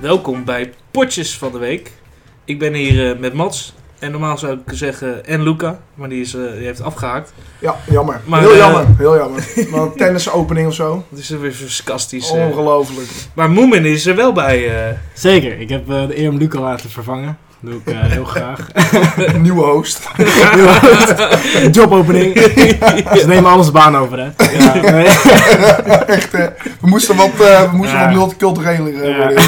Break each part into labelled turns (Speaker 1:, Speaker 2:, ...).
Speaker 1: welkom bij Potjes van de Week. Ik ben hier eh, met Mats. En normaal zou ik zeggen, en Luca, maar die, is, eh, die heeft afgehaakt.
Speaker 2: Ja, jammer.
Speaker 1: Maar,
Speaker 2: heel
Speaker 1: eh,
Speaker 2: jammer, heel jammer. Maar een tennisopening of zo.
Speaker 1: Dat is weer zo sarcastisch. eh.
Speaker 2: Ongelooflijk.
Speaker 1: Maar Moemin is er wel bij. eh.
Speaker 3: Zeker, ik heb eh, de eer om Luca laten vervangen. Dat doe ik eh, heel graag.
Speaker 2: Nieuwe host.
Speaker 3: Jobopening. Ze nemen alles de baan over, hè? Ja, nee.
Speaker 2: Echt, eh, we moesten wat, eh we moesten
Speaker 3: Ja.
Speaker 2: wat multicultureel eh,
Speaker 3: Ja.
Speaker 2: worden.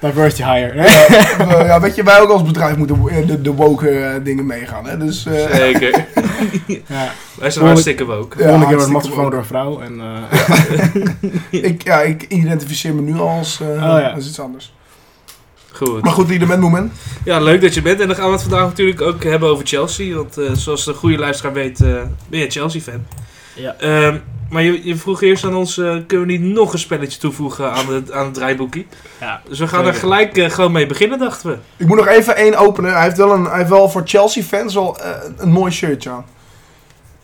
Speaker 3: Diversity higher. hè?
Speaker 2: Ja, we- Eh, ja, weet je, wij ook als bedrijf moeten eh, de, de woke eh, dingen meegaan. Hè? Dus eh,
Speaker 1: Zeker.
Speaker 3: Ja.
Speaker 1: Wij zijn hartstikke woke.
Speaker 2: Ja,
Speaker 3: Volgende keer
Speaker 2: hartstikke
Speaker 3: wordt Mats vervangen
Speaker 2: leuk.
Speaker 3: door een vrouw. En, eh,
Speaker 2: ik, ja, ik identificeer me nu als, eh,
Speaker 3: Oh, ja.
Speaker 2: als iets anders.
Speaker 1: Goed.
Speaker 2: Maar goed, ieder met moment.
Speaker 1: Ja, leuk dat je bent. En dan gaan we het vandaag natuurlijk ook hebben over Chelsea. Want eh, zoals de goede luisteraar weet, eh, ben je Chelsea-fan.
Speaker 3: Ja.
Speaker 1: Ehm, maar je, je vroeg eerst aan ons, eh, kunnen we niet nog een spelletje toevoegen aan, de, aan het draaiboekje?
Speaker 3: ja.
Speaker 1: Dus we gaan er
Speaker 3: Zeker.
Speaker 1: gelijk eh, gewoon mee beginnen, dachten we.
Speaker 2: Ik moet nog even één openen. Hij heeft wel, een, hij heeft wel voor Chelsea-fans wel eh, een mooi shirtje aan.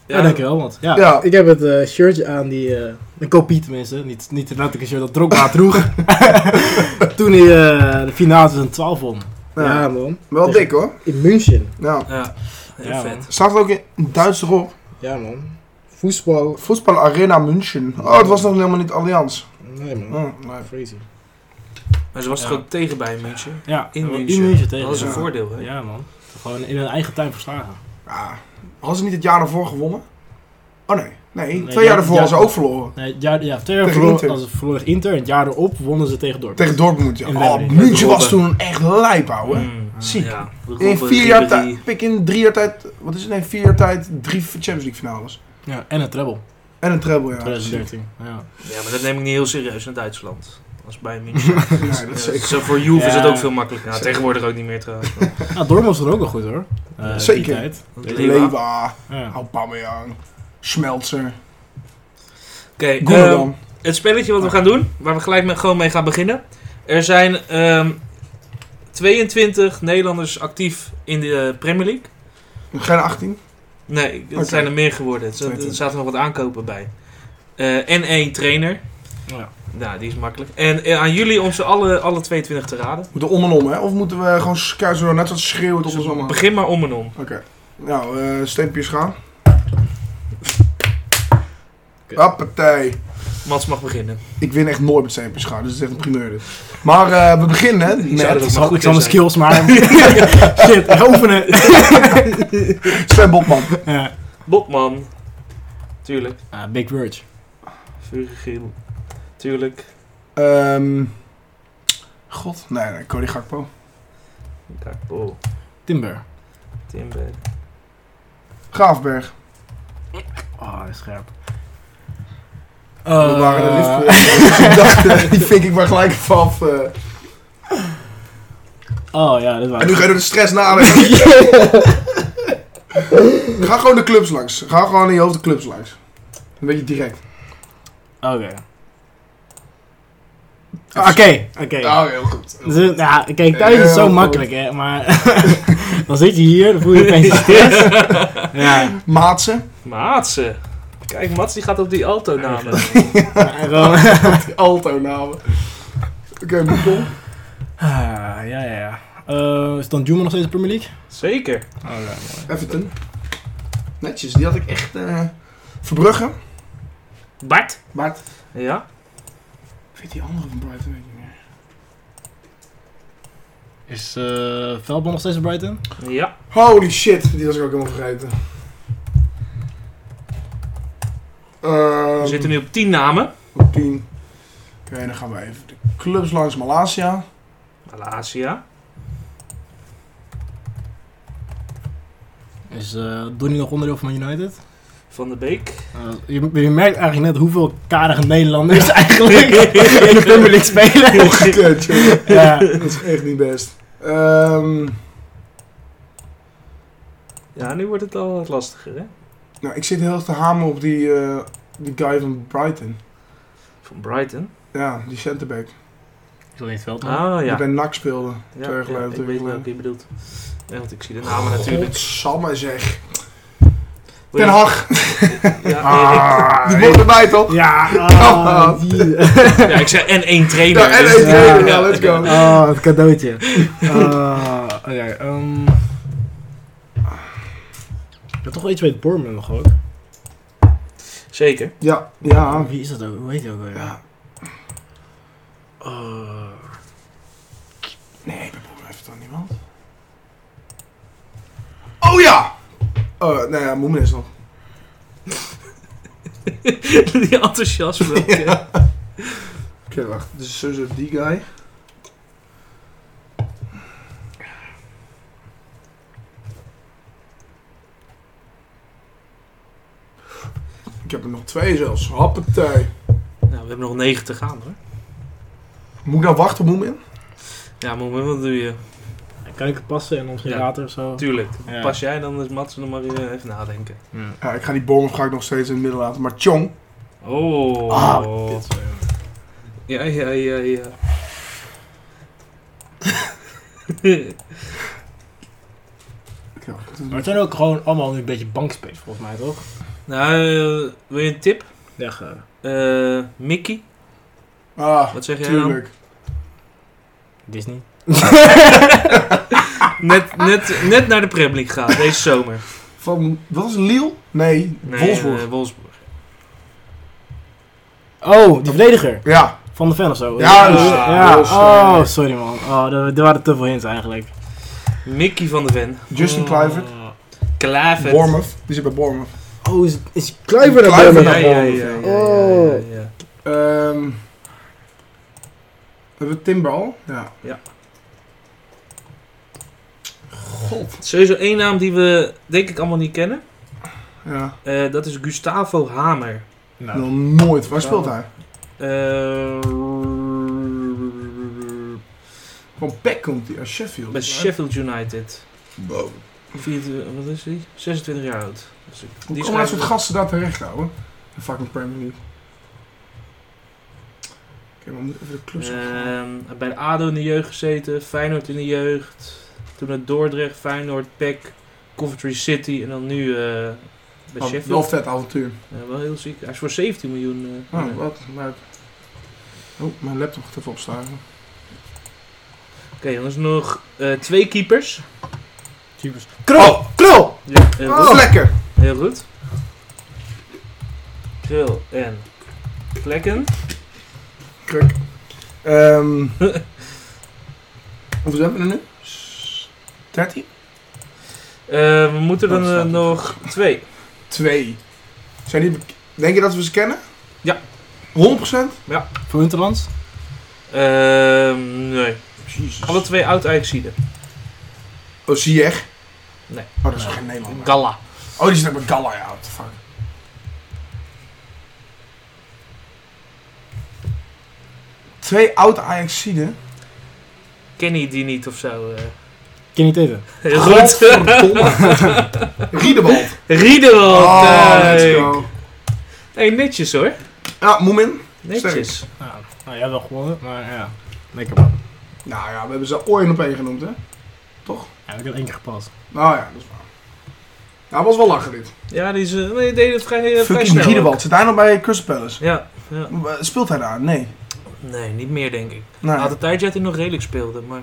Speaker 3: Ja, dankjewel, want ja,
Speaker 2: Ja.
Speaker 3: ik heb het eh, shirtje aan, die, eh, een kopie tenminste, niet, niet dat ik een shirt dat Drogba droeg, toen hij eh, de finale 2012 won.
Speaker 2: Ja.
Speaker 3: Ja, man,
Speaker 2: Wel
Speaker 3: Tegen-
Speaker 2: dik hoor.
Speaker 3: in München.
Speaker 2: Ja.
Speaker 1: Ja, heel
Speaker 3: Ja,
Speaker 1: vet.
Speaker 3: man.
Speaker 2: Staat er ook in Duits erop.
Speaker 3: Ja man, voetbal,
Speaker 2: Voetbal Arena München. Oh, het was nog helemaal niet Allianz.
Speaker 3: nee man,
Speaker 2: Oh, nee.
Speaker 3: crazy.
Speaker 1: Maar ze was toch
Speaker 3: Ja.
Speaker 1: ook tegen bij München?
Speaker 3: Ja,
Speaker 1: In
Speaker 3: in
Speaker 1: München.
Speaker 3: München tegen.
Speaker 1: Dat is een
Speaker 2: Ja.
Speaker 1: voordeel, hè?
Speaker 3: Ja man, gewoon in hun eigen tuin verslagen.
Speaker 2: Ja, hadden ze niet het jaar daarvoor gewonnen? Oh nee, nee,
Speaker 3: Nee,
Speaker 2: twee jaar
Speaker 3: ja-
Speaker 2: daarvoor
Speaker 3: ja-
Speaker 2: hadden ze ook verloren.
Speaker 3: Nee, het jaar, ja, twee jaar
Speaker 2: Tegen
Speaker 3: verloren
Speaker 2: Inter.
Speaker 3: als verloren Inter. En het jaar erop wonnen ze tegen Dortmund.
Speaker 2: Tegen Dortmund, ja.
Speaker 3: In
Speaker 2: Oh,
Speaker 3: Wembley.
Speaker 2: München
Speaker 1: Tegen
Speaker 2: was
Speaker 1: Robben.
Speaker 2: toen echt lijp, ouwe.
Speaker 1: Mm,
Speaker 2: Ziek.
Speaker 1: Ja.
Speaker 2: In
Speaker 1: Robben,
Speaker 2: vier jaar
Speaker 1: Ribéry.
Speaker 2: tijd, pik in drie jaar tijd, wat is het? Nee, vier jaar tijd, drie Champions League finales.
Speaker 3: Ja, en een treble,
Speaker 2: En een treble, ja.
Speaker 3: 2013. Ja.
Speaker 1: Ja, maar dat neem ik niet heel serieus in Duitsland. Als bij München.
Speaker 2: Nee, dat is
Speaker 1: Eh,
Speaker 2: zeker.
Speaker 1: Zo voor Juve is het
Speaker 3: Ja.
Speaker 1: ook veel makkelijker. Nou,
Speaker 2: Zeker.
Speaker 1: tegenwoordig ook niet meer trouwens.
Speaker 3: Ja, Nou, Dortmund was er ook wel goed hoor. Eh, die
Speaker 2: Zeker.
Speaker 3: tijd.
Speaker 1: Lewa. Oké,
Speaker 2: Lewa,
Speaker 3: Ja.
Speaker 2: ah, Aubameyang, Schmelzer,
Speaker 1: ehm,
Speaker 3: Ehm.
Speaker 2: Gundogan.
Speaker 1: het spelletje wat we gaan doen, waar we gelijk mee, gewoon mee gaan beginnen. Er zijn ehm, 22 Nederlanders actief in de eh, Premier League.
Speaker 2: Geen 18.
Speaker 1: Nee, het
Speaker 2: Oké.
Speaker 1: zijn er meer geworden. Er- Er
Speaker 2: 22.
Speaker 1: zaten nog wat aankopen bij. Eh, en één trainer.
Speaker 3: Ja.
Speaker 1: Nou, die is makkelijk. En eh, aan jullie om ze alle, alle 22 te raden.
Speaker 2: Moeten om en om, hè? Of moeten we gewoon kuizen net wat schreeuwen tot
Speaker 1: Dus
Speaker 2: ons allemaal?
Speaker 1: begin maar om en om.
Speaker 2: Oké. Nou, eh steempjes gaan.
Speaker 3: Oké.
Speaker 2: Hoppatee.
Speaker 1: Mats mag beginnen.
Speaker 2: Ik win echt nooit met steempjes gaan, dus het is echt een primeur dit. Maar eh, we beginnen hè,
Speaker 1: zou dat
Speaker 2: met
Speaker 1: ook-
Speaker 3: Ik zal,
Speaker 1: goed
Speaker 3: ik zal mijn
Speaker 1: zijn.
Speaker 3: skills maar. Shit, echt oefenen.
Speaker 2: Sven Botman.
Speaker 3: Ja.
Speaker 1: Botman. Tuurlijk.
Speaker 3: Ah, Big Verge.
Speaker 1: Virgil. Tuurlijk.
Speaker 2: Ehm, God, nee, nee, Cody Gakpo.
Speaker 1: Oh,
Speaker 3: Timber.
Speaker 1: Timber.
Speaker 2: Graafberg.
Speaker 3: Oh, hij is scherp.
Speaker 2: we waren de
Speaker 3: Eh,
Speaker 2: Liverpool. dus ik dacht, eh, die vink ik maar gelijk vanaf. eh.
Speaker 3: Oh ja, dat
Speaker 2: En nu
Speaker 3: waren
Speaker 2: ga je door de stress nadenken. Ga gewoon de clubs langs. Ga gewoon in je hoofd de clubs langs. Een beetje direct.
Speaker 3: Oké. Ah, Oké, oké.
Speaker 2: Nou, heel goed.
Speaker 3: Dus, Ja, kijk, thuis is het
Speaker 2: Heel
Speaker 3: zo
Speaker 2: goed.
Speaker 3: makkelijk, hè. Maar dan zit je hier, dan voel je opeens de stress. Ja.
Speaker 2: Maatsen.
Speaker 1: Maatsen. Kijk, Mats die gaat op die alto namen.
Speaker 3: En gewoon-
Speaker 2: Alto namen. Oké, Boekel.
Speaker 3: Ah, ja, ja, ja. Eh, is dan Juma nog steeds in de Premier League?
Speaker 1: Zeker.
Speaker 3: Oh,
Speaker 2: Everton. Netjes, die had ik echt. eh Verbrugge.
Speaker 1: Bart.
Speaker 2: Bart.
Speaker 1: Ja.
Speaker 2: Ik weet die andere van Brighton weet ik niet meer.
Speaker 3: Is eh Velbon nog steeds in Brighton?
Speaker 1: Ja.
Speaker 2: Holy shit, die was ik ook helemaal vergeten. Ehm,
Speaker 1: We zitten nu op 10 namen.
Speaker 2: op 10. Oké, dan gaan we even de clubs langs Malasia.
Speaker 1: Malasia.
Speaker 3: Is eh Donny nog onderdeel van Man United?
Speaker 1: Van de Beek.
Speaker 3: Eh, je, je merkt eigenlijk net hoeveel karige Nederlanders eigenlijk in de Premier League spelen.
Speaker 2: Kut, joh.
Speaker 3: ja.
Speaker 2: Dat is echt niet best. Ehm,
Speaker 1: Ja, nu wordt het al wat lastiger, hè?
Speaker 2: nou, ik zit heel erg te hamen op die, eh, die guy van Brighton.
Speaker 1: Van Brighton.
Speaker 2: Ja, die centerback.
Speaker 3: Ik wil niet Veldman.
Speaker 1: Ah,
Speaker 2: Die
Speaker 1: Oh, ja.
Speaker 2: bij NAC speelde.
Speaker 1: ja,
Speaker 2: twee jaar geleden,
Speaker 1: ja, ik
Speaker 2: twee
Speaker 1: weet
Speaker 2: jaar
Speaker 1: welke je bedoelt. Nee, want ik zie de namen natuurlijk.
Speaker 2: Godsamme zeg.
Speaker 1: Wil
Speaker 2: Oh. Ten Ah.
Speaker 1: je- Ah,
Speaker 2: Hag,
Speaker 1: Ja,
Speaker 2: die wordt erbij toch?
Speaker 3: Ja,
Speaker 2: Ah.
Speaker 3: ah, die,
Speaker 1: eh, ja, ik zei en één trainer.
Speaker 2: Ja, en
Speaker 1: dus-
Speaker 2: één
Speaker 3: Ja.
Speaker 2: trainer, ja, let's go.
Speaker 3: ah, het cadeautje. Ah, Oké, ehm. Ik had toch wel iets met Bournemouth nog ook.
Speaker 1: Zeker.
Speaker 2: Ja, ja.
Speaker 3: Oh, Wie is dat ook? Hoe heet die ook alweer?
Speaker 2: Ja. Eh.
Speaker 3: Ah,
Speaker 2: Nee, Liverpool heeft dan niemand. Oh ja! Oh, nou ja, Moemen is nog.
Speaker 1: die enthousiasme. ook, hè.
Speaker 2: Oké, wacht. Dus Sus of die guy. Ik heb er nog twee zelfs. Happetij.
Speaker 1: Nou, we hebben nog negen te gaan hoor.
Speaker 2: Moet ik nou wachten op Moemen?
Speaker 1: Ja, maar wat doe je?
Speaker 3: kan ik het passen en dan misschien
Speaker 1: Ja.
Speaker 3: later of zo?
Speaker 1: Tuurlijk.
Speaker 3: Ja.
Speaker 1: Pas jij, dan is Mats nog maar weer even nadenken.
Speaker 3: Ja.
Speaker 2: Ja, ik ga die Bournemouth ga ik nog steeds in het midden laten. Maar Chong.
Speaker 1: Oh.
Speaker 2: Ah,
Speaker 3: Dit, eh,
Speaker 1: ja, ja, ja, ja.
Speaker 2: Oké, wacht.
Speaker 3: Maar het zijn ook gewoon allemaal nu een beetje bankspace volgens mij, toch?
Speaker 1: nou, eh, wil je een tip?
Speaker 3: Ja, ge-
Speaker 1: Eh, Mickey?
Speaker 2: Ah,
Speaker 1: Wat zeg jij dan?
Speaker 2: tuurlijk.
Speaker 3: Disney.
Speaker 1: Net, net, net naar de Premier League gaan, deze zomer.
Speaker 2: Van, wat is het, Lille? Nee,
Speaker 1: Nee,
Speaker 2: Wolfsburg.
Speaker 1: eh, Wolfsburg.
Speaker 3: Oh, die verdediger.
Speaker 2: Ja,
Speaker 3: Van de fan of zo.
Speaker 2: Ja,
Speaker 1: dus-
Speaker 3: ja.
Speaker 2: dus, eh,
Speaker 3: Oh, sorry man. Oh, er, er waren te veel hints eigenlijk.
Speaker 1: Mickey van de Ven.
Speaker 2: Justin
Speaker 3: Oh.
Speaker 2: Kluivert.
Speaker 1: Klaver.
Speaker 2: Bournemouth. Die zit bij Bournemouth.
Speaker 3: Oh, is, is Kluivert
Speaker 2: Kluivert,
Speaker 3: erbij?
Speaker 1: Ja, ja,
Speaker 2: naar
Speaker 1: ja,
Speaker 2: Bournemouth,
Speaker 1: ja,
Speaker 2: ja.
Speaker 1: ja, ja, ja, ja.
Speaker 2: Ehm hebben we Timbal? Ja.
Speaker 1: Ja.
Speaker 2: God.
Speaker 1: Sowieso één naam die we denk ik allemaal niet kennen.
Speaker 2: Ja.
Speaker 1: Eh, dat is Gustavo Hamer.
Speaker 3: Nou,
Speaker 2: Nog nooit. Waar speelt hij?
Speaker 1: Eh,
Speaker 2: Van Peck komt hij. Uit Sheffield.
Speaker 1: bij Sheffield United.
Speaker 2: Wow.
Speaker 1: Vier- wat is die? 26 jaar oud. Dus ik-
Speaker 2: Hoe
Speaker 1: die
Speaker 2: komen dat
Speaker 1: schrijven-
Speaker 2: soort gasten daar terecht, ouwe? De fucking Premier League. Oké, maar we moeten even de klus opgaan.
Speaker 1: Ehm, bij de ADO in de jeugd gezeten, Feyenoord in de jeugd. Toen naar Dordrecht, Feyenoord, PEC, Coventry City en dan nu eh, bij
Speaker 2: Maar Oh, Wel
Speaker 1: Sheffield.
Speaker 2: vet avontuur.
Speaker 1: Eh, wel heel ziek. Hij is voor 17 miljoen. eh,
Speaker 2: Oh,
Speaker 1: eh,
Speaker 2: wat? Maar... Oh, mijn laptop gaat even opstaan.
Speaker 1: Oké, dan is er nog eh, twee keepers.
Speaker 3: keepers. Krul!
Speaker 2: Oh, krul!
Speaker 1: Ja, heel
Speaker 2: Oh,
Speaker 1: goed.
Speaker 2: lekker!
Speaker 1: Heel goed. Krul en Plekken.
Speaker 2: Kruk. Ehm hoeveel zijn we er nu? S- 13?
Speaker 1: Eh, we moeten er
Speaker 2: Dat staat
Speaker 1: eh, nog twee.
Speaker 2: Twee. Zijn die bek- Denk je dat we ze kennen?
Speaker 1: Ja.
Speaker 2: 100%?
Speaker 3: Voor Interlands?
Speaker 1: Ehm, nee.
Speaker 2: Jezus.
Speaker 1: Alle twee oud Ajaxiden.
Speaker 2: Oh, Ziyech?
Speaker 1: Nee.
Speaker 2: Oh, dat is geen Nederlander.
Speaker 1: Galla.
Speaker 2: oh, die zit ook bij Galla, ja. What the fuck. Twee oud Ajaxiden.
Speaker 1: Kenny die niet of zo. eh.
Speaker 3: Ken niet eten.
Speaker 1: Heel goed.
Speaker 2: Riedewald.
Speaker 1: Riedel.
Speaker 2: Oh,
Speaker 1: kijk.
Speaker 2: let's go.
Speaker 1: Hey, netjes hoor.
Speaker 2: Ja, Moemin.
Speaker 1: Netjes.
Speaker 3: Nou, nou, jij hebt wel gewonnen, maar ja. Lekker man.
Speaker 2: Nou ja, we hebben ze ooit op één genoemd, hè?
Speaker 3: Ja, ik heb één keer gepast.
Speaker 2: Nou ja, dat is waar. Nou, was wel lachen dit.
Speaker 1: Ja, die, is, eh, nee, die deed het vrij, eh, vrij
Speaker 2: Fucking
Speaker 1: snel.
Speaker 2: Riedewald. Zit hij nog bij Crystal Palace?
Speaker 1: Ja, ja.
Speaker 2: Eh, Speelt hij daar? Nee.
Speaker 1: Nee, niet meer denk ik.
Speaker 2: Nou,
Speaker 1: Had het tijdje dat hij nog redelijk speelde. Maar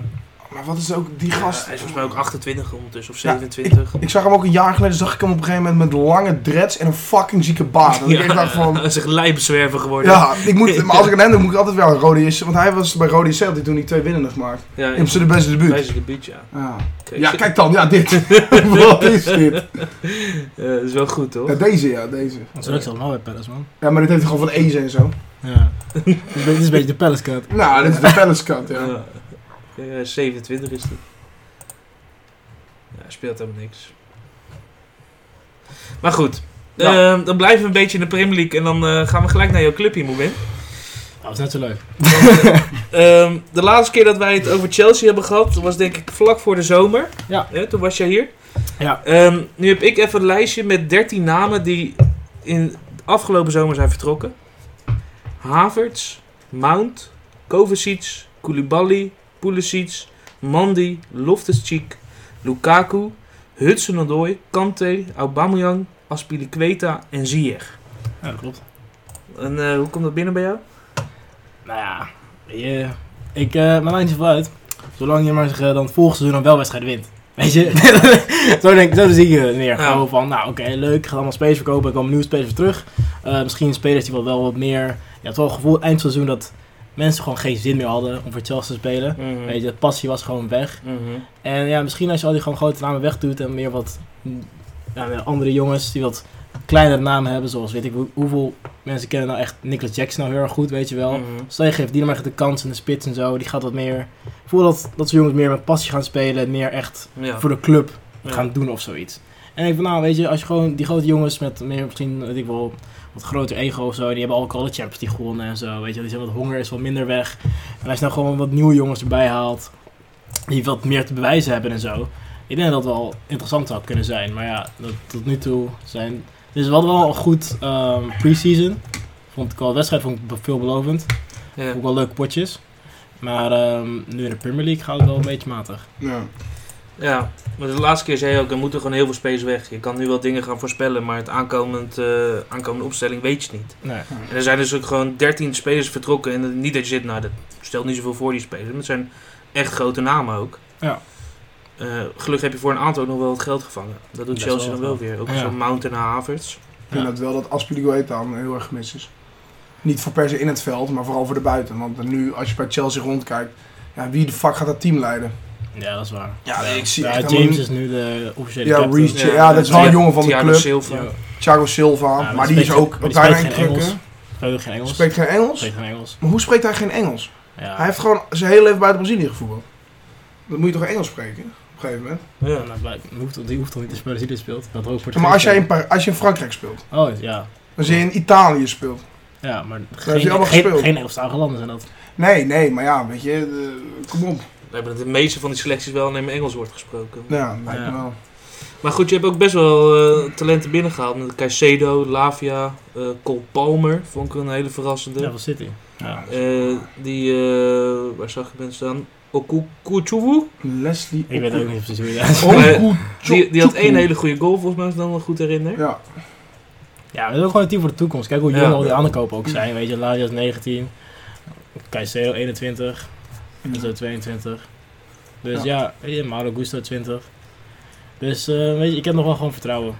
Speaker 2: maar wat is ook die
Speaker 1: ja,
Speaker 2: gast?
Speaker 1: hij is volgens mij ook 28 ondertussen of
Speaker 2: Ja,
Speaker 1: 27.
Speaker 2: Ik zag hem ook een jaar geleden, zag ik hem op een gegeven moment met lange dreads en een fucking zieke baard. Dat ik echt dacht
Speaker 1: Hij
Speaker 2: van...
Speaker 1: is echt lijbezwerver geworden.
Speaker 2: Ja, ik moet, maar als ik aan hem doe, moet ik altijd wel een rode JC. Want hij was bij rode JC, had hij toen die twee winnende gemaakt.
Speaker 1: ja
Speaker 2: In zijn beste
Speaker 1: Wij
Speaker 2: debuut.
Speaker 1: zijn de buurt, ja.
Speaker 2: Ja.
Speaker 1: Oké,
Speaker 2: ja,
Speaker 1: zo-
Speaker 2: kijk dan, ja dit. Wat is dit?
Speaker 1: eh, dat is wel goed, toch?
Speaker 2: Ja, deze ja, deze.
Speaker 3: Dat is ook zelfs wel bij Palace man.
Speaker 2: Ja, maar dit heeft hij gewoon van Eze en zo.
Speaker 3: Ja. dit, is, dit is een beetje de Palace cut.
Speaker 2: Nou, dit is de Palace kant, ja.
Speaker 1: Ja. Eh, 27 is die. Ja, hij speelt helemaal niks. Maar goed.
Speaker 2: Ja.
Speaker 1: Ehm, dan blijven we een beetje in de Premier League. En dan eh, gaan we gelijk naar jouw clubje, Moemin.
Speaker 3: Oh, dat is net zo leuk.
Speaker 1: Ehm, de laatste keer dat wij het over Chelsea hebben gehad, was denk ik vlak voor de zomer.
Speaker 3: Ja.
Speaker 1: Hè, toen was jij hier.
Speaker 3: Ja.
Speaker 1: Ehm, nu heb ik even een lijstje met 13 namen die in de afgelopen zomer zijn vertrokken. Havertz, Mount, Kovacic, Koulibaly, Pulisic, Mandy, Loftus-Cheek, Lukaku, Hudson-Odoi, Kante, Aubameyang, Aspiliqueta en Ziyech.
Speaker 3: Ja, dat klopt.
Speaker 1: En eh, hoe komt dat binnen bij jou?
Speaker 3: Nou ja, je- ik, eh, mijn lijntje vooruit. Zolang je maar zich, eh, dan het volgende seizoen een welwedstrijd wint. Weet je? zo, denk, zo zie ik het neer.
Speaker 1: Ja.
Speaker 3: Gewoon van, nou oké, leuk. Ik ga allemaal spelers verkopen. Ik kom nieuwe spelers weer terug. Eh, misschien spelers die wel, wel wat meer... Je had wel het gevoel eind seizoen dat mensen gewoon geen zin meer hadden om voor Chelsea te spelen. Weet je, de passie was gewoon weg.
Speaker 1: Mhm.
Speaker 3: En ja, misschien als je al die gewoon grote namen wegdoet en meer wat mm, ja, meer andere jongens die wat kleinere namen hebben, zoals weet ik hoe- hoeveel mensen kennen nou echt Nicolas Jackson nou heel erg goed, weet je wel.
Speaker 1: Mhm.
Speaker 3: Stel je geeft die dan maar echt de kans in de spits en zo, die gaat wat meer. Ik voel dat, dat ze jongens meer met passie gaan spelen en meer echt
Speaker 1: Ja.
Speaker 3: voor de club
Speaker 1: Ja.
Speaker 3: gaan doen of zoiets. En ik denk van nou, weet je, als je gewoon die grote jongens met meer misschien, weet ik wel, wat groter ego of zo, die hebben ook al de Champions League gewonnen en zo, weet je, die zijn wat honger is wat minder weg. En als je nou gewoon wat nieuwe jongens erbij haalt, die wat meer te bewijzen hebben en zo, ik denk dat het wel interessant zou kunnen zijn. Maar ja, dat, tot nu toe zijn, dus we hadden wel een goed ehm, pre-season. Vond ik wel, de wedstrijd vond ik veelbelovend.
Speaker 1: Ja.
Speaker 3: Ook wel leuke potjes. Maar ehm, nu in de Premier League gaat het wel een beetje matig.
Speaker 2: Ja.
Speaker 1: Ja, maar de laatste keer zei je ook, er moeten gewoon heel veel space weg. Je kan nu wel dingen gaan voorspellen, maar het aankomend, eh, aankomende opstelling weet je niet.
Speaker 3: Nee.
Speaker 1: En er zijn dus ook gewoon 13 spelers vertrokken. En niet dat je zit, nou, dat stelt niet zoveel voor die spelers. Maar het zijn echt grote namen ook.
Speaker 3: Ja.
Speaker 1: Eh, gelukkig heb je voor een aantal ook nog wel wat geld gevangen. Dat doet
Speaker 3: Best
Speaker 1: Chelsea
Speaker 3: wel
Speaker 1: dan
Speaker 3: wat
Speaker 1: wel weer. Ook
Speaker 3: Ja.
Speaker 1: zo'n Mountain en Havertz.
Speaker 2: Ik vind
Speaker 3: Ja.
Speaker 2: dat wel dat Aspilicueta dan heel erg gemist is. Niet voor per se in het veld, maar vooral voor de buiten. Want nu, als je bij Chelsea rondkijkt, ja, wie de fuck gaat dat team leiden?
Speaker 3: Ja, dat is waar.
Speaker 2: Ja, ik zie
Speaker 3: ja,
Speaker 2: echt
Speaker 3: James
Speaker 2: helemaal niet-
Speaker 3: is nu de officiële
Speaker 2: Ja,
Speaker 3: captain.
Speaker 2: Reece- Ja, dat is wel een
Speaker 1: Thia-
Speaker 2: jongen van de
Speaker 1: Thiago
Speaker 2: club.
Speaker 1: Silva.
Speaker 3: Ja,
Speaker 2: Thiago Silva,
Speaker 3: maar
Speaker 2: maar
Speaker 3: die
Speaker 2: die is
Speaker 3: spreekt-
Speaker 2: ook
Speaker 3: maar die
Speaker 2: bijna
Speaker 3: spreekt
Speaker 2: een
Speaker 3: geen
Speaker 2: krukken.
Speaker 3: Spreekt geen Engels.
Speaker 2: Spreekt geen Engels?
Speaker 3: Spreekt geen Engels.
Speaker 2: Maar hoe spreekt hij geen Engels?
Speaker 3: Ja.
Speaker 2: Hij heeft gewoon zijn hele leven buiten Brazilië gevoetbald. Dan moet je toch Engels spreken? Op een gegeven moment.
Speaker 1: Ja.
Speaker 3: Ja, nou, blijk- die hoeft, die hoeft toch niet te spelen als hij dit speelt? Dat er ook wordt
Speaker 2: Maar als jij, in Par- als je in Frankrijk speelt,
Speaker 3: Oh, ja.
Speaker 2: als je in Italië speelt.
Speaker 3: Ja, maar
Speaker 2: hij
Speaker 3: geen,
Speaker 2: allemaal
Speaker 3: geen,
Speaker 2: gespeeld.
Speaker 3: geen Engelstalige landen zijn dat.
Speaker 2: Nee, nee, maar ja, weet je, eh, kom op.
Speaker 1: We hebben dat de meeste van die selecties wel in Engels wordt gesproken.
Speaker 2: Ja, lijkt
Speaker 3: Ja.
Speaker 2: me wel.
Speaker 1: Maar goed, je hebt ook best wel eh, talenten binnengehaald. Met Caicedo, Lavia, eh Cole Palmer. Vond ik een hele verrassende.
Speaker 3: Ja, van City. Ja.
Speaker 1: Eh, die, eh, waar zag ik mensen staan? Okukuchuwu.
Speaker 2: Leslie.
Speaker 3: Ik weet
Speaker 2: Oku-
Speaker 3: ook niet precies hoe je dat...
Speaker 2: Oku-
Speaker 1: Eh, Die, die had
Speaker 2: Chukwu.
Speaker 1: één hele goede goal, volgens mij, als ik me dan goed herinner.
Speaker 2: Ja,
Speaker 3: Ja, we hebben gewoon een team voor de toekomst. Kijk hoe
Speaker 1: Ja.
Speaker 3: jong al die aankopen ook zijn. Weet je, Lazio is 19, Caicedo 21, Enzo 22. Dus ja, weet je, Mauro Gusto 20. Dus eh, weet je, ik heb nog wel gewoon vertrouwen.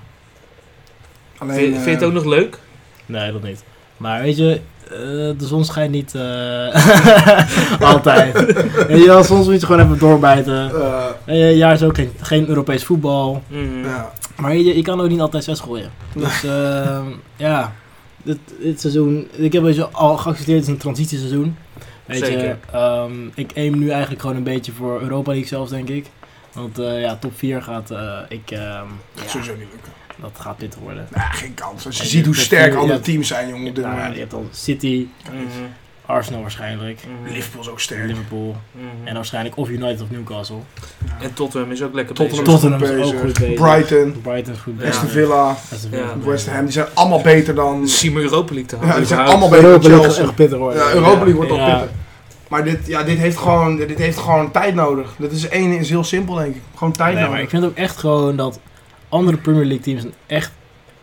Speaker 2: alleen.
Speaker 1: Vind, vind je het
Speaker 2: eh,
Speaker 1: ook nog leuk?
Speaker 3: Nee, dat niet. Maar weet je, eh, de zon schijnt niet eh, altijd. weet je wel, soms moet je gewoon even doorbijten.
Speaker 2: eh,
Speaker 3: Weet je, ja, is ook geen, geen Europees voetbal.
Speaker 1: Mhm.
Speaker 2: ja.
Speaker 3: Maar weet je, je kan ook niet altijd zes gooien. Dus ehm, ja, dit, dit seizoen, ik heb het al geaccepteerd, het is een transitieseizoen. Weet
Speaker 1: Zeker.
Speaker 3: je, ehm, ik aim nu eigenlijk gewoon een beetje voor Europa League zelfs, denk ik. Want eh, ja, top 4 gaat, eh, ik, ehm,
Speaker 2: Dat
Speaker 3: ja,
Speaker 2: sowieso niet lukken.
Speaker 3: dat gaat pittig worden.
Speaker 2: Nou, geen kans. Als je
Speaker 3: Ja,
Speaker 2: ziet
Speaker 3: je-
Speaker 2: hoe
Speaker 3: dat
Speaker 2: sterk
Speaker 3: je-
Speaker 2: andere
Speaker 3: ja.
Speaker 2: teams zijn, jongen, eh, op dit
Speaker 3: Nou, je
Speaker 2: moment.
Speaker 3: hebt dan City,
Speaker 1: Mhm.
Speaker 3: Arsenal waarschijnlijk,
Speaker 1: Mhm.
Speaker 2: Liverpool is ook sterk.
Speaker 3: Liverpool
Speaker 1: Mhm.
Speaker 3: en waarschijnlijk of United of Newcastle.
Speaker 1: En Tottenham is ook lekker
Speaker 2: Tottenham
Speaker 1: bezig.
Speaker 2: is
Speaker 3: Tottenham is
Speaker 2: goed
Speaker 3: ook
Speaker 2: bezig.
Speaker 3: goed bezig.
Speaker 2: Brighton,
Speaker 3: Brighton is goed
Speaker 1: Ja.
Speaker 2: Aston
Speaker 3: bezig.
Speaker 2: Villa,
Speaker 3: Aston
Speaker 1: Ja.
Speaker 2: West
Speaker 3: goed bezig.
Speaker 2: Ham. Die zijn allemaal beter dan...
Speaker 1: Zie maar Europa League te halen.
Speaker 2: Ja, die zijn
Speaker 1: überhaupt.
Speaker 2: allemaal beter dan
Speaker 3: Europa League gaat
Speaker 2: Chelsea.
Speaker 3: echt pittig worden.
Speaker 2: Ja, Europa League wordt
Speaker 3: Ja.
Speaker 2: al pittig. Maar dit, ja, dit, heeft gewoon, dit heeft gewoon tijd nodig. Dat is één is heel simpel, denk ik. Gewoon tijd
Speaker 3: Nee, maar ik
Speaker 2: nodig.
Speaker 3: vind ook echt gewoon dat andere Premier League teams zijn echt,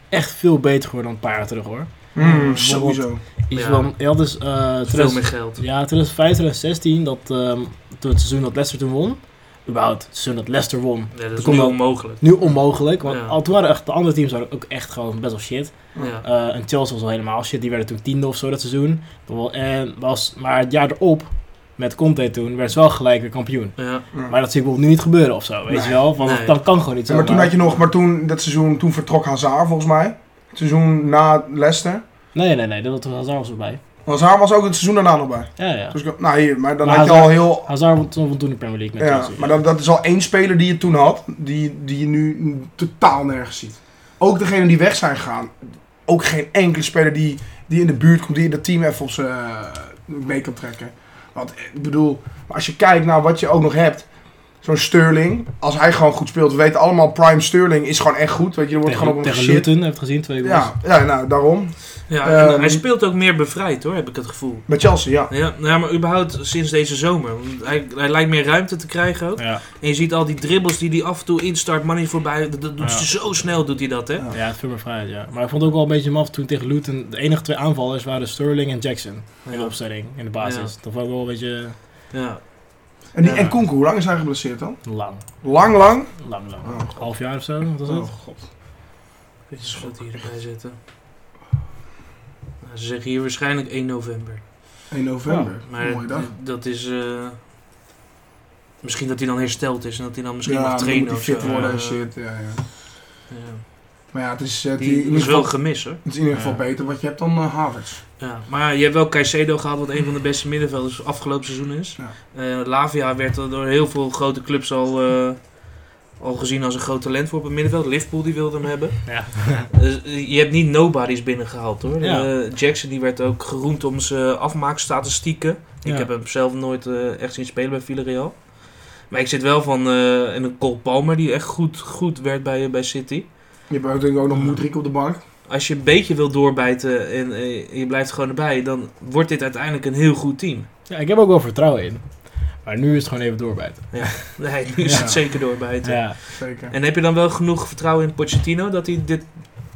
Speaker 3: echt veel beter geworden dan een paar jaar terug hoor.
Speaker 2: Mm, sowieso.
Speaker 3: Iets
Speaker 1: Ja.
Speaker 3: van, je had dus eh
Speaker 1: Veel
Speaker 3: 2000
Speaker 1: meer geld.
Speaker 3: ja, 2015, 2016, dat, ehm, toen het seizoen dat Leicester toen won. Überhaupt, het seizoen dat Leicester won.
Speaker 1: Ja, dat is
Speaker 3: komt
Speaker 1: nu
Speaker 3: wel-
Speaker 1: onmogelijk.
Speaker 3: Nu onmogelijk, want
Speaker 1: Ja.
Speaker 3: al toen waren echt, de andere teams waren ook echt gewoon best wel shit.
Speaker 1: Ja.
Speaker 3: Eh, en Chelsea was al helemaal shit, die werden toen tiende of zo dat seizoen. Dat wel- En was, maar het jaar erop, met Conte toen, werden ze wel gelijk weer kampioen.
Speaker 1: Ja.
Speaker 2: Ja.
Speaker 3: Maar dat zie ik bijvoorbeeld nu niet gebeuren of zo, weet
Speaker 2: Nee.
Speaker 3: je wel? Want dat-
Speaker 1: Nee.
Speaker 3: dat kan gewoon niet zo.
Speaker 2: Ja, maar toen had je nog, maar toen, dat seizoen, toen vertrok Hazard volgens mij. Het seizoen na Leicester.
Speaker 3: Nee, nee, nee, dat was Hazard was erbij.
Speaker 2: Hazard was ook het seizoen daarna nog bij.
Speaker 3: Ja, ja.
Speaker 2: Dus, ik- nou hier, maar dan
Speaker 3: Maar Ah,
Speaker 2: had je
Speaker 3: Hazard-
Speaker 2: al heel...
Speaker 3: Hazard won toen, won toen de Premier League met
Speaker 2: Ja,
Speaker 3: Chelsea.
Speaker 2: maar dat, dat is al één speler die je toen had, die, die je nu totaal nergens ziet. Ook degenen die weg zijn gegaan. Ook geen enkele speler die, die in de buurt komt, die in dat team even op zijn eh, mee kan trekken. Want eh, ik bedoel, maar als je kijkt naar wat je ook nog hebt. Zo'n Sterling, als hij gewoon goed speelt, we weten allemaal, Prime Sterling is gewoon echt goed. Weet je, er wordt gewoon op hem
Speaker 3: tegen
Speaker 2: shit.
Speaker 3: Luton, heb je het gezien, twee goals.
Speaker 2: Ja, ja, nou, daarom.
Speaker 1: Ja, en, eh,
Speaker 2: Ehm,
Speaker 1: hij speelt ook meer bevrijd hoor, heb ik het gevoel.
Speaker 2: Met Chelsea, ja.
Speaker 1: Ja, nou ja, maar überhaupt sinds deze zomer. Want Hij, hij lijkt meer ruimte te krijgen ook.
Speaker 3: Ja,
Speaker 1: En je ziet al die dribbles die hij af en toe instart, money voorbij. Dat, dat doet
Speaker 3: Ja.
Speaker 1: ze zo snel, doet hij dat hè.
Speaker 3: ja het viel me vrij, ja. Maar ik vond het ook wel een beetje maf toen tegen Luton. De enige twee aanvallers waren Sterling en Jackson. In de
Speaker 1: Ja.
Speaker 3: opstelling, in de basis. Dat vond ik wel een beetje
Speaker 1: Ja.
Speaker 2: En, die,
Speaker 3: Ja.
Speaker 2: en Kunku, hoe lang is hij geblesseerd dan?
Speaker 3: lang.
Speaker 2: Lang, lang.
Speaker 3: Lang, lang.
Speaker 2: Oh, God.
Speaker 3: half jaar of zo, wat was het?
Speaker 2: Oh,
Speaker 1: Dit is goed hier erbij zetten. Nou, ze zeggen hier waarschijnlijk 1 november.
Speaker 2: 1 november.
Speaker 1: Maar
Speaker 2: Mooie dag.
Speaker 1: dat is... eh, misschien dat hij dan hersteld is en dat hij dan misschien
Speaker 2: ja,
Speaker 1: mag
Speaker 2: dan
Speaker 1: trainen
Speaker 2: moet hij
Speaker 1: of
Speaker 2: fit
Speaker 1: zo.
Speaker 2: worden en
Speaker 1: Eh,
Speaker 2: shit. Ja, ja.
Speaker 1: ja.
Speaker 2: Maar ja, het is, eh, het in
Speaker 1: Die
Speaker 2: ieder
Speaker 1: is
Speaker 2: geval,
Speaker 1: wel
Speaker 2: het
Speaker 1: gemis hoor.
Speaker 2: is in ieder geval
Speaker 3: Ja.
Speaker 2: beter wat je hebt dan eh, Havertz.
Speaker 1: Ja, maar je hebt wel Caicedo gehad, wat een van de
Speaker 3: Mm.
Speaker 1: beste middenvelders afgelopen seizoen is.
Speaker 2: Ja.
Speaker 1: Eh, Lavia werd al door heel veel grote clubs al, eh, al gezien als een groot talent voor op het middenveld. Liverpool die wilde hem hebben.
Speaker 3: Ja.
Speaker 1: Dus, eh, je hebt niet nobodies binnengehaald hoor.
Speaker 3: Ja.
Speaker 1: Eh, Jackson die werd ook geroemd om zijn afmaakstatistieken.
Speaker 3: Ja.
Speaker 1: Ik heb hem zelf nooit eh, echt zien spelen bij Villarreal. Maar ik zit wel van eh, en een Cole Palmer die echt goed, goed werd bij, eh, bij City.
Speaker 2: Je hebt natuurlijk ook nog Moedrik op de bank.
Speaker 1: Als je een beetje wil doorbijten en eh, je blijft gewoon erbij, dan wordt dit uiteindelijk een heel goed team.
Speaker 3: ja, ik heb ook wel vertrouwen in. Maar nu is het gewoon even doorbijten.
Speaker 1: Nee, nu is
Speaker 2: Ja.
Speaker 1: het zeker doorbijten.
Speaker 3: Ja,
Speaker 2: Zeker.
Speaker 1: En heb je dan wel genoeg vertrouwen in Pochettino dat hij dit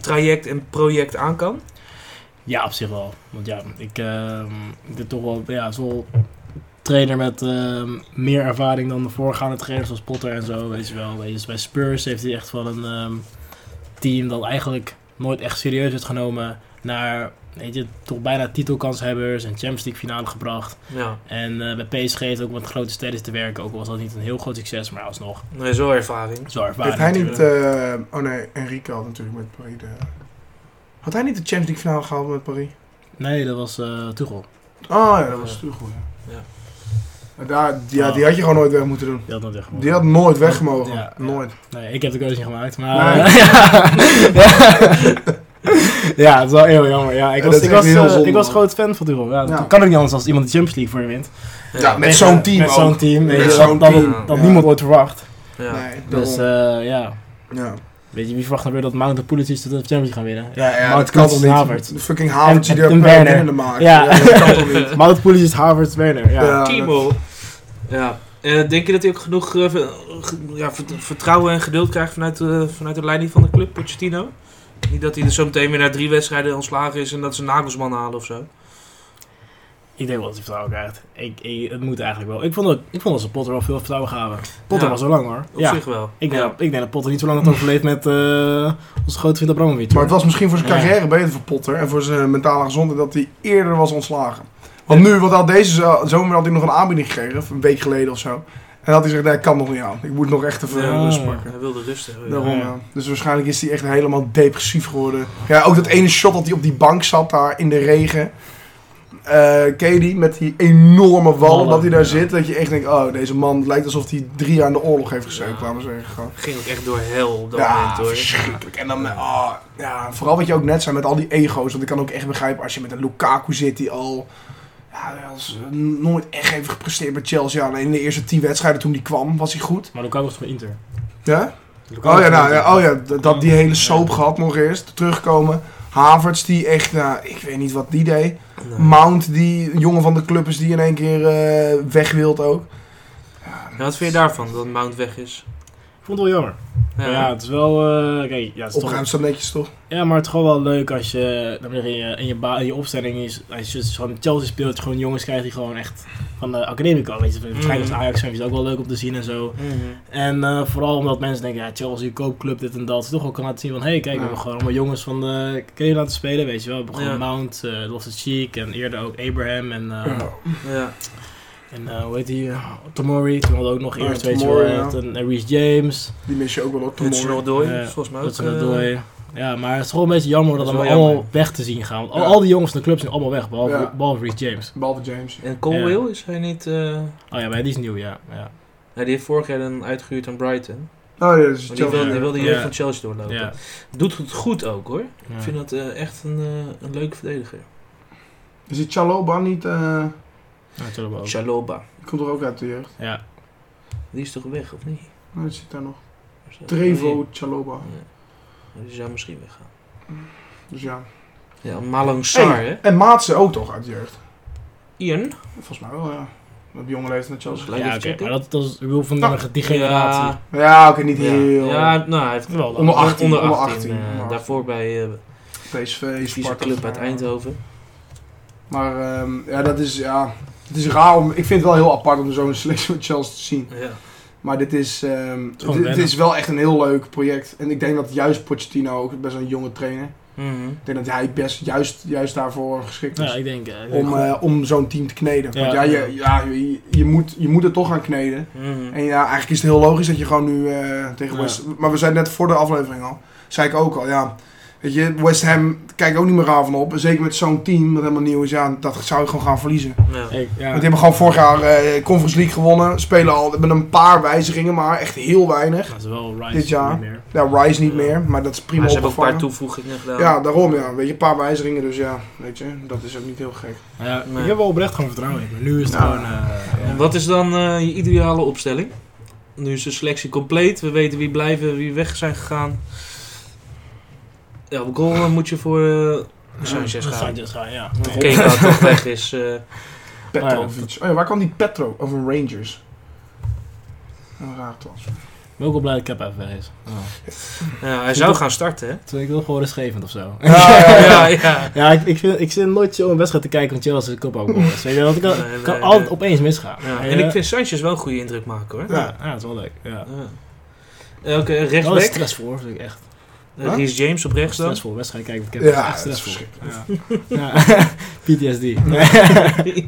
Speaker 1: traject en project aan kan?
Speaker 3: ja op zich wel. Want ja, ik ehm dit toch wel, ja, is wel een trainer met ehm, meer ervaring dan de voorgaande trainers zoals Potter en zo, weet je wel. Weet je, dus bij Spurs heeft hij echt wel een ehm, team dat eigenlijk nooit echt serieus werd genomen naar, weet je, toch bijna titelkanshebbers en Champions League finale gebracht.
Speaker 1: Ja,
Speaker 3: En eh, bij PSG heeft ook met grote sterren te werken. Ook al was dat niet een heel groot succes, maar alsnog.
Speaker 1: nee, zo ervaring.
Speaker 3: Zwaar
Speaker 2: Heeft
Speaker 3: ervaring.
Speaker 2: hij niet...
Speaker 3: natuurlijk.
Speaker 2: eh, oh nee, Enrique had natuurlijk met Paris de... Had hij niet de Champions League finale gehaald met Paris?
Speaker 3: Nee, dat was eh Tuchel.
Speaker 2: Oh ja, dat was natuurlijk goed. Ja.
Speaker 1: Ja.
Speaker 2: Maar Daar, die, ja,
Speaker 3: Ah.
Speaker 2: die had je gewoon nooit weg moeten doen.
Speaker 3: Die had dat echt gewonnen.
Speaker 2: Die had nooit weg mogen.
Speaker 3: Ja, ja.
Speaker 2: Nooit.
Speaker 3: Nee, ik heb de keuze niet gemaakt, maar... eh, ja, het is wel heel jammer. Ja, ik
Speaker 2: Ja,
Speaker 3: was,
Speaker 2: dat
Speaker 3: ik
Speaker 2: is echt
Speaker 3: was,
Speaker 2: heel
Speaker 3: eh,
Speaker 2: zonde,
Speaker 3: ik was
Speaker 2: man.
Speaker 3: groot fan van Tuchel. Ja,
Speaker 2: Ja.
Speaker 3: Dat kan ook niet anders als iemand de Champions League voor je wint.
Speaker 1: Ja,
Speaker 2: Ja, met
Speaker 3: Tegen-
Speaker 2: zo'n team
Speaker 3: Met
Speaker 2: ook.
Speaker 3: zo'n team. Weet
Speaker 2: Met
Speaker 3: je, dat
Speaker 2: zo'n
Speaker 3: dat,
Speaker 1: team.
Speaker 3: dat
Speaker 2: Ja.
Speaker 3: niemand ooit verwacht.
Speaker 1: ja.
Speaker 2: Nee, daarom.
Speaker 3: Dus eh, ja,
Speaker 2: ja.
Speaker 3: weet je, wie verwacht nou weer dat Mount en Pulisic de Champions League gaan winnen?
Speaker 2: Ja, ja,
Speaker 3: Mount
Speaker 2: dat kan toch
Speaker 3: Pulisic
Speaker 2: niet?
Speaker 3: en Havertz.
Speaker 2: De fucking Havertz die
Speaker 3: En-
Speaker 2: er
Speaker 3: en
Speaker 2: een
Speaker 3: Werner.
Speaker 2: binnen maakt.
Speaker 3: Ja.
Speaker 2: Ja. dat kan toch niet?
Speaker 3: Mount Pulisic, Havertz, Werner. Ja.
Speaker 2: Ja.
Speaker 1: Timo. Ja. Eh, denk je dat hij ook genoeg eh, ver- ge- ja, vert- vertrouwen en geduld krijgt vanuit, de- vanuit de leiding van de club, Pochettino? Niet dat hij er zo meteen weer na drie wedstrijden ontslagen is en dat ze Nagelsman halen of zo.
Speaker 3: Ik denk wel dat hij vertrouwen krijgt. Ik, ik- het moet eigenlijk wel. Ik vond, dat ik vond dat ze Potter wel veel vertrouwen gaven. Potter
Speaker 1: Ja.
Speaker 3: was zo lang hoor.
Speaker 1: Op
Speaker 3: ja.
Speaker 1: zich wel.
Speaker 3: Ik, denk,
Speaker 1: ja.
Speaker 3: ik denk dat Potter niet zo lang had overleefd met eh onze grote vriend Abramovic.
Speaker 2: Maar het was misschien voor zijn
Speaker 3: Ja.
Speaker 2: carrière beter voor Potter en voor zijn mentale gezondheid dat hij eerder was ontslagen. Want nu, want al deze zo- zomer had hij nog een aanbieding gekregen, of een week geleden of zo. En had hij gezegd, nee, ik kan nog niet aan. Ik moet nog echt even
Speaker 3: Ah.
Speaker 1: Ja.
Speaker 2: rust pakken.
Speaker 1: Hij wilde rust hebben. ja.
Speaker 2: Daarom, ja. Dus waarschijnlijk is hij echt helemaal depressief geworden. Ja, ook dat ene shot dat hij op die bank zat daar in de regen. Eh ken je die? Met die enorme wallen
Speaker 3: Wallen,
Speaker 2: dat hij daar
Speaker 3: ja.
Speaker 2: zit. Dat je echt denkt, oh, deze man het lijkt alsof hij drie jaar in de oorlog heeft gezeten.
Speaker 1: Ja.
Speaker 2: Laten we zeggen. gewoon.
Speaker 1: Ging ook echt door hel op dat
Speaker 2: Ja,
Speaker 1: moment hoor.
Speaker 2: verschrikkelijk. En dan, oh, ja, vooral wat je ook net zei met al die ego's. Want ik kan ook echt begrijpen als je met een Lukaku zit die al... Ja, als, eh, nooit echt heeft gepresteerd bij Chelsea. Alleen in de eerste tien wedstrijden toen die kwam, was hij goed.
Speaker 3: Maar Lukaku was van Inter.
Speaker 2: Ja?
Speaker 3: Lukaku
Speaker 2: Oh ja,
Speaker 3: was van
Speaker 2: nou,
Speaker 3: Inter.
Speaker 2: ja, oh ja, d- dat die hele soap gehad nog eerst. Terugkomen. Havertz die echt, nou, ik weet niet wat die deed.
Speaker 1: Nee.
Speaker 2: Mount die een jongen van de club is die in één keer eh, weg wilt ook.
Speaker 1: Ja, wat vind je daarvan, dat Mount weg is?
Speaker 3: Ik vond het wel jammer. Maar Ja, het is wel... eh kijk, ja, het is toch-
Speaker 2: Opruimt zo netjes toch?
Speaker 3: ja, maar het is gewoon wel leuk als je dan weer in je, in je, ba- in je opstelling is... Als je gewoon Chelsea speelt, dat je gewoon jongens krijgt die gewoon echt van de academie komen. Weet je, waarschijnlijk als Ajax zijn is het ook wel leuk om te zien en zo.
Speaker 1: Mhm.
Speaker 3: En eh, vooral omdat mensen denken, ja, Chelsea, koopclub, dit en dat. Toch ook kan laten zien van, hé, hey, kijk, we
Speaker 2: Ja.
Speaker 3: hebben gewoon allemaal jongens van de Kane laten spelen, weet je wel. We hebben gewoon
Speaker 1: Ja.
Speaker 3: Mount, eh Loftus Cheek en eerder ook Abraham en, eh,
Speaker 2: Ja.
Speaker 1: Ja.
Speaker 3: en eh, hoe heet die, eh, Tomori. Toen hadden we ook nog
Speaker 2: Ja,
Speaker 3: eerst, weet je wel,
Speaker 2: Tomori, ja.
Speaker 3: dat, en en Reece James.
Speaker 2: Die mis je ook wel op
Speaker 1: Hudson
Speaker 2: morgen.
Speaker 1: Odoi,
Speaker 3: Ja,
Speaker 1: volgens mij ook.
Speaker 3: Dat ze dat
Speaker 1: eh,
Speaker 3: dooien. Ja, maar het is gewoon een beetje jammer dat,
Speaker 1: Dat
Speaker 3: we
Speaker 1: is wel
Speaker 3: allemaal
Speaker 1: jammer.
Speaker 3: weg te zien gaan. Want al,
Speaker 2: Ja.
Speaker 3: al die jongens van de club zijn allemaal weg, behalve,
Speaker 2: Ja.
Speaker 3: behalve Reece James.
Speaker 2: Behalve James.
Speaker 1: En Colwill, is hij niet... eh,
Speaker 3: Oh ja, maar die is nieuw, ja. ja.
Speaker 1: Nee, die heeft vorig jaar dan uitgehuurd aan Brighton.
Speaker 2: Oh ja, dat is
Speaker 1: Maar die wil- die
Speaker 2: Chelsea.
Speaker 1: wil de jeugd
Speaker 3: Ja.
Speaker 1: van Chelsea doorlopen.
Speaker 3: ja.
Speaker 1: Doet het goed ook hoor. Ik
Speaker 3: Ja.
Speaker 1: vind dat eh, echt een, eh, een leuke verdediger.
Speaker 2: Is die Chaloba niet... eh
Speaker 3: Ja, Chalobah ook.
Speaker 1: Chaloba.
Speaker 2: die komt er ook uit de jeugd.
Speaker 3: Ja.
Speaker 1: Die is toch weg, of niet?
Speaker 2: Nee, dat zit daar nog.
Speaker 1: Waar is dat? Oh,
Speaker 2: Trevo Chaloba.
Speaker 1: hier. Ja. Die zou misschien weggaan.
Speaker 2: Dus ja.
Speaker 1: Ja, Malang Sar,
Speaker 2: Hey,
Speaker 1: hè?
Speaker 2: En Maatse ook toch uit de jeugd?
Speaker 1: Ian.
Speaker 2: Volgens mij wel, ja. Op jonge leeftijd naar Chelsea.
Speaker 1: Gelijk
Speaker 3: ja,
Speaker 1: even
Speaker 3: oké,
Speaker 1: checken.
Speaker 3: maar dat, dat is ik bedoel, van
Speaker 2: Nou,
Speaker 3: die generatie.
Speaker 1: Ja,
Speaker 2: Ja, oké, niet
Speaker 1: ja.
Speaker 2: heel.
Speaker 1: Ja, nou, hij heeft
Speaker 3: Wel,
Speaker 2: Onder 18,
Speaker 1: onder
Speaker 2: onder
Speaker 1: 18,
Speaker 2: 18,
Speaker 1: eh,
Speaker 2: onder 18.
Speaker 1: daarvoor bij eh
Speaker 2: PSV,
Speaker 1: vieze
Speaker 2: Sparta.
Speaker 1: club uit Eindhoven.
Speaker 2: Maar ehm, ja, dat is, ja, het is raar. Om, ik vind het wel heel apart om zo'n selectie van Chelsea te zien.
Speaker 1: Ja.
Speaker 2: Maar dit is, ehm,
Speaker 3: is
Speaker 2: dit-
Speaker 3: gewoon
Speaker 2: dit
Speaker 3: wennen.
Speaker 2: is wel echt een heel leuk project. En ik denk dat juist Pochettino, ook best een jonge trainer,
Speaker 1: Mhm.
Speaker 2: ik denk dat hij best juist, juist daarvoor geschikt is.
Speaker 3: Ja, ik denk... eh, ik denk
Speaker 2: om,
Speaker 3: gewoon-
Speaker 2: eh, om zo'n team te kneden.
Speaker 3: Ja.
Speaker 2: Want ja, je, ja, je, je moet, je moet het toch gaan kneden.
Speaker 1: Mhm.
Speaker 2: En ja, eigenlijk is het heel logisch dat je gewoon nu eh, tegen
Speaker 3: Ja.
Speaker 2: West... Maar we zeiden net voor de aflevering al, zei ik ook al, ja. Weet je, West Ham kijkt ook niet meer raar van op. En Zeker met zo'n team dat helemaal nieuw is, ja, dat zou je gewoon gaan verliezen.
Speaker 1: Ja.
Speaker 3: ik- ja.
Speaker 2: Want eh, die hebben gewoon vorig jaar eh Conference League gewonnen. Spelen al met een paar wijzigingen, maar echt heel weinig.
Speaker 3: Dat is wel Rice
Speaker 2: Dit jaar.
Speaker 3: niet meer.
Speaker 2: Ja, Rice niet
Speaker 1: Ja.
Speaker 2: meer, maar dat is prima
Speaker 1: Maar ze hebben ook een paar
Speaker 2: opgevangen.
Speaker 1: toevoegingen gedaan.
Speaker 2: ja, daarom ja. Weet je, een paar wijzigingen, dus ja, weet je, dat is ook niet heel gek.
Speaker 3: Nou ja,
Speaker 1: Nee.
Speaker 3: Ik heb wel oprecht gewoon vertrouwen in. Maar nu is het
Speaker 2: Nou,
Speaker 3: gewoon... eh, ja.
Speaker 1: En Wat is dan eh, je ideale opstelling? Nu is de selectie compleet. We weten wie blijven, wie weg zijn gegaan. Elke goal eh, moet je voor eh, Sanchez
Speaker 3: Ja,
Speaker 1: gaan.
Speaker 3: Sanchez gaan, ja.
Speaker 1: Want Keita toch weg is. eh,
Speaker 2: Petrovic. Oh ja, waar kwam die Petro? Of een Rangers. Een raar transfer.
Speaker 3: Ik ben ook wel blij dat Cap even weg is.
Speaker 1: nou, hij zou gaan starten, hè?
Speaker 3: Terwijl ik wil gewoon rustgevend of zo.
Speaker 2: Ja, ja, ja.
Speaker 1: ja. ja.
Speaker 3: Ja, ik, ik, vind, ik zit nooit zo een wedstrijd te kijken want Chelsea de kop ook goal is. Weet je wel, want ik kan,
Speaker 1: Nee,
Speaker 3: kan
Speaker 1: nee,
Speaker 3: altijd
Speaker 1: nee.
Speaker 3: opeens misgaan.
Speaker 1: Ja,
Speaker 3: En,
Speaker 1: En
Speaker 3: eh,
Speaker 1: ik vind Sanchez wel een goede indruk maken, hoor.
Speaker 2: Ja.
Speaker 3: Ja, ja, dat is wel leuk. Ja.
Speaker 1: Ja. Eh, Oké,
Speaker 3: Dat is
Speaker 1: Ah. rechtsback.
Speaker 3: stressvol, vind ik echt.
Speaker 1: Eh, Reece James op rechts dan.
Speaker 3: Stressvol, wedstrijd kijken met Cap
Speaker 2: Ja,
Speaker 3: is echt
Speaker 2: dat is
Speaker 3: stressvol. Ja. Ja. PTSD. Nee.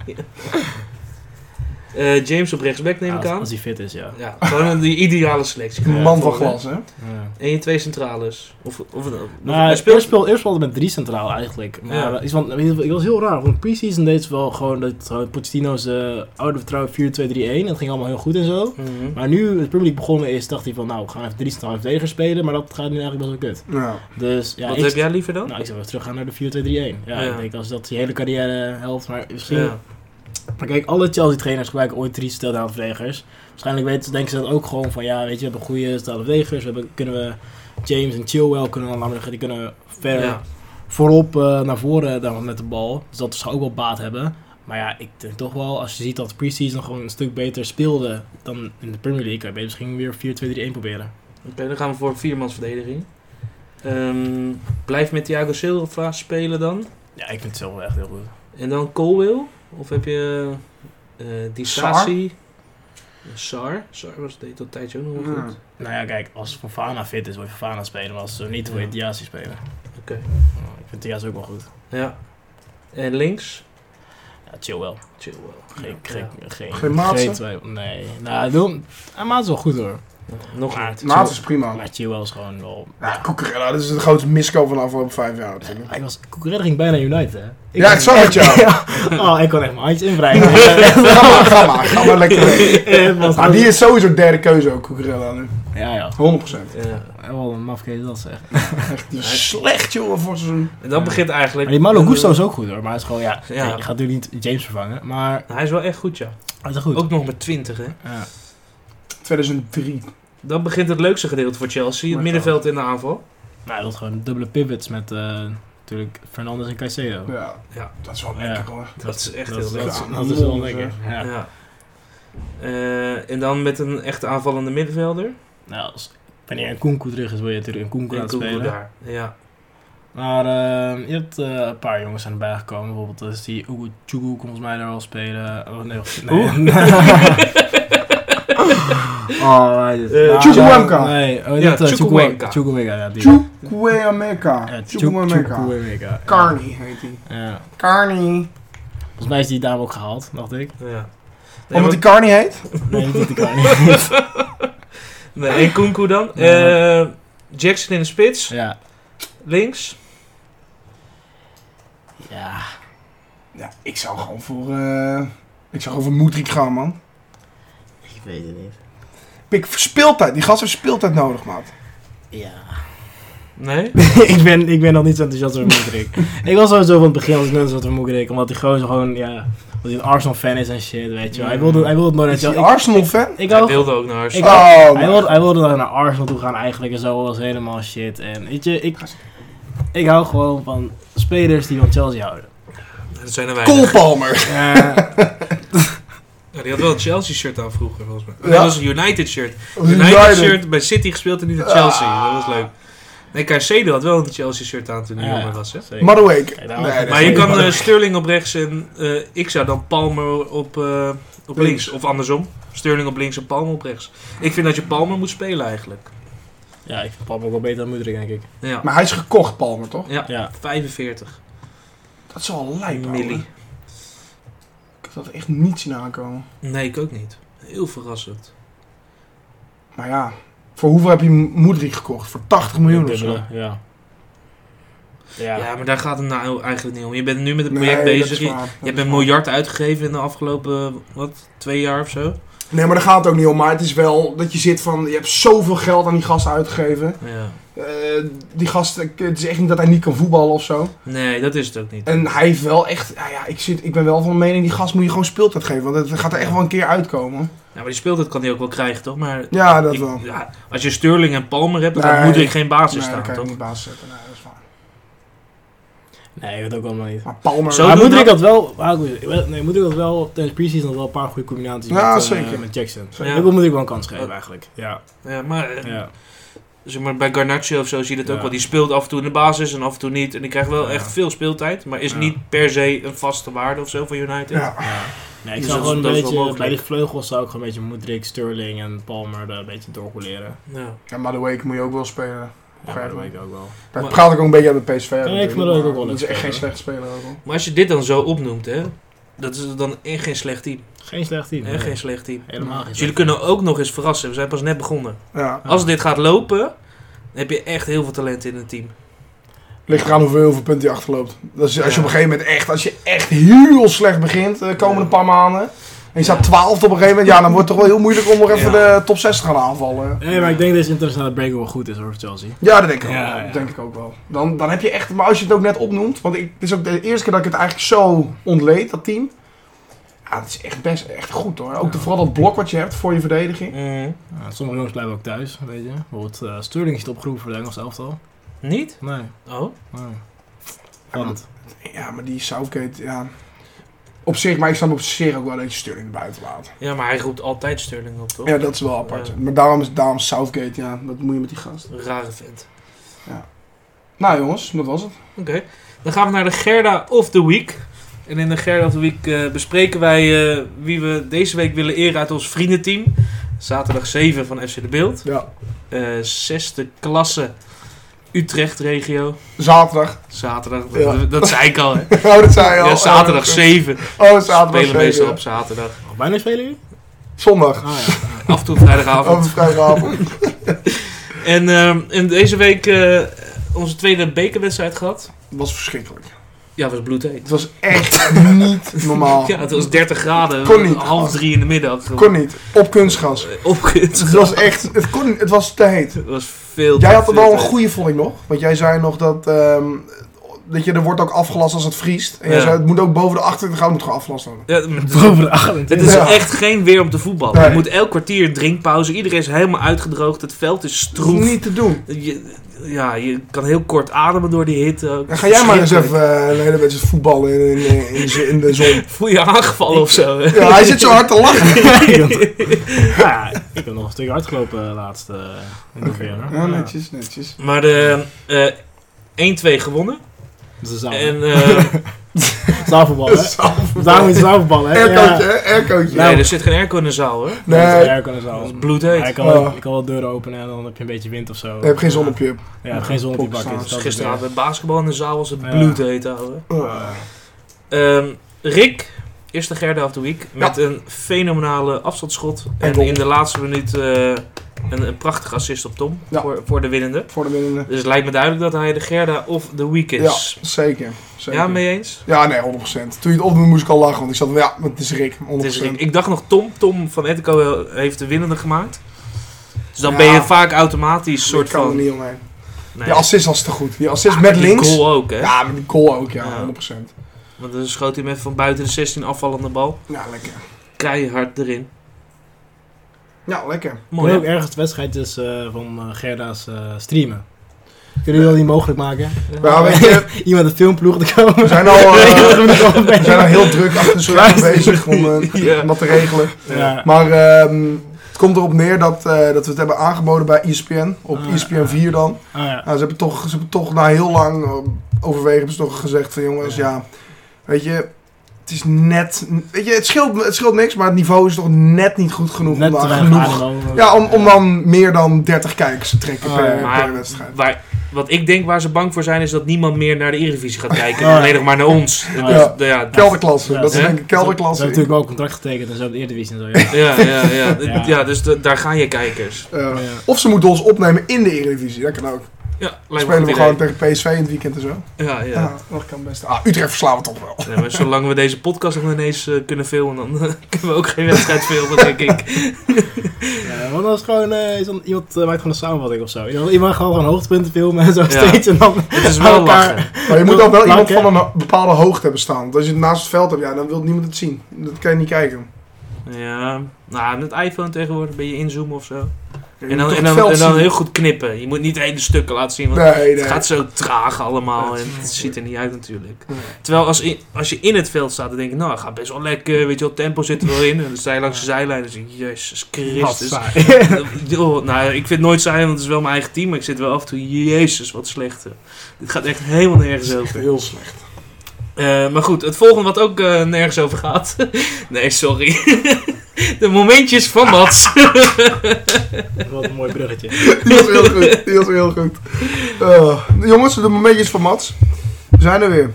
Speaker 1: Eh, James op rechtsback neem
Speaker 3: Ja,
Speaker 1: ik
Speaker 3: als-
Speaker 1: aan.
Speaker 3: Als hij fit is, ja.
Speaker 1: Ja, gewoon die ideale selectie.
Speaker 2: Een man van
Speaker 1: Voor, eh,
Speaker 2: glas, hè?
Speaker 3: ja.
Speaker 1: En je twee centrales. Of, of, of,
Speaker 3: Nou,
Speaker 1: hij
Speaker 3: hij
Speaker 1: speelt...
Speaker 3: speelde, speelde, eerst speelde met drie centraal eigenlijk. Maar
Speaker 1: Ja.
Speaker 3: eh, iets van, ik was heel raar. Want pre-season deed ze wel gewoon dat gewoon Pochettino's eh, oude vertrouwen 4-2-3-1. Dat ging allemaal heel goed en zo.
Speaker 1: Mhm.
Speaker 3: Maar nu het Premier League begonnen is, dacht hij van nou, we gaan even drie centrale verdedigers spelen. Maar dat gaat nu eigenlijk best wel kut.
Speaker 2: Ja.
Speaker 3: Dus ja,
Speaker 1: Wat
Speaker 3: ik,
Speaker 1: heb jij liever dan?
Speaker 3: nou, ik zou wel teruggaan naar de 4-2-3-1. Ja,
Speaker 1: Ja.
Speaker 3: ik denk als dat je hele carrière helpt. Maar misschien...
Speaker 1: ja.
Speaker 3: Maar kijk, alle Chelsea-trainers gebruiken ooit drie stelnaam verdedigers. Waarschijnlijk weten, ze- denken ze dat ook gewoon van, ja, weet je, we hebben goede stelnaam verdedigers. We hebben, kunnen we James en Chilwell kunnen we dan laten liggen. Die kunnen ver
Speaker 1: Ja.
Speaker 3: voorop eh, naar voren dan met de bal. Dus dat zou ook wel baat hebben. Maar ja, ik denk toch wel, als je ziet dat de pre-season gewoon een stuk beter speelde dan in de Premier League, kan je misschien weer 4-2-3-1 proberen.
Speaker 1: Oké, dan gaan we voor viermansverdediging. Ehm blijf met Thiago Silva spelen dan.
Speaker 3: Ja, ik vind het zelf wel echt heel goed.
Speaker 1: En dan Colwill. Of heb je eh Disasi? Sar. Sar was deed dat een tijdje ook nog wel
Speaker 2: Ja.
Speaker 1: goed.
Speaker 3: Nou ja, kijk, als Fofana fit is, wil je Fofana spelen. Maar als ze niet, wil je
Speaker 1: Ja.
Speaker 3: Diaz spelen.
Speaker 1: Oké.
Speaker 3: Nou, ik vind Diaz ook wel goed.
Speaker 1: Ja. En links?
Speaker 3: Ja, Chilwell.
Speaker 1: Chill
Speaker 3: Geen, geen, geen,
Speaker 2: Geen Maatsen?
Speaker 3: twijfel. Nee. Nou, doe, hij maat is wel goed hoor.
Speaker 1: Nog
Speaker 3: Maar-
Speaker 1: niet.
Speaker 2: Maat is prima.
Speaker 3: Maar Chilwell is gewoon wel...
Speaker 2: Ja, Cucurella, dat is de grootste miskoop van de afgelopen vijf jaar natuurlijk.
Speaker 3: Hij was... Cucurella ging bijna United hè.
Speaker 2: Ja, ik zag het, ja.
Speaker 3: oh, ik kon echt mijn handjes invrijven.
Speaker 2: Ga maar, ga maar, ga maar lekker weg.
Speaker 3: Het was
Speaker 2: Maar
Speaker 3: gewoon-
Speaker 2: Ah, die is sowieso derde keuze ook, Cucurella nu.
Speaker 3: Ja, ja.
Speaker 2: 100%.
Speaker 1: Ja.
Speaker 3: Eh, Wat een mafkees dat zeg.
Speaker 2: Echt, die is slecht, jongen, voor het seizoen.
Speaker 1: En dan
Speaker 3: Ja.
Speaker 1: begint eigenlijk...
Speaker 3: Maar die Malo Gusto is ook goed hoor. Maar hij is gewoon, ja...
Speaker 1: Ja.
Speaker 3: nee, je gaat natuurlijk niet James vervangen. Maar
Speaker 1: Eh, Hij is wel echt goed, ja.
Speaker 3: hij is wel goed.
Speaker 1: Ook nog met 20, hè.
Speaker 3: Ja.
Speaker 2: 2003.
Speaker 1: Dan begint het leukste gedeelte voor Chelsea. Het
Speaker 2: Maar-
Speaker 1: middenveld en de aanval.
Speaker 3: Nou, hij wil gewoon dubbele pivots met eh, natuurlijk Fernandes en Caicedo.
Speaker 2: Ja,
Speaker 1: Ja.
Speaker 2: dat is wel lekker,
Speaker 3: Ja.
Speaker 2: hoor.
Speaker 1: Dat is echt
Speaker 3: Dat,
Speaker 1: heel
Speaker 3: is-
Speaker 1: leuk.
Speaker 3: dat, is-
Speaker 2: Ja,
Speaker 3: dat is wel
Speaker 2: mol,
Speaker 3: lekker.
Speaker 2: zeg.
Speaker 3: Ja.
Speaker 1: Ja. Eh, en dan met een echt aanvallende middenvelder.
Speaker 3: Nou, als, wanneer een Kunku terug is, wil je natuurlijk een Kunku
Speaker 1: En
Speaker 3: laten
Speaker 1: Kunku
Speaker 3: spelen.
Speaker 1: daar. Ja.
Speaker 3: Maar eh, je hebt eh, een paar jongens aan erbij gekomen. Bijvoorbeeld eh, is die Ugo Chugu kon volgens mij daar al spelen. Oh, nee. wacht, nee. oh, hij is-
Speaker 1: Eh,
Speaker 3: Nou,
Speaker 2: Chukwuemeka.
Speaker 3: Nee, oh,
Speaker 1: Ja,
Speaker 3: dat,
Speaker 1: Chukwuemeka.
Speaker 3: eh, Chukwuemeka. Chukwuemeka, ja. die. Ja,
Speaker 2: Chukwuemeka.
Speaker 3: Chuk-
Speaker 2: Chukwuemeka.
Speaker 3: Chukwuemeka, ja.
Speaker 2: Carney heet hij.
Speaker 3: Ja.
Speaker 2: Carney.
Speaker 3: Volgens mij is die dame ook gehaald, dacht ik.
Speaker 1: ja. Nee,
Speaker 2: Omdat
Speaker 1: maar-
Speaker 2: hij Carney heet?
Speaker 3: Nee, niet dat ik haar niet.
Speaker 1: nee, en Kunku dan.
Speaker 3: Ja.
Speaker 1: Eh, Jackson in de spits.
Speaker 3: Ja.
Speaker 1: Links.
Speaker 3: Ja.
Speaker 2: Ja, ik zou gewoon voor... eh, Ik zou gewoon voor Moedrik gaan, man.
Speaker 3: Ik weet het niet.
Speaker 2: Pik, speeltijd. Die gast heeft speeltijd nodig, maat.
Speaker 3: Ja.
Speaker 1: Nee.
Speaker 3: ik, ben, ik ben nog niet zo enthousiast over Moederik. ik was sowieso van het begin als ik net zo over Moederik, omdat die gozer gewoon, ja, hij een Arsenal-fan is en shit, weet je wel.
Speaker 1: Ja.
Speaker 3: Hij wilde, hij wilde nooit...
Speaker 2: Is
Speaker 3: weet je
Speaker 2: hij
Speaker 3: wel. Ik-
Speaker 2: Arsenal-fan?
Speaker 3: Ik
Speaker 1: Hij
Speaker 3: wou
Speaker 1: wilde ook naar
Speaker 3: Ik-
Speaker 1: Arsenal.
Speaker 2: Oh,
Speaker 3: Hij
Speaker 2: man.
Speaker 3: wilde, hij wilde naar Arsenal toe gaan eigenlijk en zo was helemaal shit. En weet je, ik, ik hou gewoon van spelers die van Chelsea houden.
Speaker 1: Dat zijn er weinig.
Speaker 2: Cole Palmer.
Speaker 3: Ja,
Speaker 1: Ja, die had wel het Chelsea-shirt aan vroeger, volgens mij.
Speaker 2: Ja.
Speaker 1: Dat was een United-shirt.
Speaker 2: United. Ah.
Speaker 1: United-shirt bij City gespeeld en niet naar Chelsea. Dat was leuk. Nee, Caicedo had wel een Chelsea-shirt aan toen hij
Speaker 3: Ja.
Speaker 1: jonger was, hè.
Speaker 3: zeker.
Speaker 2: Madueke.
Speaker 3: Kijk,
Speaker 2: Nee,
Speaker 3: daarom-
Speaker 2: dat is
Speaker 1: Maar je
Speaker 2: niet
Speaker 1: kan
Speaker 2: waar.
Speaker 1: eh, Sterling op rechts en eh, ik zou dan Palmer op, eh, op
Speaker 2: Links.
Speaker 1: links. Of andersom. Sterling op links en Palmer op rechts. Ik vind dat je Palmer moet spelen eigenlijk.
Speaker 3: ja, ik vind Papa ook wel beter dan Moedrik, denk ik.
Speaker 1: Ja,
Speaker 2: eh, Maar hij is gekocht, Palmer, toch?
Speaker 1: ja.
Speaker 3: Ja,
Speaker 1: 45
Speaker 2: Dat is wel lijp, ouwe.
Speaker 1: milli.
Speaker 2: Ik had dat echt niet zien aankomen.
Speaker 1: Nee, ik ook niet. Heel verrassend.
Speaker 2: Maar ja, voor hoeveel heb je Moedri gekocht? Voor 80 miljoen of zo?
Speaker 3: dubbele, ja. Ja,
Speaker 1: Ja. maar daar gaat het nou eigenlijk niet om. Je bent nu met het
Speaker 2: Nee,
Speaker 1: project
Speaker 2: dat is
Speaker 1: bezig. Je,
Speaker 2: waar, dat
Speaker 1: je
Speaker 2: is
Speaker 1: hebt een
Speaker 2: waar.
Speaker 1: miljard uitgegeven in de afgelopen, wat, twee jaar of zo?
Speaker 2: Nee, maar daar gaat het ook niet om. Maar het is wel dat je zit van, je hebt zoveel geld aan die gast uitgegeven.
Speaker 1: Ja.
Speaker 2: Eh, die gast, eh, het is echt niet dat hij niet kan voetballen of zo.
Speaker 1: Nee, dat is het ook niet. Nou,
Speaker 2: En hij heeft wel echt, nou ja, ik, zit, ik ben wel van mening, die gast moet je gewoon speeltijd geven. Want het gaat er echt wel een keer uitkomen.
Speaker 1: Ja, maar die speeltijd kan hij ook wel krijgen, toch? Maar
Speaker 2: Ja, dat
Speaker 1: ik-
Speaker 2: wel.
Speaker 1: ja, als je Sterling en Palmer hebt, dan
Speaker 2: Nee.
Speaker 1: moet Moedrik geen basis
Speaker 2: Nee,
Speaker 1: staan,
Speaker 2: dan kan je
Speaker 1: toch?
Speaker 2: hem niet baas zetten. Nee, dat is waar.
Speaker 3: nee, dat ook allemaal niet.
Speaker 2: Maar Palmer...
Speaker 1: Zo-
Speaker 3: maar
Speaker 1: doen
Speaker 3: Moedrik
Speaker 1: dat-
Speaker 3: had wel, nee, Moedrik had wel tijdens pre-season had wel een paar goede combinaties
Speaker 2: Ja,
Speaker 3: met, eh,
Speaker 2: zeker.
Speaker 3: met Jackson.
Speaker 1: Ja.
Speaker 3: Ik wil Moedrik wel een kans geven eigenlijk. Ja,
Speaker 1: Ja, maar, eh,
Speaker 3: ja.
Speaker 1: Zeg maar bij Garnacho of zo zie je dat ook
Speaker 3: Ja.
Speaker 1: wel. Die speelt af en toe in de basis en af en toe niet. En die krijgt wel
Speaker 3: Ja.
Speaker 1: echt veel speeltijd. Maar is
Speaker 3: Ja.
Speaker 1: niet per se een vaste waarde of zo voor United.
Speaker 2: ja.
Speaker 3: Ja. Nee, ik
Speaker 1: Dus
Speaker 3: zou
Speaker 1: dat-
Speaker 3: gewoon een
Speaker 1: dat is wel
Speaker 3: beetje,
Speaker 1: mogelijk.
Speaker 3: bij die vleugels zou ik gewoon een beetje Moedrik, Sterling en Palmer daar een beetje doorcoleren.
Speaker 1: Ja.
Speaker 2: ja, Madueke moet je ook wel spelen.
Speaker 3: Ja,
Speaker 2: Begrijp
Speaker 3: dat
Speaker 2: me.
Speaker 3: weet ik ook wel.
Speaker 2: Dat
Speaker 1: Maar-
Speaker 2: praat ik ook een beetje aan de PSV.
Speaker 3: ik
Speaker 2: natuurlijk,
Speaker 3: vind dat ook
Speaker 2: maar
Speaker 3: wel
Speaker 2: Dat is
Speaker 3: leuk
Speaker 2: echt geen
Speaker 3: spelen.
Speaker 2: slechte speler. Ook al.
Speaker 1: Maar als je dit dan zo opnoemt, hè. Dat is dan echt geen slecht team.
Speaker 3: Geen slecht team.
Speaker 1: Echt
Speaker 3: nee.
Speaker 1: geen slecht team.
Speaker 3: Helemaal geen
Speaker 1: Dus
Speaker 3: slecht
Speaker 1: jullie kunnen ook nog eens verrassen. We zijn pas net begonnen.
Speaker 2: Ja,
Speaker 1: Als dit gaat lopen, dan heb je echt heel veel talent in het team.
Speaker 2: ligt eraan hoeveel, hoeveel punten je achterloopt. Dus als je
Speaker 1: Ja.
Speaker 2: op een gegeven moment echt, als je echt heel slecht begint de komende paar maanden. En je staat twaalfde op een gegeven moment, ja, dan wordt het toch wel heel moeilijk om nog even
Speaker 1: Ja.
Speaker 2: de top 6 te gaan aanvallen.
Speaker 3: team. Nee, maar ik denk dat deze internationale break wel goed is hoor, voor Chelsea.
Speaker 2: Ja, dat denk ik,
Speaker 3: Ja,
Speaker 2: ook, wel.
Speaker 3: ja.
Speaker 2: Dat denk ik ook wel. Dan, dan heb je echt, maar als je het ook net opnoemt, want ik, het is ook de eerste keer dat ik het eigenlijk zo ontleed, dat team. Ja, het is echt best echt goed hoor. Ook de- vooral dat blok wat je hebt voor je verdediging.
Speaker 1: Mhm.
Speaker 3: Ja, sommige jongens blijven ook thuis, weet je. Bijvoorbeeld eh, Sterling is het opgeroepen voor de Engelse elftal.
Speaker 1: Niet?
Speaker 3: Nee,
Speaker 1: Oh.
Speaker 3: nee. Want,
Speaker 2: Ja, maar die Southgate, ja. Op zich, maar ik snap op zich ook wel dat je Sterling buiten laat.
Speaker 1: Ja, maar hij roept altijd Sterling op, toch?
Speaker 2: Ja, dat is wel apart.
Speaker 1: Ja.
Speaker 2: Maar daarom is daarom Southgate, ja, dat moet je met die gast.
Speaker 1: Een rare vent.
Speaker 2: Nou jongens, dat was het.
Speaker 1: Oké, dan gaan we naar de Gerda of the Week. En in de Gerda of the Week eh, bespreken wij eh, wie we deze week willen eren uit ons vriendenteam. Zaterdag 7 van FC De Beeld.
Speaker 2: Ja.
Speaker 1: Eh, zesde klasse Utrecht regio.
Speaker 2: Zaterdag.
Speaker 1: Zaterdag,
Speaker 2: Ja.
Speaker 1: dat, dat zei ik al. Hè.
Speaker 2: Oh, dat zei je al.
Speaker 1: Ja, zaterdag
Speaker 2: Oh,
Speaker 1: 7.
Speaker 2: Oh,
Speaker 1: Spelen
Speaker 2: zaterdag
Speaker 1: meestal
Speaker 2: zeven.
Speaker 1: op zaterdag.
Speaker 3: oh, bijna spelen jullie?
Speaker 2: Zondag.
Speaker 3: Ah ja.
Speaker 1: Af en toe vrijdagavond.
Speaker 2: Over vrijdagavond.
Speaker 1: En, ehm, en deze week eh, onze tweede bekerwedstrijd gehad.
Speaker 2: Het was verschrikkelijk.
Speaker 1: Ja, was bloedheet.
Speaker 2: Het was echt niet normaal.
Speaker 1: Ja, het was 30 graden.
Speaker 2: Oh. Kon niet.
Speaker 1: Half drie in de middag.
Speaker 2: Kon niet. Op kunstgas.
Speaker 1: Opkut.
Speaker 2: Het was echt, het kon niet. Het was te heet.
Speaker 1: Het was veel
Speaker 2: Jij had er
Speaker 1: veel
Speaker 2: wel een
Speaker 1: tijd.
Speaker 2: goede vond ik nog. Want jij zei nog dat, ehm, dat je, er wordt ook afgelast als het vriest. En jij
Speaker 1: Ja.
Speaker 2: zei, het moet ook boven de 28 graden moet gewoon afgelast worden.
Speaker 1: Ja, maar het-
Speaker 3: Boven de 28.
Speaker 1: het is
Speaker 2: Ja.
Speaker 1: echt geen weer om te voetballen.
Speaker 2: Nee.
Speaker 1: Je moet elk kwartier drinkpauze. Iedereen is helemaal uitgedroogd. Het veld is
Speaker 2: Dat is
Speaker 1: stroef.
Speaker 2: niet te doen.
Speaker 1: Je, ja, je kan heel kort ademen door die hitte. ook.
Speaker 2: Dan ga jij maar eens even
Speaker 1: Verschrikkelijk.
Speaker 2: eh, een hele wedstrijd voetballen in, in, in, de- in de zon.
Speaker 1: Voel je aangevallen of zo. hè?
Speaker 2: Ja, hij zit zo hard te lachen.
Speaker 3: ja, ik heb nog een stuk hardgelopen eh, laatst. eh, in de okay.
Speaker 2: Ja, netjes, netjes.
Speaker 1: Maar de eh, 1-2 gewonnen.
Speaker 3: Dat is een
Speaker 1: En eh,
Speaker 2: Nou.
Speaker 3: zaalvoetbal, hè? Daarom is het zaalvoetbal, hè?
Speaker 2: Aircootje, hè? Aircootje.
Speaker 1: nee, er zit geen airco in de zaal hoor.
Speaker 3: Nee.
Speaker 2: Nee,
Speaker 3: Ja, kan
Speaker 1: Dat is
Speaker 3: zaal. Ja,
Speaker 1: bloedheet.
Speaker 3: ik kan, wel-
Speaker 2: Oh.
Speaker 3: ik kan wel deuren openen en dan heb je een beetje wind of zo.
Speaker 2: ik heb geen zon op je.
Speaker 3: Ja, geen zon op die bak. is.
Speaker 1: Dus
Speaker 3: Dat is-
Speaker 1: gisteravond bij basketbal in de zaal was het
Speaker 3: Ja.
Speaker 1: bloedheet houden.
Speaker 2: Oh.
Speaker 3: Eh,
Speaker 1: Ehm, Rick, eerste Gerda of the Week. Met een fenomenale afstandsschot. En
Speaker 2: goal.
Speaker 1: in de laatste minuut eh, een, een prachtige assist op Tom.
Speaker 2: Ja.
Speaker 1: Voor, voor de winnende.
Speaker 2: Voor de winnende.
Speaker 1: Dus het lijkt me duidelijk dat hij de Gerda of the Week
Speaker 2: Ja,
Speaker 1: is.
Speaker 2: zeker.
Speaker 1: Ja,
Speaker 2: zeker.
Speaker 1: mee eens?
Speaker 2: Ja, nee, 100%. Toen je het opnoemde moest ik al lachen, want ik zat van ja, het is Rick,
Speaker 1: Het
Speaker 2: 100%.
Speaker 1: is Rick. Ik dacht nog Tom. Tom van Etico heeft de winnende gemaakt. Dus dan
Speaker 2: Ja.
Speaker 1: ben je vaak automatisch
Speaker 2: Ik
Speaker 1: soort
Speaker 2: kan
Speaker 1: van...
Speaker 2: er niet omheen.
Speaker 1: Nee.
Speaker 2: Die assist was te goed. Die assist
Speaker 1: Ah,
Speaker 2: met
Speaker 1: die
Speaker 2: links.
Speaker 1: goal ook, hè?
Speaker 2: Ja, met die goal ook, ja,
Speaker 1: Ja.
Speaker 2: 100%.
Speaker 1: Want dan schoot hij hem even van buiten de 16 afvallende bal.
Speaker 2: Ja, lekker.
Speaker 1: Keihard erin.
Speaker 2: Ja, lekker.
Speaker 3: Mooi
Speaker 1: Mooi.
Speaker 3: ook
Speaker 1: hè?
Speaker 3: ergens de wedstrijd is eh, van eh, Gerda's eh, streamen. Kunnen jullie dat niet mogelijk maken?
Speaker 2: Ja, weet je,
Speaker 3: Iemand een filmploeg te komen.
Speaker 2: we zijn al, eh, we zijn al
Speaker 3: heel...
Speaker 2: heel druk achter de schermen
Speaker 3: Luister.
Speaker 2: bezig om, eh,
Speaker 1: Ja.
Speaker 2: om wat te regelen.
Speaker 3: Ja.
Speaker 2: Maar ehm, het komt erop neer dat, eh, dat we het hebben aangeboden bij E ESPN. Op
Speaker 3: Ah,
Speaker 2: ESPN 4 dan.
Speaker 3: Ah, ja.
Speaker 2: Nou, ze hebben toch, ze hebben toch na heel lang eh, overwegen hebben ze toch gezegd van jongens, ja. weet je, het is net, weet je, het scheelt, het scheelt niks, maar het niveau is toch net niet goed genoeg
Speaker 3: Net
Speaker 2: om
Speaker 3: te
Speaker 2: daar
Speaker 3: weinig
Speaker 2: genoeg,
Speaker 3: animo.
Speaker 2: ja, om, om dan meer dan 30 kijkers te trekken
Speaker 3: Ah,
Speaker 2: per,
Speaker 3: ja.
Speaker 2: per
Speaker 1: Maar
Speaker 2: wedstrijd.
Speaker 1: waar, wat ik denk waar ze bang voor zijn is dat niemand meer naar de Eredivisie gaat kijken.
Speaker 3: Oh, ja.
Speaker 1: en Alleen nog maar naar ons.
Speaker 3: Ja.
Speaker 1: Dus, ja,
Speaker 2: Kelderklasse,
Speaker 3: Ja,
Speaker 2: dat is
Speaker 1: hè?
Speaker 2: denk ik
Speaker 3: Ze hebben
Speaker 2: kelderklasse.
Speaker 3: natuurlijk wel een contract getekend en zo op de Eredivisie en zo. Ja.
Speaker 1: ja, ja, ja.
Speaker 3: Ja.
Speaker 1: ja dus da- daar gaan je kijkers.
Speaker 2: Ja.
Speaker 3: Ja.
Speaker 2: Eh, Of ze moeten ons opnemen in de Eredivisie, dat kan ook.
Speaker 1: Ja,
Speaker 2: Dan
Speaker 1: lijkt me
Speaker 2: spelen
Speaker 1: een
Speaker 2: we
Speaker 1: goed
Speaker 2: gewoon
Speaker 1: idee.
Speaker 2: tegen PSV in het weekend en zo.
Speaker 1: Ja,
Speaker 2: Ja,
Speaker 1: ja.
Speaker 2: dat kan best. Ah, Utrecht verslaan we toch wel.
Speaker 1: Nee, maar zolang we deze podcast nog ineens eh, kunnen filmen, dan eh, kunnen we ook geen wedstrijd filmen, denk ik.
Speaker 3: Ja, want dat is gewoon, eh, is dan- iemand eh, maakt gewoon een samenvatting of zo. Iemand, iemand gaat gewoon hoogtepunten filmen en zo
Speaker 1: Ja.
Speaker 3: steeds. En dan
Speaker 1: Het is wel
Speaker 3: elkaar-
Speaker 1: lachen.
Speaker 2: Maar je moet dan wel iemand
Speaker 3: Plank, hè?
Speaker 2: van een bepaalde hoogte hebben staan. Want als je het naast het veld hebt, ja, dan wil niemand het zien. Dat kan je niet kijken.
Speaker 1: Ja, nou, met iPhone tegenwoordig ben je inzoomen of zo.
Speaker 2: Je
Speaker 1: En
Speaker 2: moet
Speaker 1: dan,
Speaker 2: toch
Speaker 1: en
Speaker 2: het
Speaker 1: dan,
Speaker 2: veld
Speaker 1: en dan
Speaker 2: zien.
Speaker 1: heel goed knippen. Je moet niet hele stukken laten zien, want
Speaker 2: Nee, nee.
Speaker 1: het gaat zo traag allemaal en het ziet er niet uit natuurlijk. Terwijl als, in- als je in het veld staat, dan denk je, nou, het gaat best wel lekker, weet je wel, tempo zit er wel in. En dan sta je langs de zijlijn en denk je, jezus
Speaker 3: Wat
Speaker 1: Christus.
Speaker 3: saai.
Speaker 1: Joh, nou, ik vind het nooit saai, want het is wel mijn eigen team. Maar ik zit wel af en toe, jezus, wat slecht. hè. Dit gaat echt helemaal nergens over.
Speaker 2: heel slecht.
Speaker 1: Eh, maar goed, het volgende wat ook eh, nergens over gaat. nee, sorry. De momentjes van Mats.
Speaker 3: Wat een mooi bruggetje.
Speaker 2: Die was heel goed. Die was heel goed. Eh, jongens, de momentjes van Mats. We zijn er weer.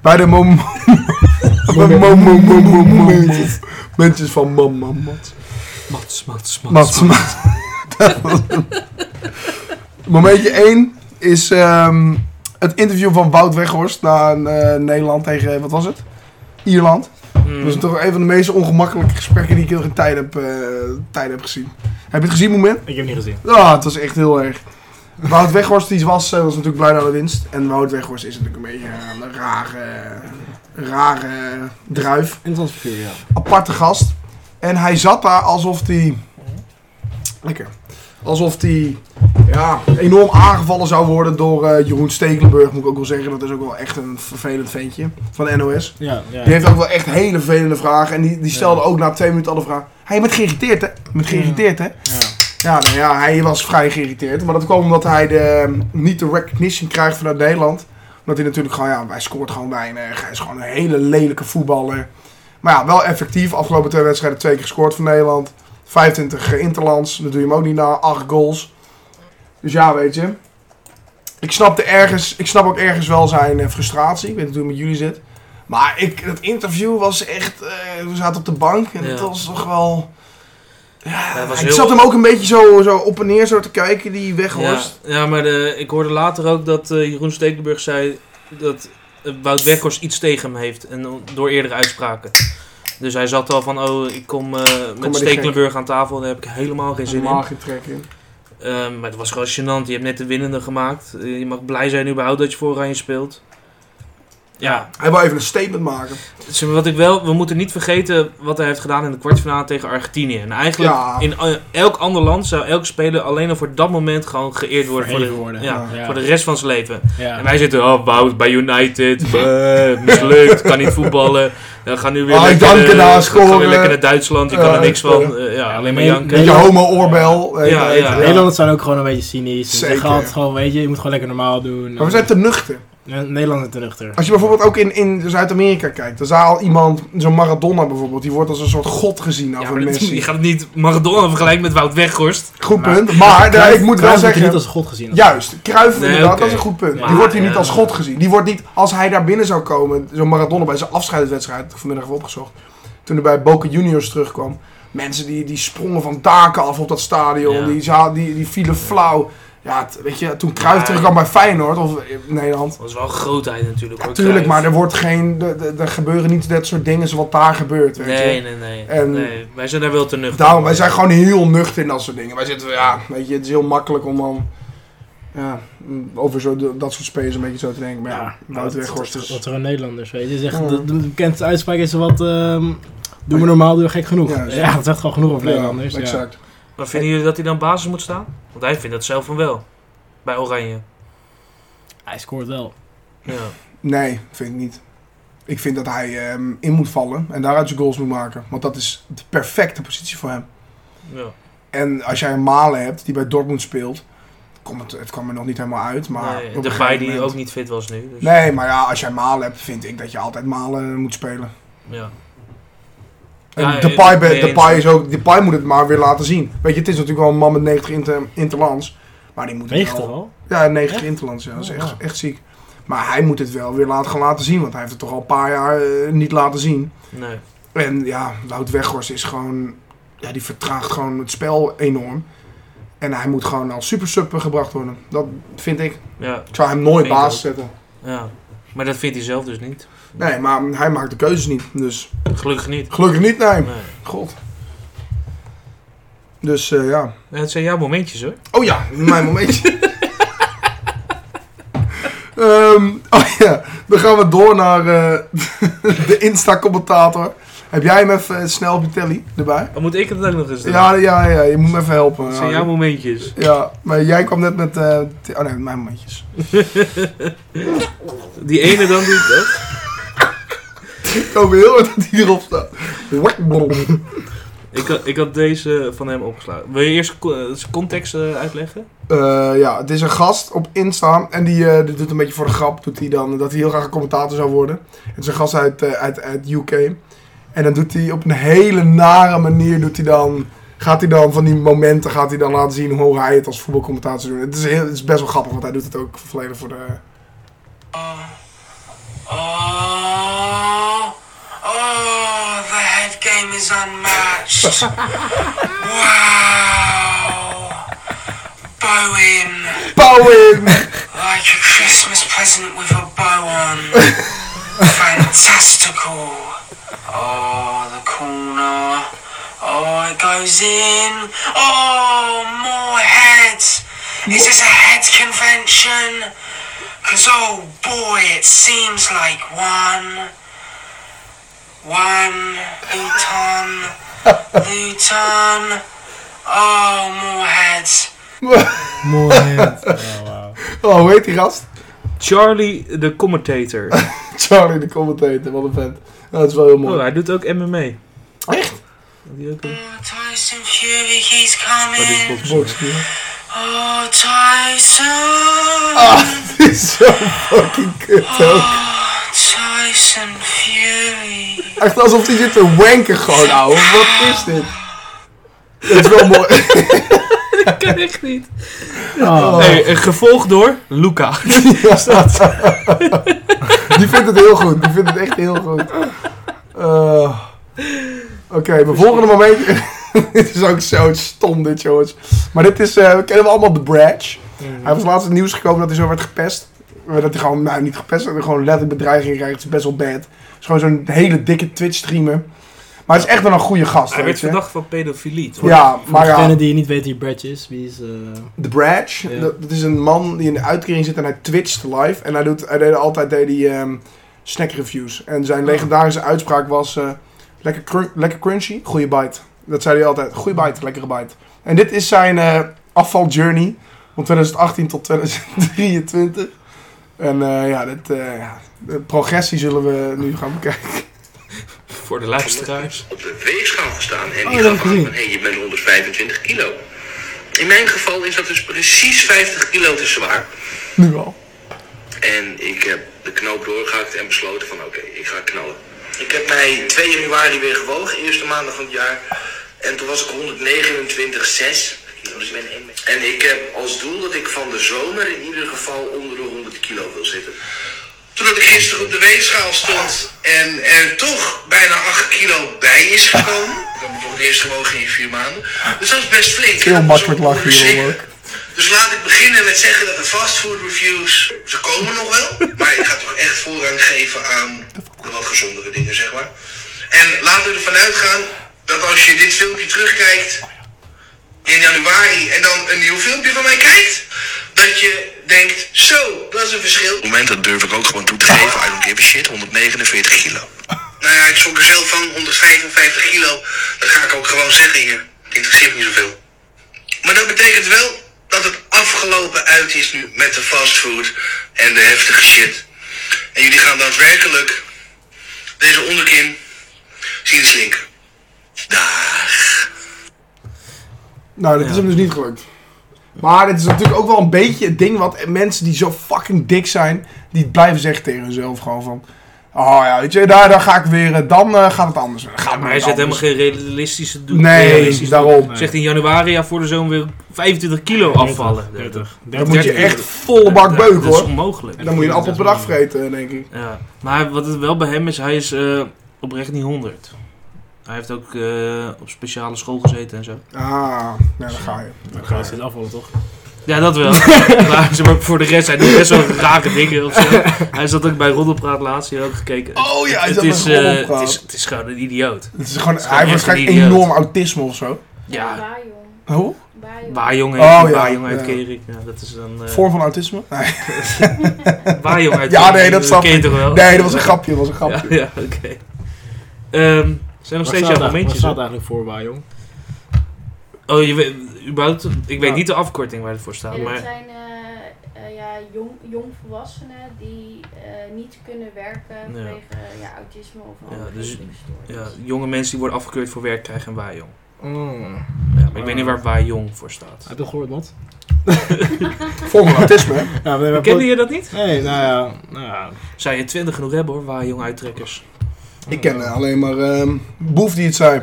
Speaker 2: Bij de mom... Bij de mom- mom- mom- mom- momentjes. Momentjes van mam, mam, Mats.
Speaker 1: Mats, Mats, Mats.
Speaker 2: Mats, Mats. Dat was hem. Momentje 1 is ehm, het interview van Wout Weghorst na eh, Nederland tegen, wat was het? Ierland.
Speaker 1: Mm.
Speaker 2: Dat is toch een van de meest ongemakkelijke gesprekken die ik heel in tijd heb, eh, tijd heb gezien. Heb je het gezien, moment?
Speaker 3: Ik heb hem niet gezien.
Speaker 2: Ja, het was echt heel erg. Wout Weghorst die was, eh, was natuurlijk blij naar de winst. En Wout Weghorst is natuurlijk een beetje eh, een rare, rare druif.
Speaker 3: Interessant figuur, ja.
Speaker 2: Aparte gast. En hij zat daar alsof hij... Lekker. Alsof hij ja, enorm aangevallen zou worden door eh, Jeroen Stekelenburg, moet ik ook wel zeggen. Dat is ook wel echt een vervelend ventje van de NOS.
Speaker 3: Ja, ja.
Speaker 2: Die heeft ook wel echt hele vervelende vragen. En die, die stelde
Speaker 3: Ja.
Speaker 2: ook na twee minuten al de vraag. Hij bent geïrriteerd, hè? Je bent geïrriteerd, hè?
Speaker 3: ja.
Speaker 2: Ja, nou ja, hij was vrij geïrriteerd. Maar dat kwam omdat hij de, ehm, niet de recognition krijgt vanuit Nederland. Omdat hij natuurlijk gewoon, ja, hij scoort gewoon weinig. Hij is gewoon een hele lelijke voetballer. Maar ja, wel effectief. Afgelopen twee wedstrijden twee keer gescoord voor Nederland. 25 interlands, dat doe je hem ook niet na. 8 goals. Dus ja, weet je. Ik, snapte ergens, ik snap ook ergens wel zijn eh, frustratie. Ik weet niet hoe het met jullie zit. Maar ik, dat interview was echt... eh, we zaten op de bank en
Speaker 1: Ja.
Speaker 2: het was toch wel...
Speaker 1: Ja, het was
Speaker 2: Ik
Speaker 1: heel-
Speaker 2: zat hem ook een beetje zo, zo op en neer zo te kijken, die Weghorst.
Speaker 1: Ja, ja maar de, ik hoorde later ook dat eh, Jeroen Stekelenburg zei dat eh, Wout Weghorst iets tegen hem heeft. En o- door eerdere uitspraken. Dus hij zat al van, oh, ik kom, eh,
Speaker 2: maar
Speaker 1: met
Speaker 2: die
Speaker 1: Stekelenburg aan tafel. Daar heb ik helemaal geen zin in.
Speaker 2: Helemaal geen trek in.
Speaker 1: Ehm, maar het was gewoon gênant. Je hebt net de winnende gemaakt. Eh, je mag blij zijn überhaupt dat je voor Oranje speelt. Ja,
Speaker 2: Hij wil even een statement maken.
Speaker 1: Zeg maar, Wat ik wel, we moeten niet vergeten wat hij heeft gedaan in de kwartfinale tegen Argentinië. En eigenlijk
Speaker 2: Ja.
Speaker 1: in eh, elk ander land zou elk speler alleen al voor dat moment gewoon geëerd worden. Voor de,
Speaker 3: Verheven worden.
Speaker 1: Ja,
Speaker 3: Ja.
Speaker 1: voor de rest van zijn leven.
Speaker 3: Ja.
Speaker 1: En wij zitten, oh Wout, bij United, bleh, mislukt, kan niet voetballen. Dan gaan nu weer,
Speaker 2: Ah,
Speaker 1: lekker,
Speaker 2: janken
Speaker 1: eh,
Speaker 2: daar,
Speaker 1: gaan weer
Speaker 2: scoren.
Speaker 1: lekker naar Duitsland, ik kan
Speaker 2: Ja,
Speaker 1: er niks
Speaker 2: scoren.
Speaker 1: van. Eh, ja, alleen maar
Speaker 3: nee,
Speaker 1: janken.
Speaker 2: Beetje
Speaker 3: Ja.
Speaker 2: homo-oorbel.
Speaker 1: Ja,
Speaker 2: Eh,
Speaker 1: ja.
Speaker 3: Nederlanders zijn ook gewoon een beetje cynisch. Ze
Speaker 2: Zeker.
Speaker 3: zeggen altijd gewoon, weet je, je moet gewoon lekker normaal doen.
Speaker 2: Maar we zijn te nuchter.
Speaker 3: En Nederlanders zijn te nuchter.
Speaker 2: Als je bijvoorbeeld ook in, in Zuid-Amerika kijkt. Dan zaal iemand, zo'n Maradona bijvoorbeeld, die wordt als een soort god gezien
Speaker 1: Ja,
Speaker 2: over
Speaker 1: maar dat-
Speaker 2: Messi.
Speaker 1: je gaat het niet Maradona vergelijken met Wout Weghorst.
Speaker 2: Goed
Speaker 3: Maar-
Speaker 2: punt. Maar daar- ik moet wel
Speaker 3: Cruijff wordt hier
Speaker 2: zeggen...
Speaker 3: niet als god gezien.
Speaker 2: Juist, Cruijff
Speaker 1: Nee,
Speaker 2: inderdaad,
Speaker 1: oké.
Speaker 2: dat is een goed punt.
Speaker 1: Maar,
Speaker 2: die wordt hier niet
Speaker 1: ja.
Speaker 2: als god gezien. Die wordt niet, als hij daar binnen zou komen, zo'n Maradona bij zijn afscheidswedstrijd, vanmiddag even opgezocht, toen hij bij Boca Juniors terugkwam, mensen die, die sprongen van daken af op dat stadion,
Speaker 1: Ja.
Speaker 2: die, za- die, die vielen flauw. Ja, het- weet je, toen Cruijff
Speaker 1: Maar-
Speaker 2: terugkwam bij Feyenoord of in Nederland,
Speaker 1: Dat is wel een grootheid natuurlijk. hoor,
Speaker 2: tuurlijk,
Speaker 1: Cruijff.
Speaker 2: maar er, wordt geen, er, er- er gebeuren niet dat soort dingen zoals wat daar gebeurt, weet je.
Speaker 1: Nee, nee, nee,
Speaker 2: En-
Speaker 1: nee. Wij zijn daar wel te nuchter.
Speaker 2: Daarom, wij zijn gewoon heel nuchter in dat soort dingen. Wij zitten, ja, weet je, het is heel makkelijk om dan Ja, over zo, de- dat soort spelers een beetje zo te denken. Maar ja, Wouter
Speaker 3: dat-
Speaker 2: Weghorst
Speaker 3: Dat dat
Speaker 2: is...
Speaker 3: zijn gewoon Nederlanders, weet je. Het Is echt,
Speaker 2: Ja.
Speaker 3: de, de bekendste uitspraak is wat... ehm doe me normaal, doe gek genoeg.
Speaker 2: Ja, dat
Speaker 3: Ja, dat
Speaker 2: is-
Speaker 3: zegt gewoon genoeg over
Speaker 2: Ja,
Speaker 3: Nederlanders. ja.
Speaker 2: exact.
Speaker 1: Maar vinden jullie dat hij dan basis moet staan? Want hij vindt dat zelf van wel. Bij Oranje.
Speaker 3: Hij scoort wel.
Speaker 1: Ja.
Speaker 2: Nee, vind ik niet. Ik vind dat hij ehm, in moet vallen en daaruit zijn goals moet maken. Want dat is de perfecte positie voor hem.
Speaker 1: ja.
Speaker 2: En als jij een Malen hebt die bij Dortmund speelt... Komt het, het kwam er nog niet helemaal uit, maar...
Speaker 1: nee,
Speaker 2: op een
Speaker 1: de guy
Speaker 2: gegeven
Speaker 1: die
Speaker 2: moment-
Speaker 1: ook niet fit was nu. Dus,
Speaker 2: Nee, maar ja, als jij Malen hebt, vind ik dat je altijd Malen moet spelen.
Speaker 1: Ja.
Speaker 2: En
Speaker 1: Ja,
Speaker 2: Depay,
Speaker 1: ik ben
Speaker 2: be-
Speaker 1: je eens.
Speaker 2: Depay, is ook, Depay moet het maar weer laten zien. Weet je, het is natuurlijk wel een man met 90 inter, interlands. Maar die moet het
Speaker 3: 90
Speaker 2: wel...
Speaker 3: al?
Speaker 2: Ja, 90
Speaker 3: Echt?
Speaker 2: interlands. Ja, dat is
Speaker 3: Oh,
Speaker 2: echt,
Speaker 3: wauw.
Speaker 2: echt ziek. Maar hij moet het wel weer laten, gaan laten zien. Want hij heeft het toch al een paar jaar eh, niet laten zien.
Speaker 1: Nee.
Speaker 2: En ja, Wout Weghorst is gewoon... Ja, die vertraagt gewoon het spel enorm. En hij moet gewoon als supersub gebracht worden. Dat vind ik.
Speaker 1: Ja.
Speaker 2: Ik zou hem nooit
Speaker 1: Vind ik
Speaker 2: baas
Speaker 1: ook.
Speaker 2: zetten.
Speaker 1: ja. Maar dat vindt hij zelf dus niet.
Speaker 2: Nee, maar hij maakt de keuzes niet. Dus
Speaker 1: Gelukkig niet.
Speaker 2: gelukkig niet, nee.
Speaker 1: Nee.
Speaker 2: God. Dus eh, ja...
Speaker 1: Ja, Het zijn jouw momentjes hoor.
Speaker 2: Oh ja, mijn momentje. Ehm, oh ja, dan gaan we door naar eh, de Insta-commentator. Heb jij hem even eh, snel op je telly erbij?
Speaker 1: Dan moet ik het ook nog eens doen.
Speaker 2: Ja, ja, ja, je moet me even helpen.
Speaker 1: Het zijn jouw momentjes.
Speaker 2: Ja, maar jij kwam net met... eh, t- oh nee, mijn momentjes.
Speaker 1: Die ene dan die... Huh?
Speaker 2: Ik hoop heel hard dat hij erop staat.
Speaker 1: Ik, had, ik had deze van hem opgeslagen. Wil je eerst co- eh, zijn context eh, uitleggen?
Speaker 2: Eh, ja, het is een gast op Insta. En die eh, dit doet een beetje voor de grap. Doet hij dan dat hij heel graag een commentator zou worden. Het is een gast uit, eh, uit, uit UK. En dan doet hij op een hele nare manier. Doet hij dan, gaat hij dan van die momenten gaat hij dan laten zien hoe hij het als voetbalcommentator zou doen. Het is, heel, het is best wel grappig, want hij doet het ook volledig voor de.
Speaker 4: Oh, oh, the head game is unmatched. wow. Bowen,
Speaker 2: Pauwing!
Speaker 4: like a Christmas present with a bow on. Fantastical. Oh, the corner. Oh, it goes in. Oh, more heads. Is this a head convention? Cause oh boy, it seems like one, one, Luton, Luton. Oh, more heads.
Speaker 3: Mooi. oh, wauw.
Speaker 2: Oh, hoe heet die gast?
Speaker 1: Charlie de commentator.
Speaker 2: Charlie de commentator, wat een vent. Nou, dat is wel heel
Speaker 1: Oh,
Speaker 2: mooi.
Speaker 1: hij doet ook MMA.
Speaker 2: Echt?
Speaker 1: Die ook, eh,
Speaker 4: Tyson Fury, he's
Speaker 1: dat is
Speaker 4: coming.
Speaker 1: boksen.
Speaker 2: Boxen.
Speaker 4: Oh, Tyson.
Speaker 2: Ah, dit is zo fucking kut ook.
Speaker 4: Oh, Tyson Fury.
Speaker 2: Echt alsof hij zit te wanken gewoon, ouwe. Wat is dit? Het is wel mooi.
Speaker 1: Ik ken echt niet.
Speaker 3: Oh.
Speaker 1: Nee, eh, gevolgd door Luca.
Speaker 2: Die vindt het heel goed. Die vindt het echt heel goed. Eh, Oké, mijn volgende moment. dit is ook zo stom, dit jongens. Maar dit is. eh, we kennen we allemaal de Bratch.
Speaker 1: Mhm.
Speaker 2: Hij was laatst in het nieuws gekomen dat hij zo werd gepest. Eh, Dat hij gewoon, nou niet gepest, dat hij gewoon letterlijk bedreiging krijgt. Het is best wel bad. Het is gewoon zo'n hele dikke Twitch streamer. Maar hij is echt wel een goede gast.
Speaker 1: Hij
Speaker 2: weet
Speaker 1: werd
Speaker 2: je.
Speaker 1: verdacht van pedofilie. toch?
Speaker 2: Ja,
Speaker 3: Voor
Speaker 2: maar ja.
Speaker 3: degene die niet weet wie Brad is, wie is... eh,
Speaker 2: De Bratch,
Speaker 3: Ja.
Speaker 2: dat, dat is een man die in de uitkering zit en hij twitcht live. En hij, doet, hij deed altijd deed hij, ehm, snack reviews. En zijn legendarische uitspraak was: eh, lekker, cru- lekker crunchy, goede bite. Dat zei hij altijd: goede bite, lekkere bite. En dit is zijn eh, afvaljourney van 2018 tot 2023. En eh, ja, dit, eh, ja, de progressie zullen we nu gaan bekijken.
Speaker 1: Voor de luisteraars.
Speaker 5: op de weegschaal gestaan en
Speaker 3: Oh, dat
Speaker 5: die
Speaker 3: heb
Speaker 5: gaf
Speaker 3: ik
Speaker 5: aan
Speaker 3: gezien.
Speaker 5: van hé, je bent 125 kilo. In mijn geval is dat dus precies 50 kilo te zwaar.
Speaker 2: Nu al.
Speaker 5: En ik heb de knoop doorgehakt en besloten van oké, ik ga knallen. Ik heb mij 2 januari weer gewogen, eerste maandag van het jaar. En toen was ik 129,6. Dus ik ben één meter. En ik heb als doel dat ik van de zomer in ieder geval onder de 100 kilo wil zitten.
Speaker 6: Doordat ik gisteren op de weegschaal stond en er toch bijna 8 kilo bij is gekomen. Ik heb me voor het eerst gewogen in vier maanden. Dus dat is best flink.
Speaker 2: Heel
Speaker 6: Dat is
Speaker 2: makkelijk
Speaker 6: ook
Speaker 2: lachen, joh,
Speaker 6: zeker.
Speaker 2: ook.
Speaker 6: Dus laat ik beginnen met zeggen dat de fastfood reviews, ze komen nog wel. Maar ik ga toch echt voorrang geven aan de wat gezondere dingen, zeg maar. En laten we ervan uitgaan dat als je dit filmpje terugkijkt in januari en dan een nieuw filmpje van mij kijkt, dat je denkt, zo, dat is een verschil. Op het moment, dat durf ik ook gewoon toe te geven, I don't give a shit, 149 kilo. Nou ja, ik schrok er zelf van, 155 kilo, dat ga ik ook gewoon zeggen hier. Het interesseert niet zoveel. Maar dat betekent wel dat het afgelopen uit is nu met de fastfood en de heftige shit. En jullie gaan daadwerkelijk deze onderkin zien slinken. Daag.
Speaker 2: Nou, dat is hem dus niet gelukt. Maar het is natuurlijk ook wel een beetje het ding wat mensen die zo fucking dik zijn, die blijven zeggen tegen hunzelf gewoon van... Oh ja, weet je, daar, daar ga ik weer, eh, dan eh, gaat het anders. Dan gaat het
Speaker 1: Maar hij
Speaker 2: weer
Speaker 1: zet helemaal
Speaker 2: anders.
Speaker 1: geen realistische doel.
Speaker 2: Nee, daarom.
Speaker 1: Zegt in januari ja, voor de zomer weer 25 kilo afvallen.
Speaker 3: 30.
Speaker 2: Dan moet je
Speaker 1: 30
Speaker 2: echt volle bak
Speaker 1: Ja,
Speaker 2: beuken
Speaker 1: Dat is
Speaker 2: hoor.
Speaker 1: onmogelijk.
Speaker 2: Dan moet je een appel per dag vreten, denk ik.
Speaker 1: Ja, maar wat het wel bij hem is, hij is eh, oprecht niet 100. Hij heeft ook eh, op speciale school gezeten en zo.
Speaker 2: Ah, nee, dan ga je.
Speaker 3: Dan gaat het afvallen, toch?
Speaker 1: Ja, dat wel. maar zeg maar, voor de rest, hij doet best wel rare dingen of zo. Hij zat ook bij Roddelpraat laatst, hier ook gekeken.
Speaker 2: Oh ja,
Speaker 1: het,
Speaker 2: dat
Speaker 1: is,
Speaker 2: een
Speaker 1: eh,
Speaker 2: rolpraat.
Speaker 1: het, is, het is gewoon een idioot.
Speaker 2: Het is gewoon,
Speaker 1: is
Speaker 2: hij
Speaker 1: gewoon
Speaker 2: heeft
Speaker 1: echt
Speaker 2: waarschijnlijk
Speaker 1: een idioot.
Speaker 2: enorm autisme of zo.
Speaker 1: Ja,
Speaker 7: Waar, joh.
Speaker 2: Hoe?
Speaker 7: Waar, joh.
Speaker 1: waarjong
Speaker 2: Oh,
Speaker 1: heet
Speaker 2: ja,
Speaker 1: waarjong uit
Speaker 2: ja.
Speaker 1: Kerik. Ja, dat is dan... eh
Speaker 2: Vorm van autisme? Nee,
Speaker 1: Waarjong uit
Speaker 2: Ja,
Speaker 1: Kerik,
Speaker 2: nee, dat snap
Speaker 1: ken je toch wel?
Speaker 2: nee dat was een grapje, dat was een grapje.
Speaker 1: Ja, ja oké. Ehm, zijn nog steeds jouw momentjes,
Speaker 3: staat
Speaker 1: hè?
Speaker 3: eigenlijk voor waar, jong?
Speaker 1: Oh, je weet, überhaupt, ik weet
Speaker 3: Ja.
Speaker 1: niet de afkorting waar het voor staat,
Speaker 7: Ja, dat
Speaker 1: maar...
Speaker 7: zijn eh, eh, ja, jong, jongvolwassenen die eh, niet kunnen werken vanwege eh, ja, autisme of
Speaker 1: Ja,
Speaker 7: een andere
Speaker 1: dus- Ja,
Speaker 7: geestelijke
Speaker 1: jonge mensen die worden afgekeurd voor werk krijgen een waaiong.
Speaker 2: Oh.
Speaker 3: Mm.
Speaker 1: Ja, maar ik weet niet waar waaiong voor staat.
Speaker 3: Heb je gehoord, wat?
Speaker 2: Vorm van autisme, hè?
Speaker 3: Ja, we hebben
Speaker 1: Kende je dat niet?
Speaker 3: Nee, nou ja. Nou ja.
Speaker 1: Zou je twintig genoeg hebben hoor, waaiong uittrekkers.
Speaker 2: Ik ken eh, alleen maar ehm, Boef die het zei.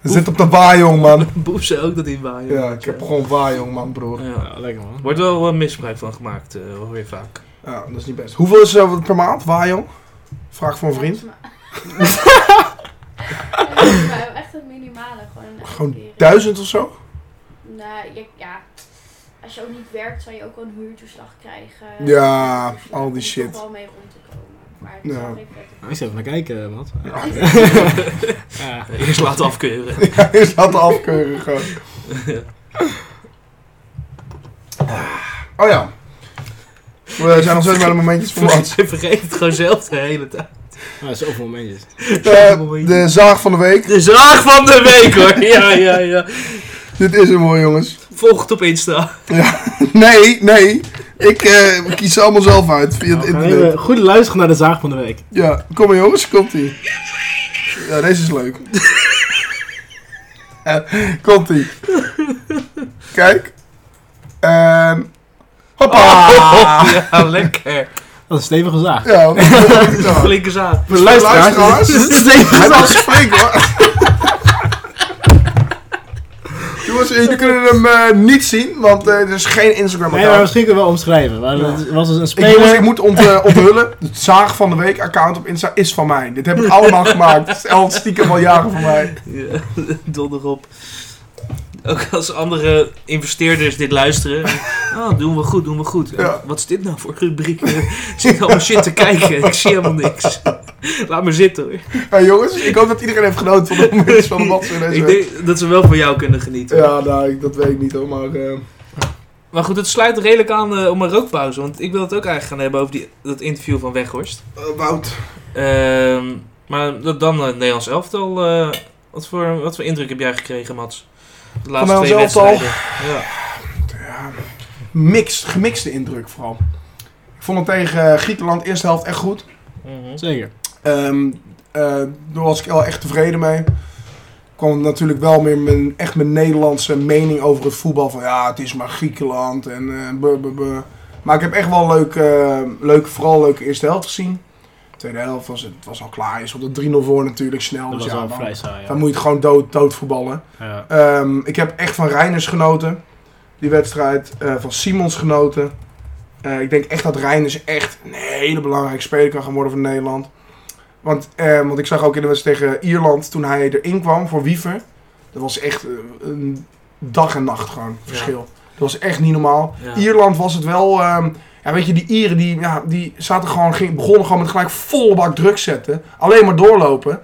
Speaker 2: Het zit op de waaijong, man.
Speaker 1: Boef zei ook dat hij waaiong
Speaker 2: Ja, ik heb gewoon waaijong, man, broer.
Speaker 1: Ja.
Speaker 3: Ja, lekker man.
Speaker 1: Wordt wel eh, misbruik van gemaakt, eh, hoor je vaak.
Speaker 2: Ja, dat is niet best. Hoeveel is eh, per maand waaijong? Vraag voor een vriend.
Speaker 7: stoornis. Ja, dat is maar echt het minimale. Gewoon, een
Speaker 2: Gewoon
Speaker 7: uitkering.
Speaker 2: duizend of zo?
Speaker 7: Nou, je- ja, als je ook niet werkt, zou je ook wel een huurtoeslag krijgen.
Speaker 2: Ja,
Speaker 7: Dus je-
Speaker 2: al
Speaker 7: om
Speaker 2: die
Speaker 7: er
Speaker 2: shit.
Speaker 7: toch wel mee rond te komen. Maar het is
Speaker 2: Ja.
Speaker 7: wel geen vette
Speaker 3: Ik eens even naar kijken, wat? Ja. Ja.
Speaker 1: Eerst laten afkeuren.
Speaker 2: Ja, is dat de afkeuring gewoon. Oh ja. We zijn nog steeds bij de momentjes van Mats.
Speaker 1: Ze vergeet het gewoon zelf de hele tijd.
Speaker 3: Nou, zoveel momentjes.
Speaker 2: Eh, de zaag van de week.
Speaker 1: De zaag van de week hoor! Ja, ja, ja.
Speaker 2: Dit is hem mooi, jongens.
Speaker 1: Volg het op Insta.
Speaker 2: Nee, nee. Ik eh, kies ze allemaal zelf uit via
Speaker 3: Nou,
Speaker 2: het internet.
Speaker 3: Even goed luisteren naar de zaag van de week.
Speaker 2: Ja, kom maar jongens, komt ie. Ja, deze is leuk. Eh, komt ie. Kijk. En... Hoppa!
Speaker 3: Ah.
Speaker 1: Ja, lekker.
Speaker 3: Dat is een stevige zaag.
Speaker 2: Ja, dat is leuk dan.
Speaker 1: Flinke zaag.
Speaker 3: Voor de luisteraars.
Speaker 2: luisteraars.
Speaker 3: dit is een stevige
Speaker 2: Hij
Speaker 3: zaag.
Speaker 2: was flink hoor. Jongens, jullie kunnen hem eh, niet zien, want eh, er is geen Instagram
Speaker 3: Nee, maar
Speaker 2: account.
Speaker 3: misschien kunnen we wel omschrijven. Maar het was dus
Speaker 2: ik,
Speaker 3: een
Speaker 2: jongens,
Speaker 3: speler.
Speaker 2: ik moet ont, eh, onthullen, het zaag van de week account op Insta is van mij. Dit heb ik allemaal gemaakt. Het is al stiekem al jaren van mij.
Speaker 1: Ja, donder op. Ook als andere investeerders dit luisteren. Ah, doen we goed, doen we goed.
Speaker 2: Ja.
Speaker 1: Wat is dit nou voor rubriek? Ik zit allemaal shit te kijken. Ik zie helemaal niks. Laat me zitten hoor.
Speaker 2: Hey, jongens, ik hoop dat iedereen heeft genoten van de momentjes van de Mats in deze
Speaker 1: Ik
Speaker 2: week.
Speaker 1: denk dat ze wel van jou kunnen genieten.
Speaker 2: Ja, nou, ik- dat weet ik niet hoor, maar... eh,
Speaker 1: Maar goed, het sluit redelijk aan eh, om een rookpauze. Want ik wil het ook eigenlijk gaan hebben over die, dat interview van Weghorst.
Speaker 2: eh, Wout.
Speaker 1: Ehm, maar dat dan eh, het Nederlands elftal. eh, wat, voor, wat voor indruk heb jij gekregen, Mats? De laatste
Speaker 2: Nederlands
Speaker 1: twee
Speaker 2: elftal?
Speaker 1: wedstrijden. Ja.
Speaker 2: Ja, mixed, gemixte indruk vooral. Ik vond het tegen eh, Griekenland eerste helft echt goed.
Speaker 1: Mhm.
Speaker 3: Zeker.
Speaker 2: Ehm eh, daar was ik wel echt tevreden mee. Kwam natuurlijk wel meer mijn, echt mijn Nederlandse mening over het voetbal. Van ja, het is maar Griekenland en eh buh, buh, buh. Maar ik heb echt wel leuk, eh, leuk, vooral leuke eerste helft gezien. Tweede helft was het was al klaar. Je stond er 3-0 voor natuurlijk snel.
Speaker 3: Dat
Speaker 2: dus
Speaker 3: was
Speaker 2: ja,
Speaker 3: wel
Speaker 2: dan,
Speaker 3: vrij saai.
Speaker 2: dan
Speaker 3: Ja.
Speaker 2: moet je het gewoon dood, dood voetballen.
Speaker 3: Ja.
Speaker 2: Ehm, ik heb echt van Reiners genoten, die wedstrijd. eh, van Simons genoten. Eh, ik denk echt dat Reiners echt een hele belangrijke speler kan gaan worden voor Nederland. Want, eh, want ik zag ook in de wedstrijd tegen Ierland, toen hij erin kwam voor Wiever. Dat was echt eh, een dag en nacht gewoon verschil. Dat was echt niet normaal.
Speaker 1: Ja.
Speaker 2: Ierland was het wel... ehm, ja, weet je, die Ieren die, ja, die zaten gewoon, ging, begonnen gewoon met gelijk volle bak druk zetten. Alleen maar doorlopen.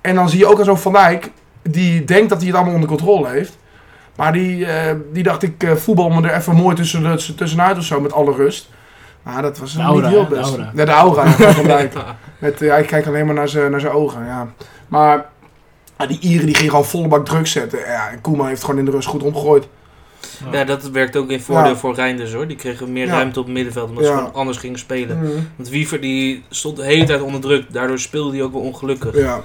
Speaker 2: En dan zie je ook aan zo'n Van Dijk, die denkt dat hij het allemaal onder controle heeft. Maar die, eh, die dacht ik eh, voetbal me er even mooi tussen, de- tussenuit of zo met alle rust. Maar dat was
Speaker 3: De
Speaker 2: hem
Speaker 3: aura,
Speaker 2: niet heel
Speaker 3: hè? De
Speaker 2: best.
Speaker 3: aura.
Speaker 2: Ja, de aura. ja, gelijk. Met, eh, hij kijkt alleen maar naar zijn naar zijn ogen. Ja. Maar ah, die Ieren die gingen gewoon volle bak druk zetten. Ja, en Koeman heeft gewoon in de rust goed omgegooid.
Speaker 1: Ja, dat werkt ook in voordeel
Speaker 2: Ja.
Speaker 1: voor Reinders hoor. Die kregen meer
Speaker 2: Ja.
Speaker 1: ruimte op het middenveld omdat ze
Speaker 2: Ja.
Speaker 1: gewoon anders gingen spelen. Want Wiever die stond de hele tijd onder druk. Daardoor speelde hij ook wel ongelukkig.
Speaker 2: Ja,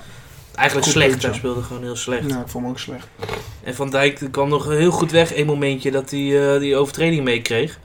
Speaker 1: Eigenlijk
Speaker 2: Goed
Speaker 1: slecht.
Speaker 2: puntje.
Speaker 1: Hij speelde gewoon heel slecht.
Speaker 2: ja, ik vond hem ook slecht.
Speaker 1: En Van Dijk kwam nog heel goed weg. Eén momentje dat hij eh, die overtreding meekreeg.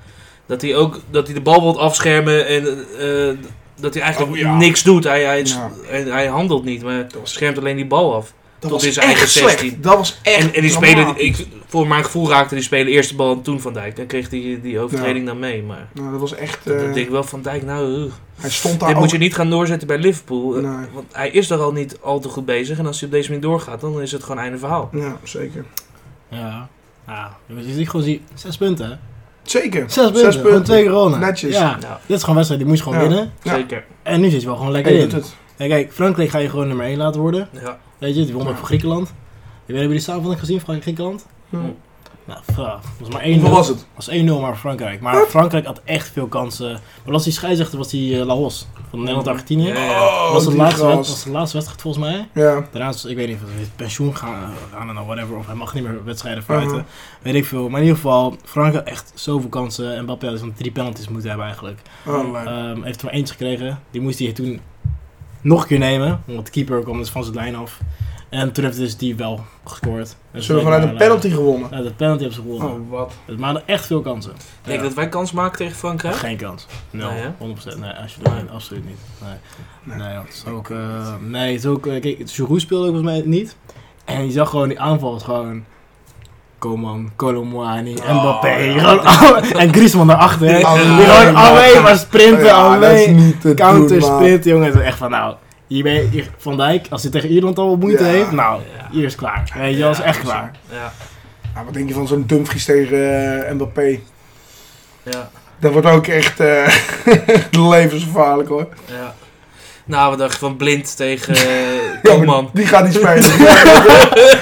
Speaker 1: Dat hij ook dat hij de bal wilt afschermen en eh, dat hij eigenlijk
Speaker 2: Oh, ja.
Speaker 1: niks doet. Hij, hij,
Speaker 2: Ja.
Speaker 1: hij, hij handelt niet, maar
Speaker 2: Dat was,
Speaker 1: schermt alleen die bal af.
Speaker 2: dat
Speaker 1: Tot
Speaker 2: was
Speaker 1: in zijn
Speaker 2: echt
Speaker 1: eigen
Speaker 2: slecht.
Speaker 1: 16.
Speaker 2: Dat was echt
Speaker 1: En, en die
Speaker 2: dramatisch.
Speaker 1: speler, ik, voor mijn gevoel raakte die speler eerst de bal en toen Van Dijk. Dan kreeg hij die overtreding dan mee. Maar
Speaker 2: Nou, dat was echt...
Speaker 1: dan
Speaker 2: eh,
Speaker 1: denk ik wel Van Dijk, nou, ugh.
Speaker 2: hij stond daar
Speaker 1: dit
Speaker 2: ook
Speaker 1: moet je niet gaan doorzetten bij Liverpool. eh,
Speaker 2: Nee.
Speaker 1: Want hij is er al niet al te goed bezig. En als hij op deze manier doorgaat, dan is het gewoon einde verhaal.
Speaker 2: Ja, zeker.
Speaker 3: Ja. Ja, jongens, je ziet gewoon zie, zes punten, hè?
Speaker 2: Zeker.
Speaker 3: Zes punten,
Speaker 2: punten.
Speaker 3: gewoon twee corona.
Speaker 2: Netjes.
Speaker 3: Ja,
Speaker 1: Nou,
Speaker 3: dit is gewoon wedstrijd, die moest je gewoon
Speaker 2: Ja.
Speaker 3: winnen.
Speaker 2: Ja.
Speaker 1: zeker.
Speaker 3: En nu zit je wel gewoon lekker
Speaker 2: Hey, doet
Speaker 3: in.
Speaker 2: het.
Speaker 3: En kijk, Frankrijk ga je gewoon nummer 1 laten worden.
Speaker 1: Ja.
Speaker 3: Weet je, die won
Speaker 2: Ja.
Speaker 3: ook voor Griekenland. Ik weet, hebben jullie samenvatting gezien van Griekenland?
Speaker 2: Hm.
Speaker 3: Nou, f- dat was maar 1-0.
Speaker 2: Hoeveel was het?
Speaker 3: was 1-0 maar voor Frankrijk. Maar Frankrijk had echt veel kansen. Maar was die scheidsrechter, was die eh, Lahos van Nederland-Argentinië.
Speaker 1: Ja, ja.
Speaker 2: Oh,
Speaker 3: was, de
Speaker 2: die
Speaker 3: laatste wed-
Speaker 2: gast.
Speaker 3: was de laatste wedstrijd volgens mij.
Speaker 2: Ja.
Speaker 3: Daarna is, ik weet niet of hij met pensioen gaan, eh, gaan en whatever. Of hij mag niet meer wedstrijden
Speaker 2: Uh-huh.
Speaker 3: fluiten. Weet ik veel. Maar in ieder geval, Frankrijk had echt zoveel kansen. En Mbappé had zo'n drie penalties moeten hebben eigenlijk.
Speaker 2: Oh, lijp.
Speaker 3: Ehm, heeft er maar eentje gekregen. Die moest hij toen nog een keer nemen. Want de keeper kwam dus van zijn lijn af. En toen heeft dus die wel gescoord. Dus
Speaker 2: Ze hebben vanuit een
Speaker 3: maar, eh,
Speaker 2: penalty gewonnen.
Speaker 3: Uit een penalty hebben ze gewonnen.
Speaker 2: Oh, wat.
Speaker 3: Dus maar hadden echt veel kansen.
Speaker 1: Denk
Speaker 3: Ja.
Speaker 1: je dat wij kans maken tegen Frankrijk?
Speaker 3: Geen kans. Nul.
Speaker 1: Nee, hè?
Speaker 3: 100%. Nee, alsjeblieft. Nee, absoluut niet. Nee. Nee, dat is ook... eh, nee, het is ook... eh, kijk, Giroud speelde ook volgens mij niet. En je zag gewoon die aanval was gewoon... Coman, Colomwani,
Speaker 2: Oh,
Speaker 3: Mbappé. gewoon alle- en Griezmann daarachter. hè.
Speaker 2: Alleen
Speaker 3: Die gewoon
Speaker 2: maar.
Speaker 3: alleen maar sprinten.
Speaker 2: Ja, dat is
Speaker 3: alleen
Speaker 2: niet te
Speaker 3: counter
Speaker 2: doen, man.
Speaker 3: sprint. Jongen, het is echt van nou... Hier ben je- hier- Van Dijk, als hij tegen Ierland al wat moeite
Speaker 2: Ja.
Speaker 3: heeft, nou,
Speaker 1: Ja.
Speaker 3: hier is klaar. Weet je, dat is echt klaar.
Speaker 1: Ja.
Speaker 2: Ja, wat denk je van zo'n Dumfries tegen eh, Mbappé?
Speaker 1: Ja.
Speaker 2: Dat wordt ook echt eh, levensgevaarlijk hoor.
Speaker 1: Ja. Nou, we dachten van blind tegen eh, Koeman.
Speaker 2: Die gaat niet spelen.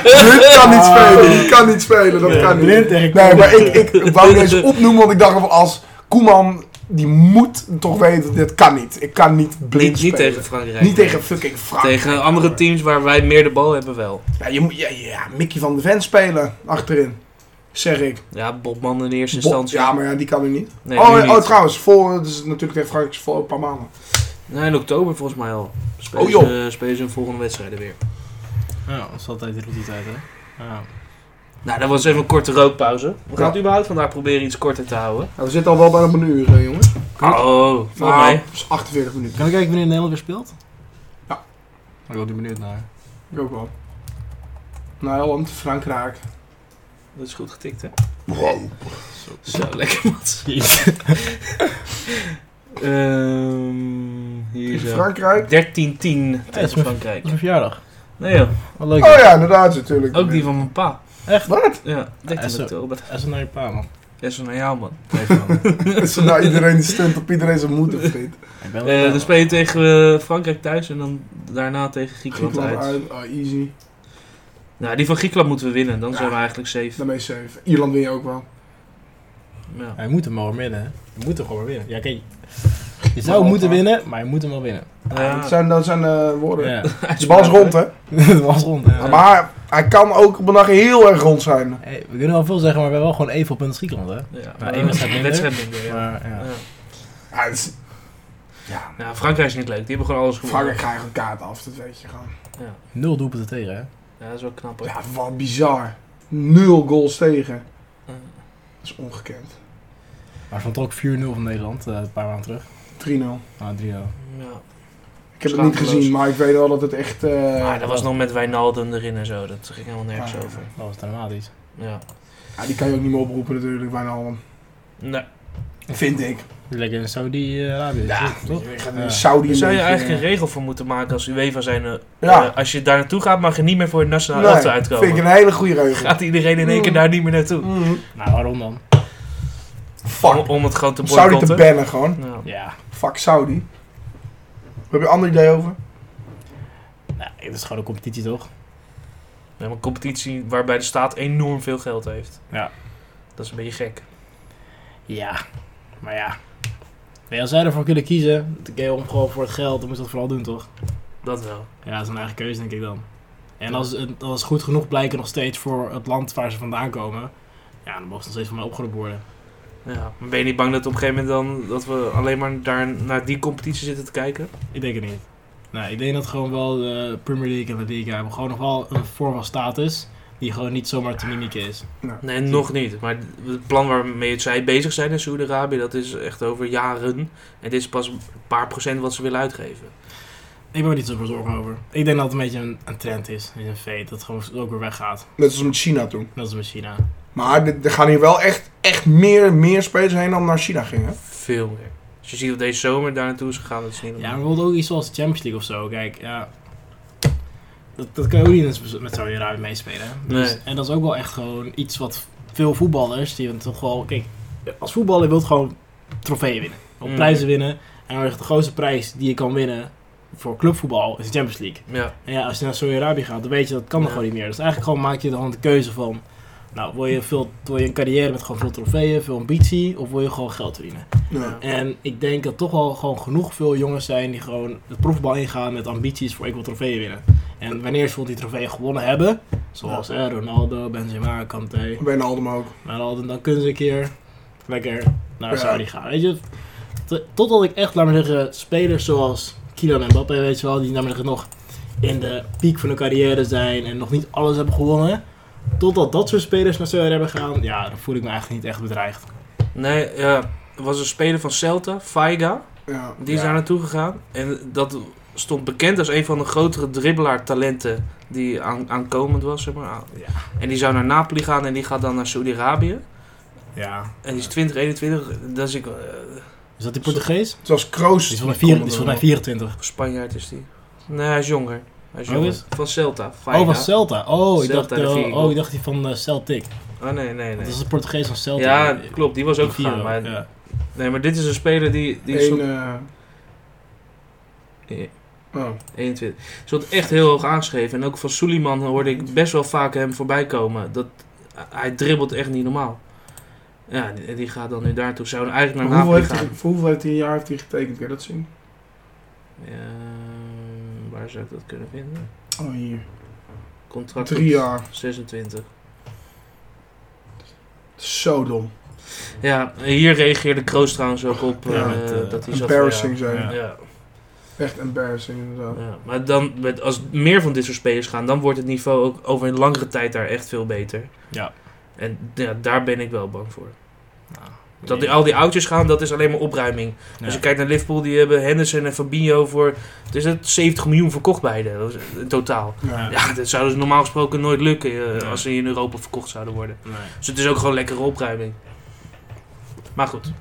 Speaker 2: Dit kan
Speaker 1: Ah.
Speaker 2: niet spelen. Die kan niet spelen. Dat kan niet.
Speaker 3: Blind tegen
Speaker 2: Nee, maar ik, ik wou deze opnoemen, want ik dacht van als Koeman, die moet toch weten, dit kan niet. Ik kan niet blind
Speaker 1: Niet, niet
Speaker 2: spelen.
Speaker 1: tegen Frankrijk.
Speaker 2: Niet tegen fucking Frank.
Speaker 1: Tegen andere teams waar wij meer de bal hebben wel.
Speaker 2: Ja, je moet ja, ja, Mickey van de Ven spelen achterin. Zeg ik.
Speaker 1: Ja, Bobman in eerste
Speaker 2: Bo-
Speaker 1: instantie.
Speaker 2: ja, maar ja, die kan nu niet.
Speaker 1: Nee,
Speaker 2: oh,
Speaker 1: nu
Speaker 2: en-
Speaker 1: niet.
Speaker 2: oh, trouwens, voor, dat is natuurlijk tegen Frankrijk voor een paar maanden.
Speaker 1: Nee, in oktober volgens mij al. Spelen,
Speaker 2: Oh, joh.
Speaker 1: Ze, spelen ze hun volgende wedstrijden weer.
Speaker 3: Ja, dat is altijd de routetijd, hè. Ja.
Speaker 1: Nou, dat was even een korte rookpauze. We gaan
Speaker 2: Ja.
Speaker 1: het überhaupt vandaag proberen iets korter te houden.
Speaker 2: Ja, we zitten al wel bijna op een uur, hè, jongen.
Speaker 1: Oh, volgens
Speaker 2: Nou,
Speaker 1: mij.
Speaker 2: dat is 48 minuten.
Speaker 3: Kan ik kijken wanneer Nederland weer speelt?
Speaker 2: Ja.
Speaker 3: Ik ben wel die benieuwd naar.
Speaker 2: Ik ook wel. Nederland, Frankrijk.
Speaker 1: Dat is goed getikt, hè? Wow. Zo, lekker, Mats. Ehm, hier
Speaker 2: Tegen
Speaker 1: zo. 13-10
Speaker 2: Frankrijk.
Speaker 1: tegen
Speaker 3: is mijn-
Speaker 1: Frankrijk.
Speaker 3: Dat is mijn verjaardag.
Speaker 1: Nee joh,
Speaker 3: Wat leuk.
Speaker 2: Oh ja, inderdaad, natuurlijk.
Speaker 1: ook die van mijn pa.
Speaker 3: Echt?
Speaker 2: Wat?
Speaker 1: Ja, 13
Speaker 3: Ja, zo.
Speaker 1: oktober.
Speaker 3: Als naar je pa, man.
Speaker 1: Dat is naar jou, man.
Speaker 2: Is er nou iedereen die stunt op iedereen zijn moeder vindt.
Speaker 3: Ik ben
Speaker 1: Eh, dan speel je tegen eh, Frankrijk thuis en dan daarna tegen Griekenland
Speaker 2: Griekenland
Speaker 1: uit.
Speaker 2: uit. Oh, easy.
Speaker 1: Nou, die van Griekenland moeten we winnen, dan zijn we eigenlijk safe.
Speaker 2: Daarmee safe. Ierland win je ook wel.
Speaker 1: Ja.
Speaker 3: Hij moet hem wel weer winnen, hè. Je moet hem gewoon weer winnen. Ja, kijk. Je
Speaker 2: Maar
Speaker 3: zou
Speaker 2: wel,
Speaker 3: moeten
Speaker 2: maar-
Speaker 3: winnen, maar je moet hem wel winnen.
Speaker 2: Dat
Speaker 1: Ja,
Speaker 2: zijn, dat zijn eh, woorden.
Speaker 3: Ja.
Speaker 2: De bal is rond, hè?
Speaker 3: Dat was rond, hè.
Speaker 2: Maar hij kan ook op een dag heel erg rond zijn.
Speaker 3: Hey, we kunnen wel veel zeggen, maar we hebben wel gewoon even op een Griekenland, hè.
Speaker 1: ja,
Speaker 3: Maar
Speaker 1: maar
Speaker 3: één wedstrijd
Speaker 1: een
Speaker 3: minder.
Speaker 1: wedstrijd minder. Ja.
Speaker 3: Maar, ja.
Speaker 1: Ja.
Speaker 2: Ja, dat is-
Speaker 1: Ja, Frankrijk is niet leuk, die hebben gewoon alles gewonnen.
Speaker 2: Frankrijk krijgt een kaart af, dat weet je gewoon.
Speaker 3: Nul doelpunten tegen, hè.
Speaker 1: Ja, dat is wel knap hoor.
Speaker 2: Ja, wat bizar. Nul goals tegen.
Speaker 1: Ja.
Speaker 2: Dat is ongekend.
Speaker 3: Maar ze vond ook 4-0 van Nederland, eh, een paar maanden terug.
Speaker 2: 3-0.
Speaker 3: Ah, 3-0.
Speaker 1: Ja.
Speaker 2: Ik heb het niet
Speaker 1: Schaamteloos.
Speaker 2: gezien, maar ik weet wel dat het echt... eh, Ah,
Speaker 1: Maar dat was nog met Wijnaldum erin en zo, dat ging helemaal nergens
Speaker 2: Ja.
Speaker 1: over.
Speaker 3: Dat was dramatisch.
Speaker 1: Ja.
Speaker 2: ja, die kan je ook niet meer oproepen natuurlijk, bijna allemaal.
Speaker 1: Nee,
Speaker 2: Vind ik.
Speaker 3: Lekker in Saudi-Arabië,
Speaker 2: Ja,
Speaker 3: toch?
Speaker 2: je gaat
Speaker 3: Ja.
Speaker 2: in Saudi
Speaker 1: daar zou je
Speaker 2: een
Speaker 1: eigenlijk een
Speaker 2: beetje-
Speaker 1: regel voor moeten maken als UEFA zijn. eh,
Speaker 2: Ja.
Speaker 1: eh, als je daar naartoe gaat, mag je niet meer voor het nationale
Speaker 2: Nee,
Speaker 1: elftal uitkomen.
Speaker 2: vind ik een Mm. hele goede regel.
Speaker 1: Gaat iedereen in één keer daar niet meer naartoe?
Speaker 2: Mhm.
Speaker 3: Nou, waarom dan?
Speaker 1: Om,
Speaker 2: Fuck.
Speaker 1: om het gewoon te
Speaker 2: Om Saudi te
Speaker 1: boycotten.
Speaker 2: bannen gewoon.
Speaker 1: Ja.
Speaker 3: Ja,
Speaker 2: Fuck Saudi. Heb je een ander idee over?
Speaker 3: nou, het is gewoon een competitie, toch?
Speaker 1: We hebben een competitie waarbij de staat enorm veel geld heeft.
Speaker 3: Ja.
Speaker 1: Dat is een beetje gek.
Speaker 3: Ja, maar ja. Nee, als zij ervoor kunnen kiezen, de game om gewoon voor het geld, dan moet ze dat vooral doen, toch?
Speaker 1: Dat wel.
Speaker 3: Ja, dat is een eigen keuze, denk ik dan. En als het, als het goed genoeg blijken nog steeds voor het land waar ze vandaan komen, ja, dan mogen ze nog steeds van mij opgeroepen worden.
Speaker 1: Ja. Maar ben je niet bang dat op een gegeven moment dan dat we alleen maar daar naar die competitie zitten te kijken?
Speaker 3: Ik denk het niet. Nee, ik denk dat gewoon wel de Premier League en de Liga hebben gewoon nog wel een vorm van status die gewoon niet zomaar te mimieken is.
Speaker 1: Nee, nog niet. Maar het plan waarmee zij bezig zijn in Saudi-Arabië, dat is echt over jaren. En dit is pas een paar procent wat ze willen uitgeven.
Speaker 3: Ik ben er niet zo zorgen over. Ik denk dat het een beetje een, een trend is, is een feit, dat het gewoon ook weer weggaat.
Speaker 2: Net als met China toen.
Speaker 3: Net als met China.
Speaker 2: Maar dit- er gaan hier wel echt, echt meer, meer spelers heen dan naar China gingen.
Speaker 1: Veel meer. Als je ziet dat deze zomer daar naartoe is gegaan, dat is niet
Speaker 3: Ja, maar
Speaker 1: normaal.
Speaker 3: bijvoorbeeld ook iets zoals de Champions League of zo. Kijk, ja. Dat, dat kan je ook niet eens met Saudi-Arabië meespelen. hè. Dus,
Speaker 1: Nee.
Speaker 3: En dat is ook wel echt gewoon iets wat veel voetballers, die toch wel. Kijk, als voetballer wil je gewoon trofeeën winnen. Op
Speaker 1: Mm.
Speaker 3: prijzen winnen. En dan is de grootste prijs die je kan winnen voor clubvoetbal is de Champions League.
Speaker 1: Ja,
Speaker 3: En ja, als je naar Saudi-Arabië gaat, dan weet je dat kan
Speaker 1: Ja.
Speaker 3: nog gewoon niet meer. Dus eigenlijk gewoon maak je er gewoon de keuze van. Nou, wil je, veel, wil je een carrière met gewoon veel trofeeën, veel ambitie, of wil je gewoon geld verdienen?
Speaker 2: Ja.
Speaker 3: En ik denk dat toch wel gewoon genoeg veel jongens zijn die gewoon het profbal ingaan met ambities voor ik wil trofeeën winnen. En wanneer ze bijvoorbeeld die trofeeën gewonnen hebben, zoals hè, Ronaldo, Benzema, Kanté,
Speaker 2: Ben Aldem ook.
Speaker 3: maar dan, dan kunnen ze een keer lekker naar
Speaker 2: Ja.
Speaker 3: Saudi gaan. Weet je, T- totdat ik echt, laat maar zeggen, spelers zoals Kylian Mbappé, weet je wel, die laat maar zeggen, nog in de piek van hun carrière zijn en nog niet alles hebben gewonnen. Totdat dat soort spelers naar Saudi hebben gaan, ja, dan voel ik me eigenlijk niet echt bedreigd.
Speaker 1: nee, ja. er was een speler van Celta, Faiga,
Speaker 2: Ja.
Speaker 1: die is
Speaker 3: Ja.
Speaker 1: daar naartoe gegaan. En dat stond bekend als een van de grotere dribbelaar-talenten die aan, aankomend was. Zeg maar. Aan-
Speaker 3: Ja.
Speaker 1: En die zou naar Napoli gaan en die gaat dan naar Saudi-Arabië.
Speaker 3: Ja.
Speaker 1: En die is 20, 21, dat is ik, eh,
Speaker 3: Is dat die Portugees?
Speaker 2: Zoals Kroos.
Speaker 3: Die is volgens Dus mij vier- die is volgens mij 24.
Speaker 1: Spanjaard is die. Nee, hij is jonger. Hij is
Speaker 3: Oh,
Speaker 1: jonger.
Speaker 3: is-
Speaker 1: Van Celta, Faiga.
Speaker 3: Oh, van Celta. Oh, ik
Speaker 1: Celta,
Speaker 3: dacht, eh,
Speaker 1: de vier.
Speaker 3: oh, ik dacht die van eh, Celtic.
Speaker 1: Oh, nee, nee,
Speaker 3: Dat
Speaker 1: nee.
Speaker 3: is de Portugees van Celtic.
Speaker 1: Ja, klopt, die was ook
Speaker 3: vier
Speaker 1: gegaan. Maar,
Speaker 3: ja.
Speaker 1: Nee, maar dit is een speler die, die
Speaker 2: Eén,
Speaker 1: stond,
Speaker 2: eh,
Speaker 1: Ja.
Speaker 2: oh.
Speaker 1: 21. stond echt heel hoog aangeschreven. En ook van Suliman hoorde ik best wel vaak hem voorbij komen. Dat, hij dribbelt echt niet normaal. Ja, en die, die gaat dan nu daartoe. Zou eigenlijk
Speaker 2: Maar
Speaker 1: naar
Speaker 2: hoeveel
Speaker 1: Napoli
Speaker 2: heeft
Speaker 1: gaan.
Speaker 2: hij, voor hoeveel heeft hij een jaar heeft hij getekend? Kun je dat zien?
Speaker 1: Ehm, waar zou ik dat kunnen vinden?
Speaker 2: Oh, hier.
Speaker 1: Contract
Speaker 2: Drie
Speaker 1: tot
Speaker 2: jaar.
Speaker 1: 26.
Speaker 2: Zo dom.
Speaker 1: Ja, hier reageerde Kroos trouwens ook op
Speaker 3: Ja,
Speaker 1: eh,
Speaker 3: met,
Speaker 1: dat
Speaker 3: eh,
Speaker 1: hij zat van,
Speaker 2: Embarrassing
Speaker 3: ja.
Speaker 2: zijn.
Speaker 1: Ja, ja,
Speaker 2: Echt embarrassing inderdaad.
Speaker 1: ja. maar dan, met, als meer van dit soort spelers gaan, dan wordt het niveau ook over een langere tijd daar echt veel beter.
Speaker 3: Ja.
Speaker 1: En ja, daar ben ik wel bang voor. Dat die,
Speaker 3: die
Speaker 1: al die oudjes gaan, dat is alleen maar opruiming. Als je kijkt naar Liverpool, die hebben Henderson en Fabinho voor... Het is het 70 miljoen verkocht beide, dat is- eh, in totaal.
Speaker 2: Ja.
Speaker 1: Ja, dat zou dus normaal gesproken nooit lukken eh,
Speaker 3: Ja.
Speaker 1: als ze in Europa verkocht zouden worden.
Speaker 3: Nee.
Speaker 1: Dus het is ook gewoon lekkere opruiming. Maar goed.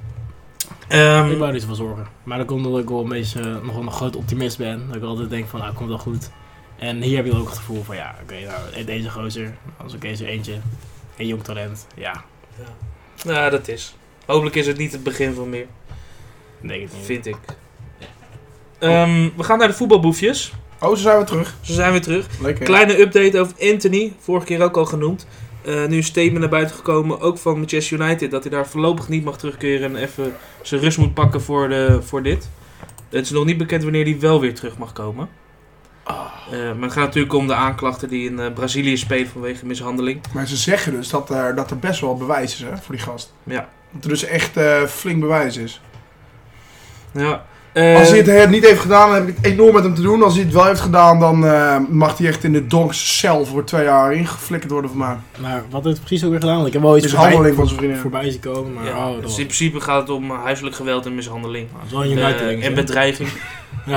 Speaker 1: Ehm,
Speaker 3: Ik wou er niet van zorgen. Maar dat komt omdat ik wel een beetje eh, nog wel een groot optimist ben. Dat ik altijd denk van, nou, komt wel goed. En hier heb je ook het gevoel van, ja, oké, nou, deze gozer. Als ook deze eentje. Een jong talent. Ja,
Speaker 1: Nou, dat is. Hopelijk is het niet het begin van meer,
Speaker 3: denk ik niet.
Speaker 1: vind ik. Ehm, we gaan naar de voetbalboefjes.
Speaker 2: Oh, zo zijn we terug.
Speaker 1: Zo zijn we terug.
Speaker 2: Lekker.
Speaker 1: Kleine update over Anthony, vorige keer ook al genoemd. Eh, nu is statement naar buiten gekomen, ook van Manchester United, dat hij daar voorlopig niet mag terugkeren en even zijn rust moet pakken voor, de, voor dit. Het is nog niet bekend wanneer hij wel weer terug mag komen. Eh, maar het gaat natuurlijk om de aanklachten die in eh, Brazilië spelen vanwege mishandeling.
Speaker 2: Maar ze zeggen dus dat er, dat er best wel bewijs is hè, voor die gast.
Speaker 1: Ja.
Speaker 2: Dat er dus echt eh, flink bewijs is.
Speaker 1: Ja, eh,
Speaker 2: Als hij het eh, niet heeft gedaan, dan heb ik het enorm met hem te doen. Als hij het wel heeft gedaan, dan eh, mag hij echt in de donkse cel voor twee jaar ingeflikkerd worden van mij.
Speaker 3: Maar wat heeft het precies ook weer gedaan? Want ik heb wel iets voorbij,
Speaker 2: Mishandeling van zijn vriendin.
Speaker 3: voorbij zien komen, maar
Speaker 1: ja,
Speaker 3: oh, dat
Speaker 1: dus
Speaker 3: was,
Speaker 1: in principe gaat het om eh, huiselijk geweld en mishandeling.
Speaker 3: dat was wel een United
Speaker 1: Eh,
Speaker 3: ding,
Speaker 1: en
Speaker 3: hè?
Speaker 1: bedreiging.
Speaker 3: Ja.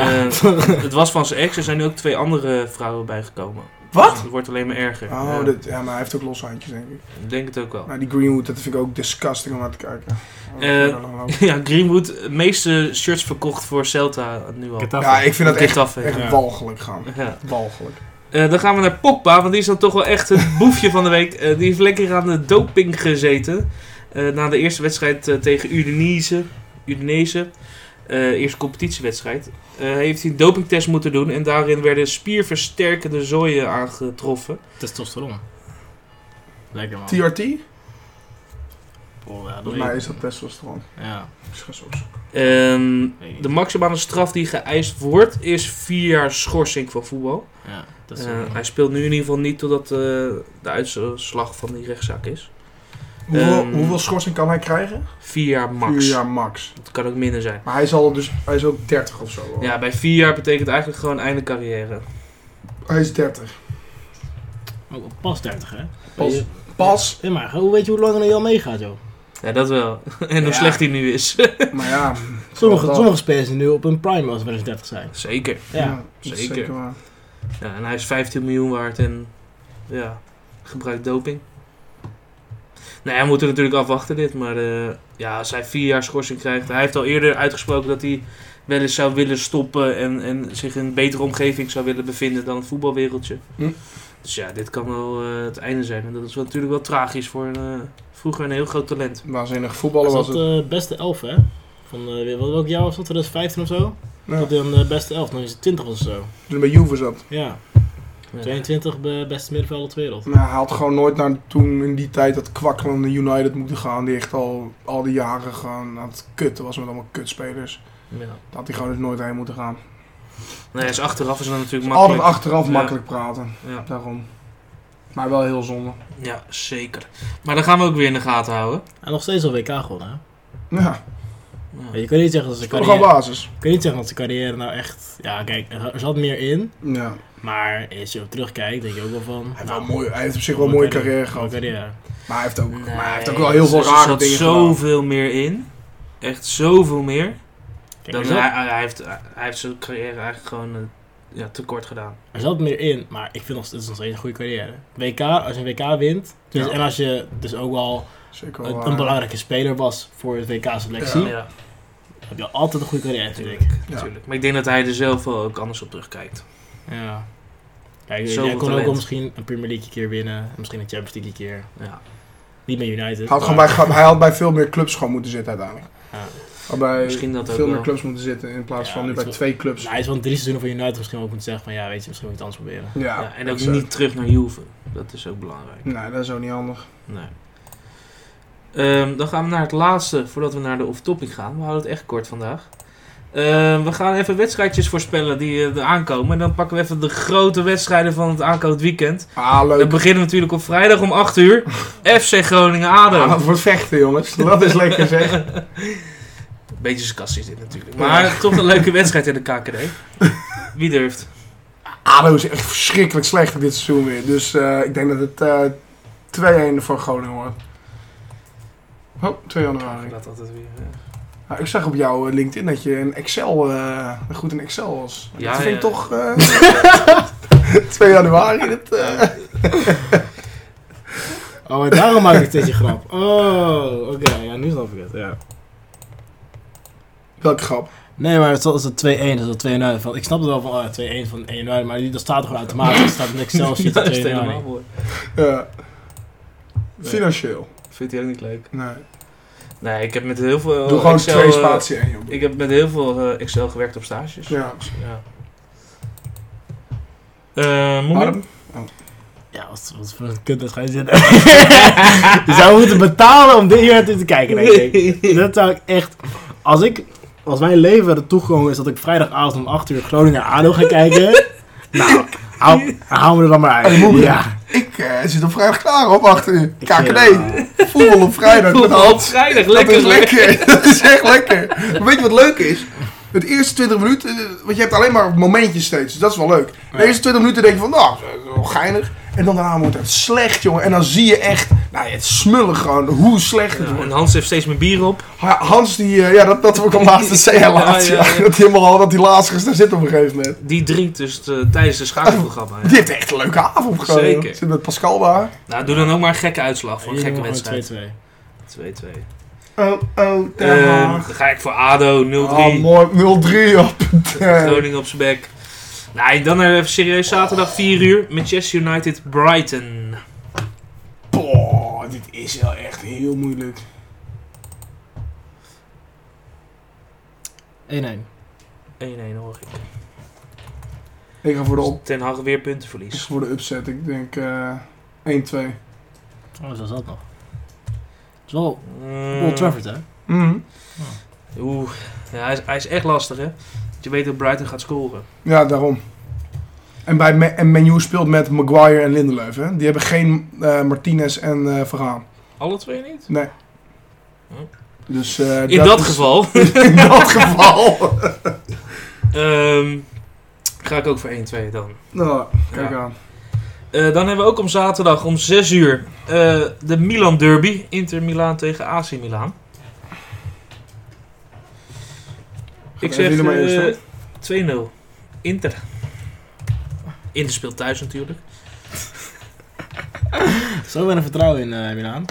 Speaker 1: Eh, het was van zijn ex, er zijn nu ook twee andere vrouwen bijgekomen.
Speaker 2: Wat?
Speaker 1: Dus het wordt alleen maar erger.
Speaker 2: Oh,
Speaker 1: Ja,
Speaker 2: dit, ja, maar hij heeft ook losse handjes, denk ik.
Speaker 1: Ik denk het ook wel.
Speaker 2: Nou, die Greenwood, dat vind ik ook disgusting om naar te kijken.
Speaker 1: Eh, ja, Greenwood, de meeste shirts verkocht voor Celta nu al.
Speaker 3: Getafe.
Speaker 2: ja, ik vind dat echt,
Speaker 1: Getafe,
Speaker 2: echt
Speaker 3: ja.
Speaker 2: walgelijk gaan.
Speaker 1: Ja.
Speaker 2: Walgelijk.
Speaker 1: Eh, dan gaan we naar Pogba, want die is dan toch wel echt het boefje van de week. Eh, die heeft lekker aan de doping gezeten. Eh, na de eerste wedstrijd eh, tegen Udinese. Udinese. eh, eerste competitiewedstrijd, eh, heeft hij een dopingtest moeten doen. En daarin werden spierversterkende zooien aangetroffen.
Speaker 3: Testosteron. Lekker man.
Speaker 2: TRT?
Speaker 3: Pol, ja, dat weet
Speaker 2: Volgens mij
Speaker 3: ik.
Speaker 2: is dat eh, testosteron.
Speaker 3: Ja,
Speaker 2: Ik ga zo opzoeken.
Speaker 1: Ehm,
Speaker 3: weet ik niet.
Speaker 1: de maximale straf die geëist wordt is vier jaar schorsing van voetbal.
Speaker 3: Ja, dat is
Speaker 1: Eh,
Speaker 3: wel-
Speaker 1: hij speelt nu in ieder geval niet totdat eh, de uitslag van die rechtszaak is.
Speaker 2: Hoeveel,
Speaker 1: Ehm,
Speaker 2: hoeveel schorsing kan hij krijgen?
Speaker 1: Vier jaar max.
Speaker 2: Vier jaar max.
Speaker 1: Het kan ook minder zijn.
Speaker 2: Maar hij is, al dus, hij is ook 30 of zo. al.
Speaker 1: Ja, bij vier jaar betekent eigenlijk gewoon einde carrière.
Speaker 2: Hij is 30.
Speaker 3: Ook al pas 30, hè?
Speaker 2: Pas.
Speaker 3: Weet je-
Speaker 2: Pas.
Speaker 3: Ja, maar hoe weet je hoe lang hij al meegaat, joh?
Speaker 1: Ja, dat wel. en hoe
Speaker 2: Ja.
Speaker 1: slecht hij nu is.
Speaker 2: maar ja.
Speaker 3: Sommige,
Speaker 2: dat-
Speaker 3: sommige spelers die nu op een prime als ze wel eens 30 zijn.
Speaker 1: Zeker.
Speaker 3: Ja.
Speaker 2: dat is
Speaker 1: zeker.
Speaker 2: waar.
Speaker 1: Ja, en hij is 15 miljoen waard en ja, gebruikt doping. Nou, hij moet er natuurlijk afwachten dit, maar eh, ja, als hij vier jaar schorsing krijgt. Hij heeft al eerder uitgesproken dat hij wel eens zou willen stoppen en, en zich in een betere omgeving zou willen bevinden dan het voetbalwereldje.
Speaker 2: Hm.
Speaker 1: Dus ja, dit kan wel eh, het einde zijn. En dat is wel, natuurlijk wel tragisch voor eh, vroeger een heel groot talent.
Speaker 2: Waanzinnig
Speaker 3: Dat
Speaker 2: voetballer
Speaker 3: was
Speaker 2: was
Speaker 3: dat
Speaker 2: het.
Speaker 3: de beste elf, hè? Van, eh, wel- welk jaar was dat? 2015 of zo?
Speaker 2: Ja.
Speaker 3: Dat hij dan de beste elf, dan is het 20 of zo.
Speaker 2: Toen hij bij Juve zat.
Speaker 3: Ja,
Speaker 1: Ja.
Speaker 3: 22 be- beste middenvelder ter wereld.
Speaker 2: Nou, hij had gewoon nooit naar toen in die tijd dat kwakkelende United moeten gaan. Die echt al, al die jaren gewoon aan het kutten was met allemaal kutspelers.
Speaker 1: Ja.
Speaker 2: Dat had hij gewoon dus nooit heen moeten gaan.
Speaker 1: Nee, Nou is achteraf is dat natuurlijk
Speaker 2: Altijd
Speaker 1: makkelijk.
Speaker 2: achteraf
Speaker 1: Ja.
Speaker 2: makkelijk praten.
Speaker 1: Ja.
Speaker 2: Daarom. Maar wel heel zonde.
Speaker 1: ja, zeker. Maar dan gaan we ook weer in de gaten houden.
Speaker 3: En nog steeds al WK gewonnen, hè?
Speaker 2: Ja,
Speaker 1: Ja.
Speaker 3: Ja, Je kan niet zeggen dat zijn
Speaker 2: toch gewoon
Speaker 3: carrière,
Speaker 2: basis.
Speaker 3: je kan niet zeggen dat zijn carrière nou echt... Ja, kijk, er er zat meer in.
Speaker 2: Ja.
Speaker 3: Maar als je op terugkijkt, denk je ook wel van...
Speaker 2: Hij heeft,
Speaker 3: nou,
Speaker 2: wel mooi, hij heeft op zich wel een mooie carrière gehad.
Speaker 3: mooie carrière.
Speaker 2: Maar hij heeft ook,
Speaker 1: Nee,
Speaker 2: maar hij heeft ook wel heel veel
Speaker 1: er
Speaker 2: rare
Speaker 1: zat
Speaker 2: dingen gedaan.
Speaker 1: zoveel meer in. Echt zoveel meer.
Speaker 3: Kijk,
Speaker 1: Dan
Speaker 3: er,
Speaker 1: hij,
Speaker 3: zat,
Speaker 1: hij, heeft, hij heeft zijn carrière eigenlijk gewoon eh, ja, tekort gedaan.
Speaker 3: er zat meer in, maar ik vind nog, het is nog steeds een goede carrière. WK, als je een WK wint... dus-
Speaker 2: Ja.
Speaker 3: En als je dus ook wel
Speaker 2: Zeker wel
Speaker 3: een,
Speaker 2: waar.
Speaker 3: een belangrijke speler was voor het WK-selectie...
Speaker 2: Ja.
Speaker 1: Ja,
Speaker 3: heb je altijd een goede carrière, natuurlijk.
Speaker 1: natuurlijk. natuurlijk. Maar ik denk dat hij er zelf wel ook anders op terugkijkt.
Speaker 3: Ja. Kijk,
Speaker 1: Zoveel
Speaker 3: jij kon ook
Speaker 1: talent.
Speaker 3: wel misschien een Premier League keer winnen. Misschien een Champions League keer.
Speaker 1: Ja.
Speaker 3: Niet met United.
Speaker 2: Hij had, gewoon
Speaker 3: maar-
Speaker 2: bij,
Speaker 1: eh,
Speaker 2: hij had bij veel meer clubs gewoon moeten zitten uiteindelijk.
Speaker 3: Ja.
Speaker 2: Had bij
Speaker 1: Misschien dat ook
Speaker 2: veel meer
Speaker 1: wel.
Speaker 2: clubs moeten zitten in plaats
Speaker 3: Ja,
Speaker 2: van nu
Speaker 3: dat
Speaker 2: bij
Speaker 3: is wel-
Speaker 2: twee clubs.
Speaker 3: Nou, hij is wel in drie seizoenen van United misschien ook moeten zeggen van ja, weet je, misschien moet ik het anders proberen.
Speaker 2: Ja,
Speaker 1: Ja, en ook
Speaker 2: dat is,
Speaker 1: niet terug naar Juve. Dat is ook belangrijk.
Speaker 2: eh, Nee, dat is ook niet handig.
Speaker 1: Nee. Ehm, dan gaan we naar het laatste voordat we naar de off-topic gaan. We houden het echt kort vandaag. Ehm, we gaan even wedstrijdjes voorspellen die eh, er aankomen. En dan pakken we even de grote wedstrijden van het aankomend weekend.
Speaker 2: Ah,
Speaker 1: We
Speaker 2: leuk.
Speaker 1: beginnen natuurlijk op vrijdag om 8 uur. FC Groningen-Ado.
Speaker 2: Ah, wat voor vechten, jongens. Dat is lekker zeg.
Speaker 1: Beetje sarcastisch dit natuurlijk. Maar toch een leuke wedstrijd in de KKD. Wie durft?
Speaker 2: ADO is echt verschrikkelijk slecht dit seizoen weer. Dus eh, ik denk dat het eh 2-1 voor Groningen wordt. Oh, 2 januari.
Speaker 1: Dat altijd weer. eh.
Speaker 2: Nou, ik zag op jouw eh, LinkedIn dat je een Excel, eh, goed in Excel was.
Speaker 1: Ja,
Speaker 2: dat vind ik
Speaker 1: ja.
Speaker 2: toch... eh 2 januari, dat... eh,
Speaker 3: Oh, maar daarom maak ik dit je grap. Oh, oké. ja, nu snap ik het. Ja.
Speaker 2: welke grap.
Speaker 3: Nee, maar het is het 2-1, dat is 2 januari. Van, ik snap het wel van oh, 2-1 van 1 januari, maar die, dat staat er gewoon automatisch. Dat staat in Excel sheet
Speaker 1: Ja,
Speaker 3: van
Speaker 1: dat is
Speaker 3: 2
Speaker 1: het helemaal
Speaker 3: januari.
Speaker 1: mooi.
Speaker 2: Ja. Eh, Financieel.
Speaker 1: Vindt hij ook niet leuk?
Speaker 2: Nee.
Speaker 1: Nee, ik heb met heel veel.
Speaker 2: Doe gewoon
Speaker 1: Excel,
Speaker 2: twee
Speaker 1: eh,
Speaker 2: spatie en joh.
Speaker 1: ik heb met heel veel eh, Excel gewerkt op stages.
Speaker 2: Ja.
Speaker 1: Ja. Eh moet ik?
Speaker 2: Arm.
Speaker 3: Ja, wat, wat voor een kut ga je zitten. je zou moeten betalen om dit hier naartoe te kijken, denk ik. Dat zou ik echt... Als ik... Als mijn leven ertoe gekomen is dat ik vrijdagavond om 8 uur Groningen ADO ga kijken... nou, hou, hou me er dan maar uit. ja.
Speaker 2: Ik eh, zit op vrijdag klaar op achter u.
Speaker 3: Ik,
Speaker 2: KKD.
Speaker 3: eh,
Speaker 2: Voetbal op vrijdag. met de hand.
Speaker 1: vrijdag,
Speaker 2: Dat
Speaker 1: lekker,
Speaker 2: is
Speaker 1: lekker.
Speaker 2: lekker. Dat is echt lekker. Maar weet je wat leuk is? Het eerste 20 minuten, eh, want je hebt alleen maar momentjes steeds, dus dat is wel leuk. De eerste 20 minuten denk je van, nou, dat is wel geinig. En dan daarna wordt het slecht, jongen. En dan zie je echt, nou, het smullen gewoon, hoe slecht het
Speaker 1: Ja, en
Speaker 2: wordt.
Speaker 1: Hans heeft steeds mijn bier op.
Speaker 2: Ha- Hans, die, eh, ja, dat, dat heb ik al laatst, dat zei hij laatst,
Speaker 1: Ja, ja, ja.
Speaker 2: ja. Dat hij helemaal al, dat hij laatst is, daar zit op een gegeven moment.
Speaker 1: Die drinkt dus eh, tijdens de schakelprogramma.
Speaker 2: Die heeft echt een leuke avond gewoon.
Speaker 1: Zeker.
Speaker 2: joh. Zit met Pascal daar.
Speaker 1: Nou, doe dan ook maar een gekke uitslag voor een
Speaker 3: jullie
Speaker 1: gekke
Speaker 3: doen gewoon
Speaker 1: wedstrijd.
Speaker 3: 2-2.
Speaker 1: 2-2.
Speaker 2: Oh, oh, Den
Speaker 1: Ehm, dan
Speaker 2: Haag.
Speaker 1: ga ik voor ADO 0-3.
Speaker 2: Oh, mooi. 0-3 op. Den.
Speaker 1: Groningen op zijn bek. Nee, dan eh, even serieus. Zaterdag 4 uur. Manchester United Brighton.
Speaker 2: Boah, dit is wel echt heel moeilijk.
Speaker 3: 1-1.
Speaker 1: 1-1 hoor ik.
Speaker 2: Ik ga voor de, op,
Speaker 1: Ten Hag weer
Speaker 2: ik
Speaker 1: puntenverlies.
Speaker 2: ga voor de upset. Ik denk eh 1-2.
Speaker 3: Oh, zo is dat nog. Het is wel
Speaker 1: Mm.
Speaker 3: Old Trafford, hè?
Speaker 2: Mhm.
Speaker 1: Ehm, Oeh, ja, hij, is, hij is echt lastig hè. Want je weet dat Brighton gaat scoren.
Speaker 2: Ja, daarom. En, bij Ma- en Menu speelt met Maguire en Lindelöf. Hè? Die hebben geen eh, Martinez en eh Verhaan.
Speaker 1: Alle twee niet?
Speaker 2: Nee.
Speaker 1: Hm.
Speaker 2: Dus, eh,
Speaker 1: In dat,
Speaker 2: is-
Speaker 1: geval
Speaker 2: In dat geval.
Speaker 1: ehm, ga ik ook voor 1-2 dan.
Speaker 2: nou, kijk
Speaker 1: Ja.
Speaker 2: aan.
Speaker 1: Eh, dan hebben we ook om zaterdag om 6 uur eh, de Milan Derby. Inter Milaan tegen AC Milaan. Ik
Speaker 2: Gaan jullie
Speaker 1: zeg
Speaker 2: maar eerst,
Speaker 1: eh,
Speaker 2: hè?
Speaker 1: 2-0. Inter. Inter speelt thuis natuurlijk.
Speaker 3: Zo weinig vertrouwen in eh Milaan.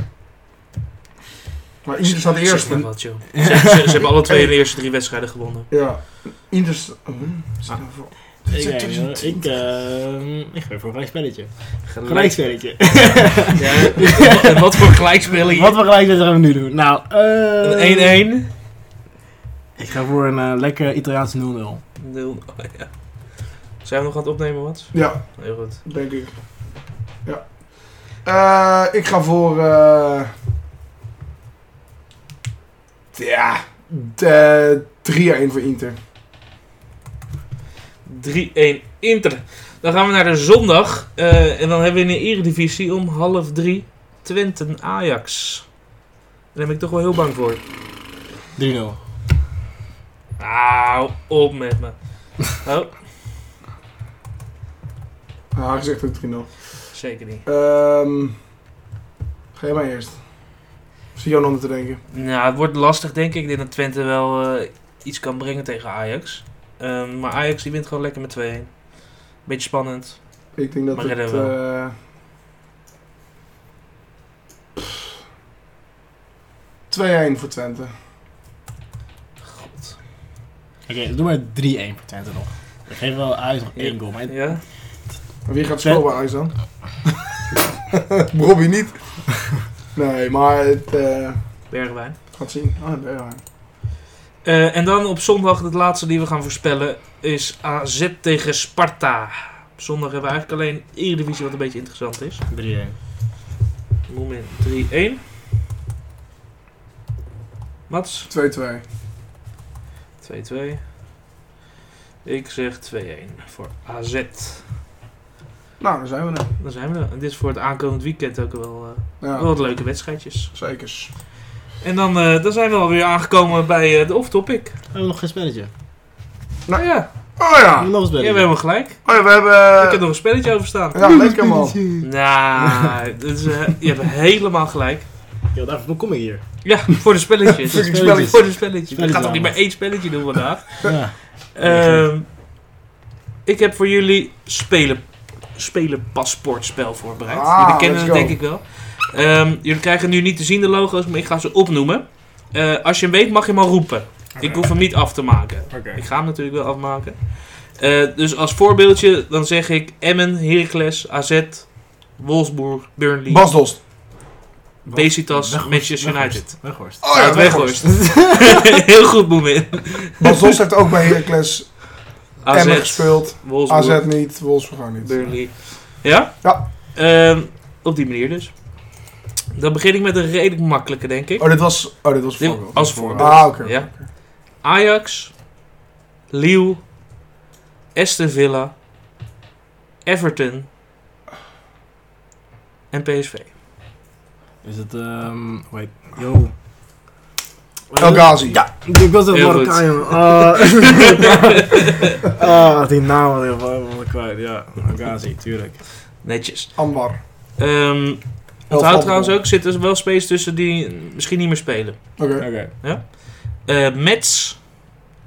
Speaker 2: Maar Inter staat
Speaker 1: Zeg
Speaker 2: eerst.
Speaker 1: maar wat, joh. Ze, ze- ze hebben alle twee de eerste drie wedstrijden gewonnen.
Speaker 2: Ja. oh, Inter staat...
Speaker 1: Hm? Ah.
Speaker 2: staat nou voor-
Speaker 3: Ik,
Speaker 2: Dit is
Speaker 3: weet niet, hoor.
Speaker 2: 2010.
Speaker 3: ik, eh, ik ga voor een gelijkspelletje.
Speaker 1: Gelijk.
Speaker 3: Gelijkspelletje.
Speaker 1: Ja, en wat voor gelijkspel hier?
Speaker 3: Wat voor gelijkspelletje gaan we nu doen? Nou, eh...
Speaker 1: Een 1-1.
Speaker 3: Ik ga voor een eh, lekker Italiaans 0-0.
Speaker 1: Nul- Oh, ja. Zijn we nog aan het opnemen, wat?
Speaker 2: Ja,
Speaker 1: Heel goed.
Speaker 2: denk ik. Ja. Eh, ik ga voor... eh ja. de 3-1 voor Inter.
Speaker 1: 3-1 Inter. Dan gaan we naar de zondag. eh, en dan hebben we in de eredivisie om half drie Twenten Ajax. Daar ben ik toch wel heel bang voor.
Speaker 3: 3-0.
Speaker 1: Auw, Nou, op met me. Oh,
Speaker 2: Ah, hij zegt ook 3-0.
Speaker 1: zeker niet.
Speaker 2: Ehm ga jij maar eerst. Zie jou nog te denken.
Speaker 1: Nou, het wordt lastig denk ik. Ik denk dat Twente wel eh, iets kan brengen tegen Ajax. Ehm, maar Ajax die wint gewoon lekker met 2-1. Beetje spannend.
Speaker 2: Ik denk dat
Speaker 1: Maar
Speaker 2: het...
Speaker 1: redden we
Speaker 2: eh pff, 2-1 voor Twente.
Speaker 1: God.
Speaker 3: Oké, doe maar 3-1 voor Twente nog. Ik geef wel uit nog één goal, maar
Speaker 1: Ja?
Speaker 2: Maar wie gaat
Speaker 3: Twen-
Speaker 2: spelen bij Ajax dan? Robbie niet. nee, maar het eh,
Speaker 1: Bergwijn.
Speaker 2: gaat zien. Ah, Bergwijn.
Speaker 1: Eh, en dan op zondag, het laatste die we gaan voorspellen, is AZ tegen Sparta. Op zondag hebben we eigenlijk alleen Eredivisie wat een beetje interessant is.
Speaker 3: 3-1.
Speaker 1: Moment 3-1. Mats,
Speaker 2: 2-2.
Speaker 1: 2-2. Ik zeg 2-1 voor AZ.
Speaker 2: Nou, daar zijn we dan.
Speaker 1: Dan zijn we er. En dit is voor het aankomend weekend ook wel, eh, wel
Speaker 2: Ja,
Speaker 1: wat leuke wedstrijdjes.
Speaker 2: zekers.
Speaker 1: En dan, eh, dan zijn we alweer aangekomen bij eh, de off-topic.
Speaker 3: We hebben nog geen
Speaker 1: Ah.
Speaker 3: spelletje.
Speaker 1: Nou ja,
Speaker 2: Oh
Speaker 3: We
Speaker 2: ja!
Speaker 3: hebben nog een
Speaker 1: ja, we
Speaker 3: spelletje.
Speaker 1: hebben gelijk.
Speaker 2: Oh ja, we
Speaker 1: Ik heb
Speaker 2: hebben...
Speaker 1: nog een spelletje over staan.
Speaker 2: Ja, lekker man.
Speaker 1: Nou, dit is, eh, je hebt helemaal gelijk.
Speaker 3: Yo, daarvoor kom ik hier.
Speaker 1: Ja, voor de spelletjes.
Speaker 2: Fucking
Speaker 1: voor
Speaker 2: spelletjes.
Speaker 1: de spelletjes. Ik
Speaker 3: Spelletjes
Speaker 1: ga toch niet
Speaker 3: allemaal.
Speaker 1: maar één spelletje doen vandaag.
Speaker 3: Ja.
Speaker 1: Ehm, ik heb voor jullie spelen, spelen paspoortspel voorbereid.
Speaker 2: Ah,
Speaker 1: jullie kennen
Speaker 2: let's
Speaker 1: het denk
Speaker 2: go.
Speaker 1: ik wel. Ehm, jullie krijgen nu niet te zien de logo's, maar ik ga ze opnoemen. Eh, als je hem weet mag je hem al roepen. Ik hoef hem niet af te maken.
Speaker 3: Oké.
Speaker 1: Ik ga hem natuurlijk wel afmaken. Eh, dus als voorbeeldje dan zeg ik Emmen, Heracles, AZ, Wolfsburg, Burnley,
Speaker 2: Bas Dost.
Speaker 1: Besiktas, Manchester United.
Speaker 3: Weghorst.
Speaker 2: Oh
Speaker 1: Ja, het Weghorst. Heel goed, Boemin.
Speaker 2: Bas Dost heeft ook bij Heracles Emmen
Speaker 1: AZ,
Speaker 2: gespeeld.
Speaker 1: Wolfsburg,
Speaker 2: AZ niet, Wolfsburg ook niet.
Speaker 1: Burnley. Ja?
Speaker 2: Ja.
Speaker 1: Ehm, op die manier dus. Dan begin ik met een redelijk makkelijke, denk ik.
Speaker 2: Oh, dit was, oh, dit was
Speaker 1: Dit-
Speaker 2: voorbeeld.
Speaker 1: als voorbeeld.
Speaker 2: Ah, oké.
Speaker 1: Ja. Ajax, Lille, Aston Villa, Everton en PSV.
Speaker 3: Is het, ehm... Oh, hoe heet... Yo.
Speaker 2: El Ghazi. Ja.
Speaker 3: Ik was een
Speaker 1: Heel goed.
Speaker 3: Marokkaan, jongen. Ah, Ah, die naam was helemaal kwijt. Ja, Agazi, tuurlijk.
Speaker 1: Netjes.
Speaker 2: Anwar.
Speaker 1: Ehm onthoud
Speaker 2: Elftal.
Speaker 1: trouwens ook, zit er wel space tussen die misschien niet meer spelen.
Speaker 2: Oké.
Speaker 3: Oké.
Speaker 1: Eh Metz,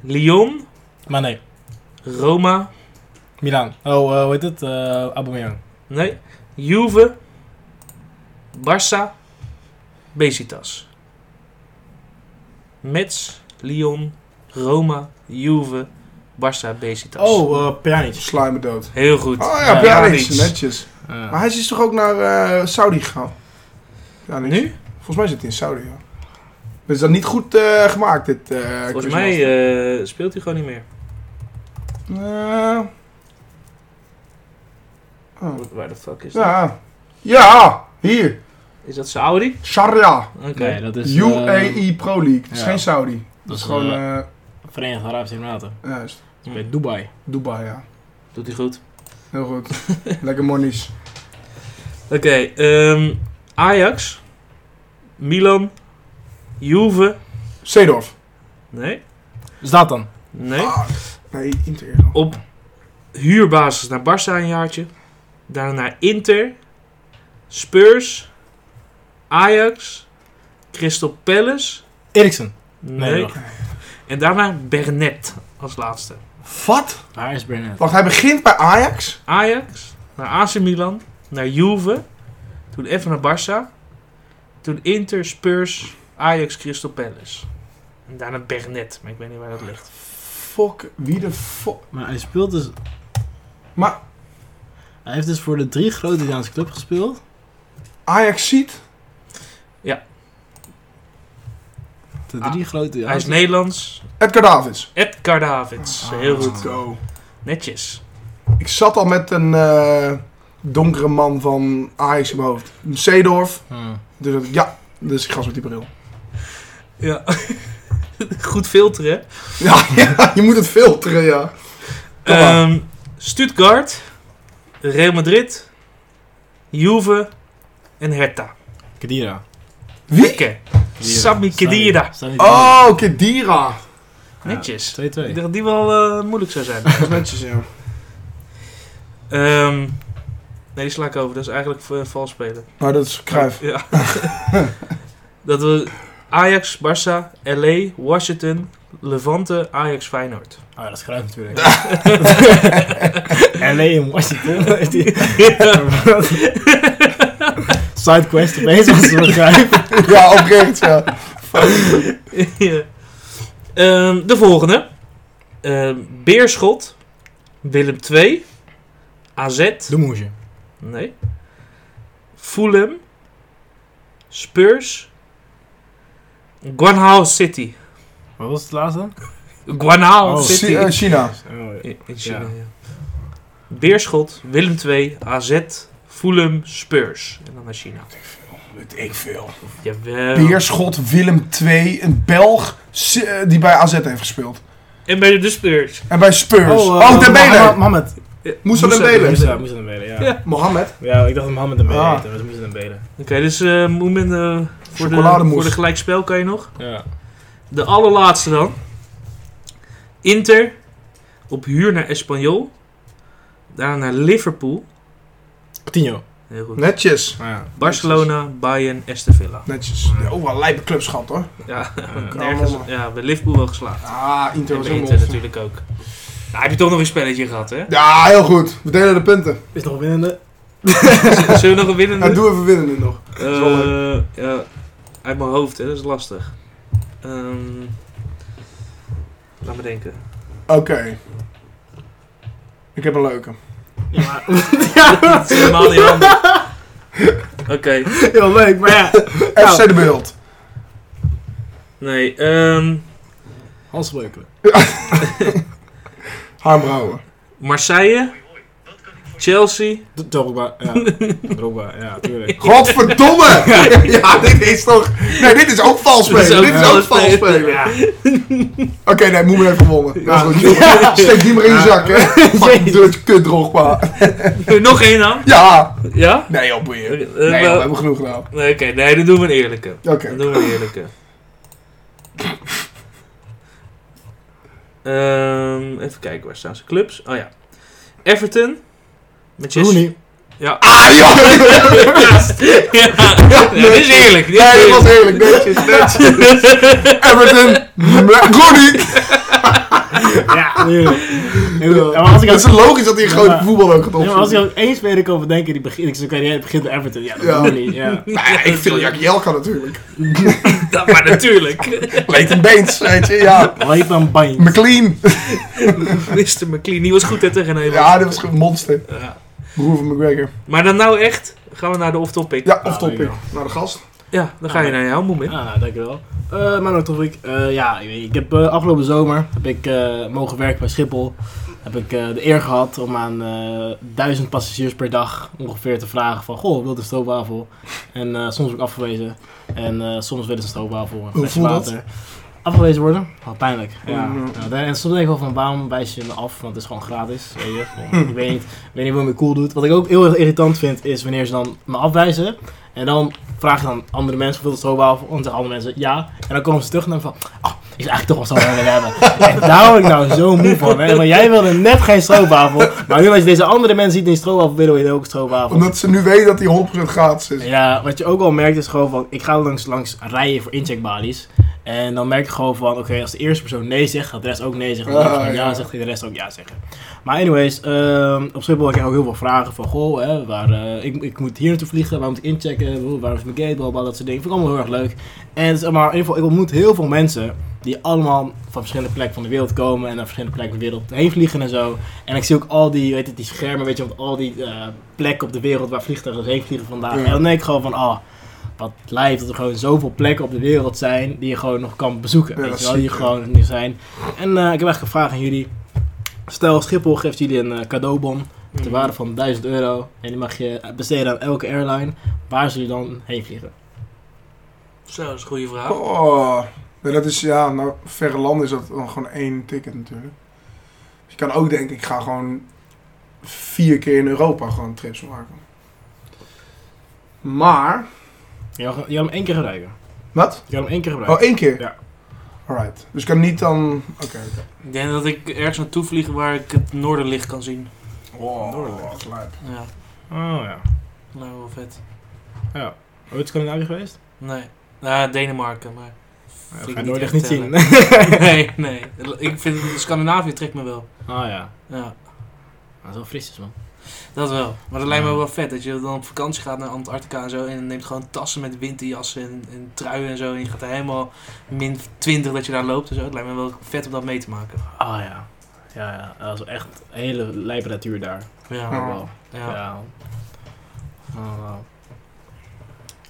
Speaker 1: Lyon,
Speaker 3: Maar nee,
Speaker 1: Roma,
Speaker 3: Milan. Oh, eh, hoe heet het? Eh Aubameyang.
Speaker 1: Nee. Juve, Barça, Besiktas. Metz, Lyon, Roma, Juve, Barça, Besiktas.
Speaker 3: Oh, eh Pjanic.
Speaker 2: Slijmen dood.
Speaker 1: Heel goed.
Speaker 2: Oh ja,
Speaker 3: Ja,
Speaker 2: Pjanic.
Speaker 1: Pjanic.
Speaker 2: Netjes.
Speaker 3: Eh,
Speaker 2: Maar hij is dus toch ook naar eh Saudi gegaan? Ja,
Speaker 1: Nu?
Speaker 2: Volgens mij zit hij in Saudi, ja. Dus dat niet goed eh, gemaakt, dit eh
Speaker 1: Volgens
Speaker 2: Christmas.
Speaker 1: mij eh, speelt hij gewoon niet meer.
Speaker 2: Eh, oh,
Speaker 1: Waar de fuck is dat?
Speaker 2: Ja. Ja, hier.
Speaker 1: Is dat Saudi?
Speaker 2: Sharia.
Speaker 1: Oké.
Speaker 3: Nee, dat is... eh,
Speaker 2: UAE Pro League. Het is
Speaker 3: ja.
Speaker 2: geen Saudi.
Speaker 3: Dat is Hmm.
Speaker 2: Gewoon,
Speaker 3: gewoon
Speaker 2: eh
Speaker 3: Verenigde Arabische Emiraten.
Speaker 2: juist.
Speaker 1: Hm.
Speaker 3: Bij Dubai.
Speaker 2: Dubai, ja.
Speaker 1: Doet hij goed.
Speaker 2: Heel goed. Lekker monies.
Speaker 1: Hm. Oké, ehm, Ajax, Milan, Juve.
Speaker 2: Seedorf.
Speaker 1: Nee,
Speaker 3: Is dat dan?
Speaker 1: nee.
Speaker 2: Ah, nee, Inter. dan.
Speaker 1: Op huurbasis naar Barça een jaartje. Daarna naar Inter, Spurs, Ajax, Crystal Palace.
Speaker 3: Eriksen.
Speaker 1: Nee.
Speaker 3: Nee, wacht.
Speaker 1: en daarna Bernet als laatste.
Speaker 2: Wat?
Speaker 3: Waar is Burnett?
Speaker 2: Wacht, hij begint bij Ajax.
Speaker 1: Ajax, naar AC Milan, naar Juve. Toen even naar Barça. Toen Inter, Spurs, Ajax, Crystal Palace. En daarna Bernet, maar ik weet niet waar dat ligt.
Speaker 2: Fuck, wie de fuck.
Speaker 3: Maar hij speelt dus...
Speaker 2: Maar
Speaker 3: Hij heeft dus voor de drie grote Italiaanse club gespeeld.
Speaker 2: Ajax ziet.
Speaker 3: De drie grote
Speaker 1: Hij is
Speaker 3: Italiaanse...
Speaker 1: Nederlands.
Speaker 2: Edgar Davids.
Speaker 1: Edgar Davids. Heel
Speaker 2: Let's
Speaker 1: goed.
Speaker 2: go.
Speaker 1: Netjes.
Speaker 2: Ik zat al met een eh, donkere man van Ajax in mijn hoofd. Een Seedorf.
Speaker 3: Hmm.
Speaker 2: Dus dat- ja, dus ik gast met die bril.
Speaker 1: Ja. goed filteren. hè?
Speaker 2: Ja, ja, je moet het filteren, ja. Kom maar.
Speaker 1: Ehm, Stuttgart. Real Madrid. Juve. En Hertha.
Speaker 3: Kedira.
Speaker 2: Wie?
Speaker 1: Oké. Sami Khedira.
Speaker 3: Sami Khedira.
Speaker 2: Oh, Kedira.
Speaker 1: Netjes.
Speaker 3: 2-2.
Speaker 1: Ik dacht dat die wel eh, moeilijk zou zijn.
Speaker 2: Dat is netjes, ja.
Speaker 1: Ehm, nee, die sla ik over. Dat is eigenlijk eh, vals spelen.
Speaker 2: Maar dat is Cruijff.
Speaker 1: Ja. dat we Ajax, Barça, LA, Washington, Levante, Ajax, Feyenoord.
Speaker 3: Ah, dat is Cruijff natuurlijk. LA in Washington. heeft hij- Sidequest opeens was het Cruijff.
Speaker 2: Ja, oprecht, ja.
Speaker 1: Ja. Ehm, de volgende. Ehm, Beerschot. Willem 2. AZ.
Speaker 3: De moesje.
Speaker 1: Nee. Fulham. Spurs. Guangzhou City.
Speaker 3: Wat was het laatste?
Speaker 1: Guangzhou
Speaker 3: Oh,
Speaker 1: City.
Speaker 2: Chi- eh, China.
Speaker 1: In- in China, ja. Beerschot. Willem 2. AZ. Fulham. Spurs. En dan naar China.
Speaker 2: Weet ik veel.
Speaker 1: Jawel.
Speaker 2: Beerschot Willem II, een Belg s- eh, die bij AZ heeft gespeeld.
Speaker 1: En bij de Spurs.
Speaker 2: En bij Spurs. Oh,
Speaker 3: eh,
Speaker 2: Dembele.
Speaker 3: Mohamed- Mohamed.
Speaker 2: Moussa
Speaker 1: Moussa
Speaker 2: Dembele.
Speaker 1: Dembele.
Speaker 3: Moest een Belen, ja.
Speaker 1: Ja.
Speaker 2: Mohamed.
Speaker 3: Ja, ik dacht dat Mohamed een Belen
Speaker 2: Ah.
Speaker 3: heette, maar het moest een Belen.
Speaker 1: Oké, dus eh moment eh, voor, de,
Speaker 2: Chocolademousse.
Speaker 1: voor de gelijkspel kan je nog.
Speaker 3: Ja.
Speaker 1: De allerlaatste dan. Inter op huur naar Espanyol. Daarna naar Liverpool.
Speaker 3: Coutinho.
Speaker 1: Heel goed.
Speaker 2: Netjes.
Speaker 3: Ah, ja.
Speaker 1: Barcelona, Bayern, Aston Villa.
Speaker 2: Netjes. Ja, Oh, wat een lijpe clubs gehad hoor.
Speaker 1: Ja,
Speaker 3: Ah,
Speaker 2: Kom
Speaker 1: nergens,
Speaker 2: op.
Speaker 1: ja, bij Liverpool wel geslaagd.
Speaker 2: Ah, Inter
Speaker 1: En
Speaker 2: was
Speaker 1: bij
Speaker 2: helemaal
Speaker 1: Inter
Speaker 2: op.
Speaker 1: natuurlijk ook. Nou, heb je toch nog een spelletje gehad, hè?
Speaker 2: Ja, heel goed. We delen de punten.
Speaker 3: Is nog winnende.
Speaker 1: Z- Zullen we nog een
Speaker 2: Ja,
Speaker 1: winnende?
Speaker 2: doe even winnen nu nog. is wel
Speaker 1: Eh, ja, uit mijn hoofd, hè. Dat is lastig. Ehm, laat me denken.
Speaker 2: Oké. Ik heb een leuke.
Speaker 3: Ja, maar...
Speaker 1: Dat is helemaal niet handig. Oké.
Speaker 3: Heel leuk, maar ja.
Speaker 1: Nou.
Speaker 2: FC De Beeld.
Speaker 1: Nee, ehm
Speaker 3: Hans Breukelen.
Speaker 2: Harm Brouwer.
Speaker 1: Marseille, Chelsea,
Speaker 3: Drogba, ja. Drogba, ja, tuurlijk.
Speaker 2: Godverdomme! Ja, dit is toch... Nee, dit is ook vals
Speaker 1: Dit is
Speaker 2: spelen.
Speaker 1: ook
Speaker 2: Dit is ook
Speaker 1: vals
Speaker 2: vals
Speaker 1: spelen.
Speaker 2: spelen. Oké, nee, moet me even gewonnen. Nou, goed. Steek die maar in je zak, hè. Fucking Dutch kut drogba.
Speaker 1: nog één dan?
Speaker 2: Ja!
Speaker 1: Ja?
Speaker 2: Nee, joh, boeien.
Speaker 1: Eh, eh,
Speaker 2: Nee, joh, we
Speaker 1: wel-
Speaker 2: hebben genoeg gedaan.
Speaker 1: Nee, Oké, nee, dan doen we een eerlijke.
Speaker 2: Oké.
Speaker 1: Dan doen we een eerlijke. Ehm, even kijken, waar staan ze? Clubs? Oh ja. Everton. Manchester.
Speaker 3: Rooney.
Speaker 1: Ja.
Speaker 2: Ah, ja!
Speaker 1: ja. Nee, dit is eerlijk. Dit is
Speaker 2: Nee, dat was
Speaker 1: eerlijk.
Speaker 2: eerlijk. Netjes, netjes. Everton. Rooney.
Speaker 3: Ja, tuurlijk. Ik bedoel,
Speaker 2: Ja,
Speaker 3: maar als ik
Speaker 2: Het is
Speaker 3: ook-
Speaker 2: logisch dat hij een
Speaker 3: Ja,
Speaker 2: groot
Speaker 3: maar-
Speaker 2: voetbal ook gaat
Speaker 3: Ja, maar als ik
Speaker 2: opzoeken.
Speaker 3: ook één speler kan bedenken die begint, ik zeg, oké, die begint bij Everton. Ja, dat
Speaker 2: Ja.
Speaker 3: doen we niet. Ja.
Speaker 2: Nou ja, ik viel Jack Jelka natuurlijk.
Speaker 1: Ja, maar natuurlijk.
Speaker 2: Leighton Baines, weet je, ja.
Speaker 3: Leip aan Bain.
Speaker 2: McLean.
Speaker 1: Mr. McLean, die was goed hè, tegen Nederland.
Speaker 2: Ja, dat was een monster.
Speaker 1: Ja.
Speaker 2: Broer van McGregor.
Speaker 1: Maar dan nou echt, gaan we naar de off-topic.
Speaker 2: Ja,
Speaker 3: Ah,
Speaker 2: off topic.
Speaker 3: ja.
Speaker 2: Naar de gast.
Speaker 1: Ja, dan ga je
Speaker 3: Ah.
Speaker 1: naar je helmond in.
Speaker 3: Ja, nou, dankjewel. Eh mijn ik. eh, ja, ik, weet- ik heb eh, afgelopen zomer heb ik, eh, mogen werken bij Schiphol. Heb ik eh, de eer gehad om aan eh, duizend passagiers per dag ongeveer te vragen van... Goh, wilt u een stroopwafel? En eh, soms ook afgewezen. En eh, soms willen ze een stroopwafel. Een flesje
Speaker 2: voelt dat?
Speaker 3: water. Afgewezen worden? Oh, pijnlijk. Ja.
Speaker 2: Mm.
Speaker 3: Nou, daar- en soms denk ik wel van waarom wijs je me af? Want het is gewoon gratis. Weet je? Gewoon, ik weet niet, ik weet niet hoe je me cool doet. Wat ik ook heel erg irritant vind is wanneer ze dan me afwijzen. En dan vraag je dan andere mensen hoeveel stroopwafel. En dan zeggen andere mensen ja. En dan komen ze terug en dan van, oh, is eigenlijk toch wel stroopwafel willen hebben. En daar word ik nou zo moe van. Hè? Want jij wilde net geen stroopwafel. Maar nu als je deze andere mensen ziet die een stroopwafel willen, wil je ook een stroopwafel.
Speaker 2: Omdat ze nu weten dat die 100% gratis is.
Speaker 3: Ja, wat je ook al merkt is gewoon van, ik ga langs, langs rijen voor incheckbalies. En dan merk ik gewoon van, oké, als de eerste persoon nee zegt, gaat de rest ook nee zeggen. Als de
Speaker 2: Ah,
Speaker 3: persoon ja,
Speaker 2: ja.
Speaker 3: zegt, gaat de rest ook ja zeggen. Maar anyways, ehm, op Schiphol krijg ik ook heel veel vragen van, goh, hè, waar, eh, ik, ik moet hier naartoe vliegen, waar moet ik inchecken, waar is mijn gate, blablabla, dat soort dingen. Vind ik allemaal heel erg leuk. En het is allemaal, in ieder geval, ik ontmoet heel veel mensen die allemaal van verschillende plekken van de wereld komen en naar verschillende plekken van de wereld heen vliegen en zo. En ik zie ook al die, weet het, die schermen, weet je, op al die eh, plekken op de wereld waar vliegtuigen dus heen vliegen vandaag.
Speaker 2: Ja.
Speaker 3: En dan denk ik gewoon van, ah, wat lijf dat er gewoon zoveel plekken op de wereld zijn die je gewoon nog kan bezoeken.
Speaker 2: Ja,
Speaker 3: weet
Speaker 2: dat
Speaker 3: je
Speaker 2: is
Speaker 3: wel, die je
Speaker 2: ziek,
Speaker 3: gewoon niet zijn. En eh, ik heb echt gevraagd aan jullie, stel Schiphol geeft jullie een eh, cadeaubon
Speaker 2: Mhm.
Speaker 3: ter waarde van 1000 euro en die mag je eh, besteden aan elke airline, waar zullen jullie dan heen vliegen?
Speaker 1: Zo, dat is een goede vraag.
Speaker 2: Oh, nee, dat is ja, nou, verre landen is dat dan gewoon één ticket natuurlijk. Dus je kan ook denken, ik ga gewoon vier keer in Europa gewoon trips maken. Maar,
Speaker 3: Je mag, je mag hem één keer gebruiken.
Speaker 2: wat?
Speaker 3: Je kan hem één keer gebruiken.
Speaker 2: Oh, één keer?
Speaker 3: Ja.
Speaker 2: Alright. Dus ik kan niet dan. Oké, oké.
Speaker 1: Ik denk dat ik ergens naartoe vlieg waar ik het noorderlicht kan zien.
Speaker 2: Oh, wat lijp.
Speaker 1: Ja,
Speaker 3: Oh ja.
Speaker 1: nou wel vet.
Speaker 3: Ooit Scandinavië geweest?
Speaker 1: Nee, nou, Denemarken, maar...
Speaker 3: Dat
Speaker 1: vind
Speaker 3: ga
Speaker 1: ik
Speaker 3: je nooit echt niet zien.
Speaker 1: tellen. nee, nee. Ik vind Scandinavië trekt me wel.
Speaker 3: Oh ja.
Speaker 1: Ja,
Speaker 3: Dat is wel frisjes man.
Speaker 1: dat wel. Maar dat lijkt me wel vet dat je dan op vakantie gaat naar Antarctica en zo en neemt gewoon tassen met winterjassen en, en truien en zo en je gaat er helemaal min 20 dat je daar loopt en zo. Het lijkt me wel vet om dat mee te maken.
Speaker 3: Oh ja. Ja, ja. Dat is echt een hele lijpe natuur daar.
Speaker 1: Ja,
Speaker 2: Ja.
Speaker 3: Wow. Ja.
Speaker 1: Ah, ja.
Speaker 3: Oh, wow.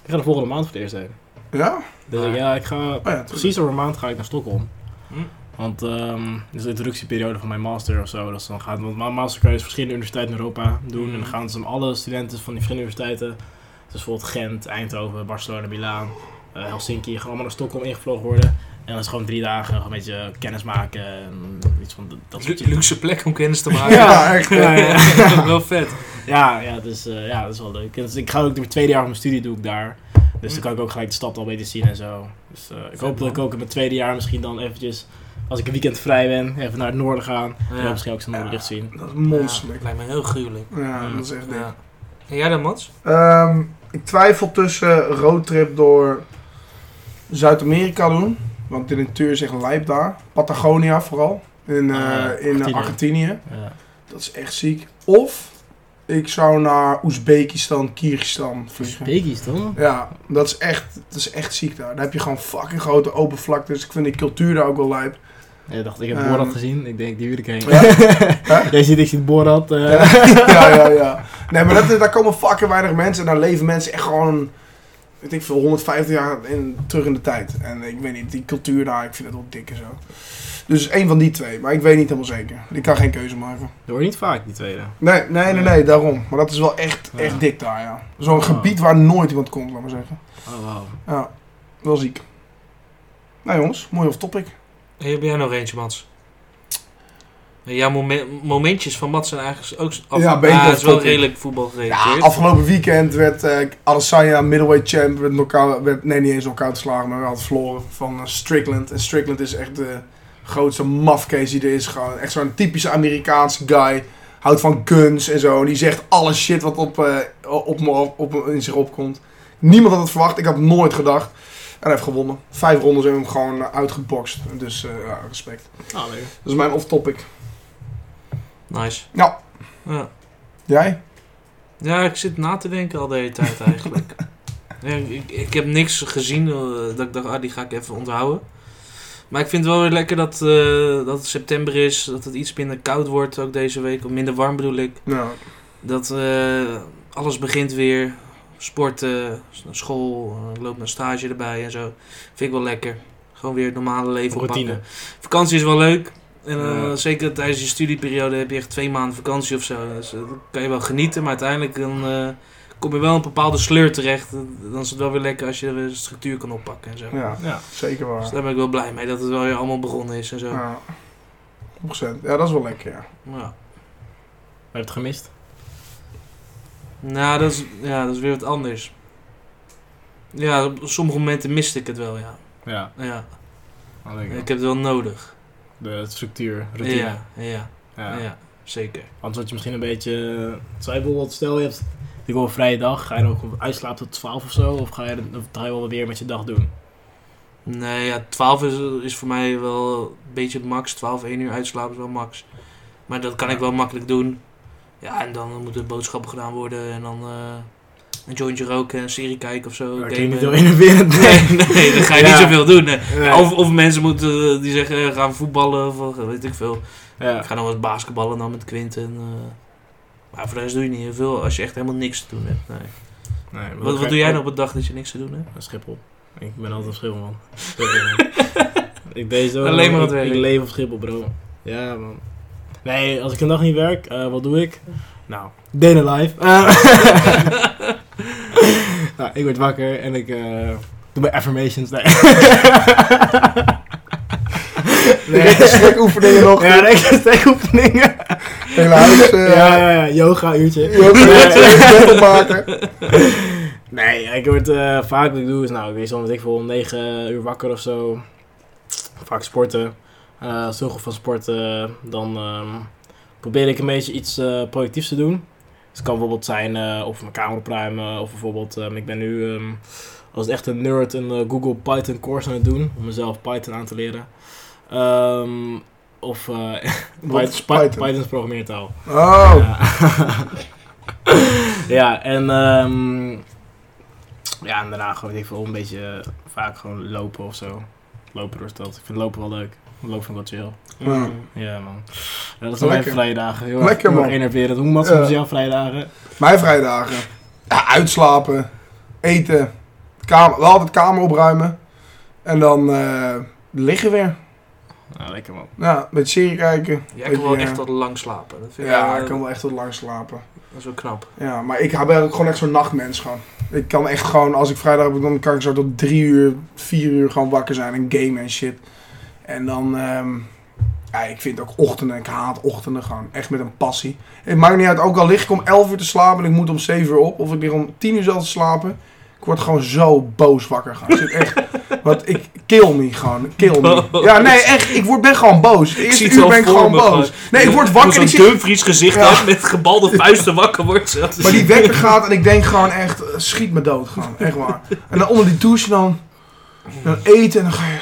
Speaker 3: Ik ga de volgende maand voor het eerst heen.
Speaker 2: Ja?
Speaker 3: Dus
Speaker 1: Maar-
Speaker 3: ik- ja, ik ga...
Speaker 2: Oh ja, precies.
Speaker 3: Precies over een maand ga ik naar Stockholm.
Speaker 1: Hm.
Speaker 3: Want ehm dit is de introductieperiode van mijn master of zo. Dat ze dan gaan, want mijn master kan je dus verschillende universiteiten in Europa doen. En dan
Speaker 1: Hm.
Speaker 3: gaan ze hem alle studenten van die verschillende universiteiten. Dus bijvoorbeeld Gent, Eindhoven, Barcelona, Milaan, eh, Helsinki. Gaan allemaal naar Stockholm ingevlogen worden. En dat is gewoon drie dagen gewoon een beetje kennis maken. En iets van dat- dat soort
Speaker 1: Lu- luxe plek om kennis te maken.
Speaker 2: Ja, echt.
Speaker 1: Ja, eh,
Speaker 3: ja.
Speaker 1: wel vet.
Speaker 3: Ja, ja, dus, eh, ja, dat is wel leuk. Dus ik ga ook mijn tweede jaar van mijn studie doe ik daar. Dus dan kan ik ook gelijk de stad al beter zien en zo. Dus eh, ik hoop dat ik ook in mijn tweede jaar misschien dan eventjes, als ik een weekend vrij ben, even naar het noorden gaan. En dan
Speaker 1: Ja.
Speaker 3: misschien ook zijn noorderlicht zien.
Speaker 2: Dat is
Speaker 1: Ja, het
Speaker 2: monsterlijk.
Speaker 1: lijkt me heel gruwelijk.
Speaker 2: Ja, dat is echt dik.
Speaker 1: Ja. En jij dan, Mats?
Speaker 2: Ehm, ik twijfel tussen roadtrip door Zuid-Amerika doen. Want de natuur is echt lijp daar. Patagonia vooral. In, eh, in
Speaker 3: Ah, Argentinië.
Speaker 2: eh, Argentinië.
Speaker 3: Ja.
Speaker 2: Dat is echt ziek. Of ik zou naar Oezbekistan, Kyrgyzstan vliegen.
Speaker 3: Bekies toch?
Speaker 2: Ja, dat is, echt, dat is echt ziek daar. Daar heb je gewoon fucking grote open vlaktes. Dus ik vind die cultuur daar ook wel lijp.
Speaker 3: Ja, ik dacht, ik heb
Speaker 2: Ehm.
Speaker 3: Borat gezien. Ik denk, die wil ik heen.
Speaker 2: Ja. Huh?
Speaker 3: Jij ziet, ik zie Borat. eh,
Speaker 2: ja, ja, ja. Nee, maar dat, daar komen fucking weinig mensen. En daar leven mensen echt gewoon, weet ik veel, 150 jaar in, terug in de tijd. En ik weet niet, die cultuur daar, ik vind het wel dik en zo. Dus één van die twee, maar ik weet niet helemaal zeker. Ik kan geen keuze maken.
Speaker 3: Dat hoor je niet vaak, die tweede.
Speaker 2: Nee, nee, nee, nee, daarom. Maar dat is wel echt,
Speaker 3: Ja.
Speaker 2: echt dik daar, ja. Zo'n
Speaker 3: Ja.
Speaker 2: gebied waar nooit iemand komt, laat maar zeggen.
Speaker 3: Oh, wauw.
Speaker 2: Ja, wel ziek. Nou jongens, mooi off-topic.
Speaker 1: Hey, heb jij nog eentje, Mats? Ja, momen- momentjes van Mats zijn eigenlijk ook... af-
Speaker 2: Ja, ben ik
Speaker 1: Ah,
Speaker 2: dat
Speaker 1: het is wel
Speaker 2: tot-
Speaker 1: redelijk voetbal gerelateerd.
Speaker 2: Ja, afgelopen weekend werd eh Adesanya middleweight champ, werd knockout, werd, nee niet eens knockout geslagen, maar had verloren van eh, Strickland. En Strickland is echt de grootste mafcase die er is. Gewoon echt zo'n typische Amerikaanse guy. Houdt van guns en zo. En die zegt alle shit wat op, eh, op me, op, op- in zich opkomt. Niemand had het verwacht. Ik had het nooit gedacht. En hij heeft gewonnen. Vijf rondes hebben we hem gewoon eh, uitgebokst. Dus eh, ja, respect.
Speaker 3: Ah, leuk.
Speaker 2: Dat is mijn off-topic.
Speaker 1: Nice.
Speaker 2: Nou,
Speaker 1: Ja.
Speaker 2: jij?
Speaker 1: ja, ik zit na te denken al de hele tijd eigenlijk. Ja, ik, ik heb niks gezien eh, dat ik dacht, ah, die ga ik even onthouden. Maar ik vind het wel weer lekker dat, eh, dat het september is. Dat het iets minder koud wordt ook deze week. Of minder warm bedoel ik.
Speaker 2: Nou,
Speaker 1: Dat eh, alles begint weer. sporten, s- naar school, eh, loop naar stage erbij en zo. Vind ik wel lekker. Gewoon weer het normale leven
Speaker 3: Routine.
Speaker 1: oppakken. Vakantie is wel leuk. En eh,
Speaker 3: Ja.
Speaker 1: zeker tijdens je studieperiode heb je echt twee maanden vakantie of zo. Dus eh, dan kan je wel genieten, maar uiteindelijk dan, eh, kom je wel in een bepaalde sleur terecht. Dan is het wel weer lekker als je de structuur kan oppakken en zo.
Speaker 2: Ja,
Speaker 3: Ja.
Speaker 2: zeker
Speaker 1: Dus
Speaker 2: waar.
Speaker 1: daar ben ik wel blij mee dat het wel weer allemaal begonnen is en zo.
Speaker 2: Ja. 100%. Ja, dat is wel lekker, ja.
Speaker 1: Ja.
Speaker 3: Heb je het gemist?
Speaker 1: Nou, dat is, ja, dat is weer wat anders. Ja, op sommige momenten miste ik het wel, ja.
Speaker 3: Ja,
Speaker 1: ja.
Speaker 3: wel lekker.
Speaker 1: Ik heb het wel nodig.
Speaker 3: De structuur, routine.
Speaker 1: Ja, ja,
Speaker 3: Ja.
Speaker 1: ja, zeker.
Speaker 3: Anders word je misschien een beetje... eh, Zou je bijvoorbeeld, stel je hebt ik wil een vrije dag, ga je dan ook uitslapen tot 12 of zo? Of ga je, dan- of ga je wel weer met je dag doen?
Speaker 1: Nee, ja, 12 is, is voor mij wel een beetje het max. 12, 1 uur uitslapen is wel max. Maar dat kan ik wel makkelijk doen. Ja, en dan moeten boodschappen gedaan worden en dan eh, een jointje roken, een serie kijken of zo.
Speaker 3: Dat
Speaker 1: gamen.
Speaker 3: klinkt niet heel innoverend.
Speaker 1: Nee, nee, dan ga je
Speaker 3: Ja.
Speaker 1: niet zoveel doen. nee.
Speaker 3: Nee.
Speaker 1: Of, of mensen moeten eh, die zeggen eh, gaan voetballen of eh, weet ik veel.
Speaker 3: Ja.
Speaker 1: Ik ga dan wel eens basketballen dan met Quinten. eh. maar voor de rest doe je niet heel veel als je echt helemaal niks te doen hebt. Nee.
Speaker 3: Nee, maar
Speaker 1: Wat,
Speaker 3: dan
Speaker 1: wat
Speaker 3: ga
Speaker 1: doe
Speaker 3: je-
Speaker 1: jij nou op een dag dat je niks te doen hebt?
Speaker 3: Een Schiphol. Ik ben altijd op Schiphol, man. ik deed zo.
Speaker 1: Alleen maar
Speaker 3: ik,
Speaker 1: het werk.
Speaker 3: Ik leef op Schiphol, bro. Ja, man. Nee, als ik een dag niet werk, eh, wat doe ik? Nou, day in the life. Eh, nou, ik word wakker en ik eh, doe mijn affirmations. Nee.
Speaker 2: Nee, slecht oefeningen nog.
Speaker 3: Ja, nee, stekoefeningen.
Speaker 2: Helaas. eh,
Speaker 3: ja, ja, ja, yoga uurtje.
Speaker 2: Je hebt er twee punten maken.
Speaker 3: Nee, ik word eh, vaak wat ik doe is, nou, ik weet soms ik voor om 9 uur wakker of zo. Vaak sporten. Eh zoveel van sporten, dan ehm, probeer ik een beetje iets eh, productiefs te doen. Dus het kan bijvoorbeeld zijn eh, of mijn kamer opruimen, of bijvoorbeeld, ehm, ik ben nu ehm, als echt een nerd een eh, Google Python course aan het doen, om mezelf Python aan te leren. Ehm, of eh
Speaker 2: Wat is
Speaker 3: Python- Python?
Speaker 2: Python?
Speaker 3: Python is programmeertaal.
Speaker 2: Oh,
Speaker 3: Ja. ja, en ehm, ja, en daarna gewoon weet ik veel, een beetje eh, vaak gewoon lopen of zo. Lopen door de stad. Ik vind lopen wel leuk. Lopen vind ik wel
Speaker 2: Ja.
Speaker 3: chill. Ja, man. Ja, dat zijn mijn
Speaker 2: Lekker.
Speaker 3: vrijdagen. Heel erg-
Speaker 2: Lekker,
Speaker 3: heel
Speaker 2: man.
Speaker 3: erg enerverend. Hoe mat
Speaker 2: Ja.
Speaker 3: soms jouw vrijdagen?
Speaker 2: mijn vrijdagen. Ja, uitslapen, eten, kamer, wel altijd kamer opruimen. En dan eh, liggen weer.
Speaker 3: Nou, lekker man.
Speaker 2: Ja, een beetje serie kijken.
Speaker 1: Jij kan
Speaker 2: Beetje,
Speaker 1: wel
Speaker 2: eh,
Speaker 1: echt wat lang slapen. Dat vind
Speaker 2: Ja,
Speaker 1: ik,
Speaker 2: ik
Speaker 1: eh,
Speaker 2: kan wel echt wat lang slapen.
Speaker 1: Dat is wel knap.
Speaker 2: Ja, maar ik ben ook gewoon echt zo'n nachtmens gewoon. Ik kan echt gewoon, als ik vrijdag heb, dan kan ik zo tot drie uur, vier uur gewoon wakker zijn en gamen en shit. En dan, ehm, ja, ik vind ook ochtenden, ik haat ochtenden gewoon, echt met een passie. Het maakt niet uit, ook al lig ik om elf uur te slapen en ik moet om zeven uur op, of ik lig om tien uur zelf te slapen. Ik word gewoon zo boos wakker gaan. Ik zit echt, want ik, kill me gewoon, kill me.
Speaker 1: Boos.
Speaker 2: Ja, nee, echt, ik word, ben gewoon boos. De eerste
Speaker 1: zie het
Speaker 2: uur
Speaker 1: al
Speaker 2: ben ik
Speaker 1: voor
Speaker 2: gewoon
Speaker 1: me
Speaker 2: boos.
Speaker 1: gewoon.
Speaker 2: Nee, ik word wakker en ik
Speaker 1: Zo'n
Speaker 2: zit
Speaker 1: Dumfries gezicht
Speaker 2: Ja.
Speaker 1: had met gebalde vuisten wakker wordt. zelfs.
Speaker 2: Maar die wekker gaat en ik denk gewoon echt, eh, schiet me dood gewoon, echt waar. En dan onder die douche dan, dan eten en dan ga je...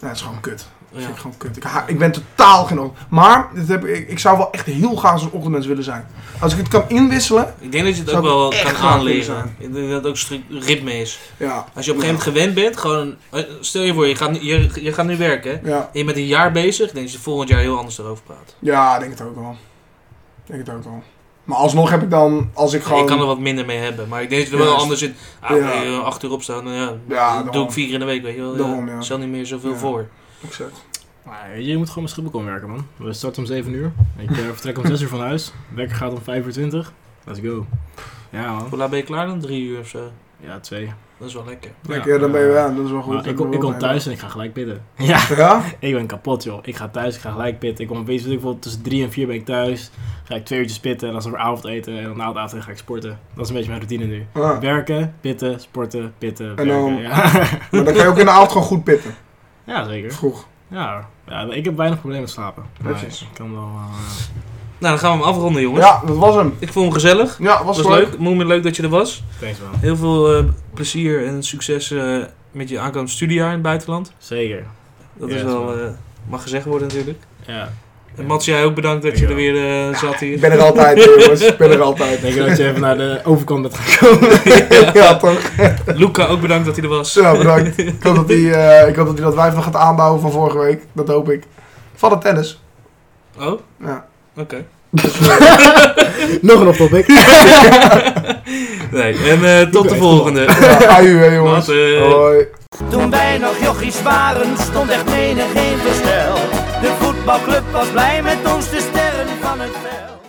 Speaker 2: Nee, het is gewoon kut. Dat
Speaker 1: Ja.
Speaker 2: vind ik gewoon kut. Ik, ha- ik ben totaal geen ochtend. Maar dit heb ik, ik zou wel echt heel graag zo'n ochtendmens willen zijn. Als ik het kan inwisselen,
Speaker 1: Ik denk dat je het
Speaker 2: Zou
Speaker 1: ook
Speaker 2: ik
Speaker 1: wel
Speaker 2: echt
Speaker 1: kan
Speaker 2: graag
Speaker 1: aanleren.
Speaker 2: willen
Speaker 1: Ik denk dat het ook stri- ritme is.
Speaker 2: ja.
Speaker 1: Als je op een gegeven moment gewend bent, gewoon... eh, Stel je voor, je gaat, nu- je, je gaat nu werken. hè.
Speaker 2: Ja,
Speaker 1: En je bent een jaar bezig, dan denk je volgend jaar heel anders erover praat.
Speaker 2: ja ik denk het ook wel. Ik denk het ook wel. Maar alsnog heb ik dan, als ik
Speaker 1: Ik kan er
Speaker 2: gewoon...
Speaker 1: wat minder mee hebben. Maar ik denk dat het wel
Speaker 2: Juist.
Speaker 1: anders zit. Ah,
Speaker 2: Ja.
Speaker 1: eh, acht uur opstaan, nou ja,
Speaker 2: Ja,
Speaker 1: dat doe
Speaker 2: daarom.
Speaker 1: ik vier keer in de week, weet je wel.
Speaker 2: Daarom, ja.
Speaker 1: Stel niet meer zoveel
Speaker 2: Ja.
Speaker 1: voor.
Speaker 3: Maar weet je, je moet gewoon met Schiphol komen werken, man. We starten om 7 uur. Ik eh, vertrek om 6 uur van huis. Wekker gaat om 5 uur 20. Let's go. Ja, man.
Speaker 1: Hoe laat ben je klaar dan? Drie uur of zo.
Speaker 3: Ja, eh, 2.
Speaker 1: Dat is wel lekker.
Speaker 2: Lekker, ja, dan ben je, ja, dat is wel goed.
Speaker 3: Maar Nou, ik, kom- ik kom thuis en ik ga gelijk bidden. Ja.
Speaker 2: Ja?
Speaker 3: Ik ben kapot, joh. Ik ga thuis, ik ga gelijk pitten. Ik kom weet je wat ik wil, tussen drie en vier ben ik thuis. Ga ik twee uurtjes pitten en dan is er avondeten. En dan na het avondeten ga ik sporten. Dat is een beetje mijn routine nu.
Speaker 2: Ja.
Speaker 3: Werken, pitten, sporten, pitten,
Speaker 2: En
Speaker 3: werken.
Speaker 2: dan-
Speaker 3: Ja.
Speaker 2: Maar dan kan je ook in de avond gewoon goed pitten.
Speaker 3: ja, zeker.
Speaker 2: Vroeg.
Speaker 3: Ja, ja, ik heb weinig problemen met slapen. Maar
Speaker 2: Netjes.
Speaker 3: Ik kan wel... eh,
Speaker 1: Nou, dan gaan we hem afronden, jongens.
Speaker 2: Ja, dat was hem.
Speaker 1: Ik vond hem gezellig.
Speaker 2: Ja, was,
Speaker 1: Was,
Speaker 2: leuk.
Speaker 1: leuk. Mooi leuk dat je er was.
Speaker 3: thanks man.
Speaker 1: Heel veel eh, plezier en succes eh, met je aankomend studiejaar in het buitenland.
Speaker 3: Zeker.
Speaker 1: Dat
Speaker 3: Ja,
Speaker 1: is
Speaker 3: dat is
Speaker 1: wel,
Speaker 3: waar.
Speaker 1: eh, mag gezegd worden natuurlijk.
Speaker 3: Ja.
Speaker 1: En Mats, jij ook bedankt dat je er weer
Speaker 3: Dankjewel.
Speaker 1: eh, zat hier.
Speaker 2: Ik ben er altijd, eh, jongens. Ik ben er altijd.
Speaker 3: Denk je dat je even naar de overkant bent gekomen?
Speaker 2: Ja, toch?
Speaker 1: Luca, ook bedankt dat hij er was.
Speaker 2: Zo, bedankt. Ik hoop dat hij eh, ik hoop dat, hij dat wijf nog gaat aanbouwen van vorige week. Dat hoop ik. Van de tennis.
Speaker 1: Oh, oké.
Speaker 2: Ja.
Speaker 3: Nog een off-topic.
Speaker 1: Nee, en eh, tot de
Speaker 2: weet
Speaker 1: volgende. eh,
Speaker 2: Ai, hè, jongens.
Speaker 1: Later.
Speaker 2: Hoi.
Speaker 8: Toen wij nog jochies waren, stond echt menig geen verstel. De voetbalclub was blij met ons, de sterren van het veld.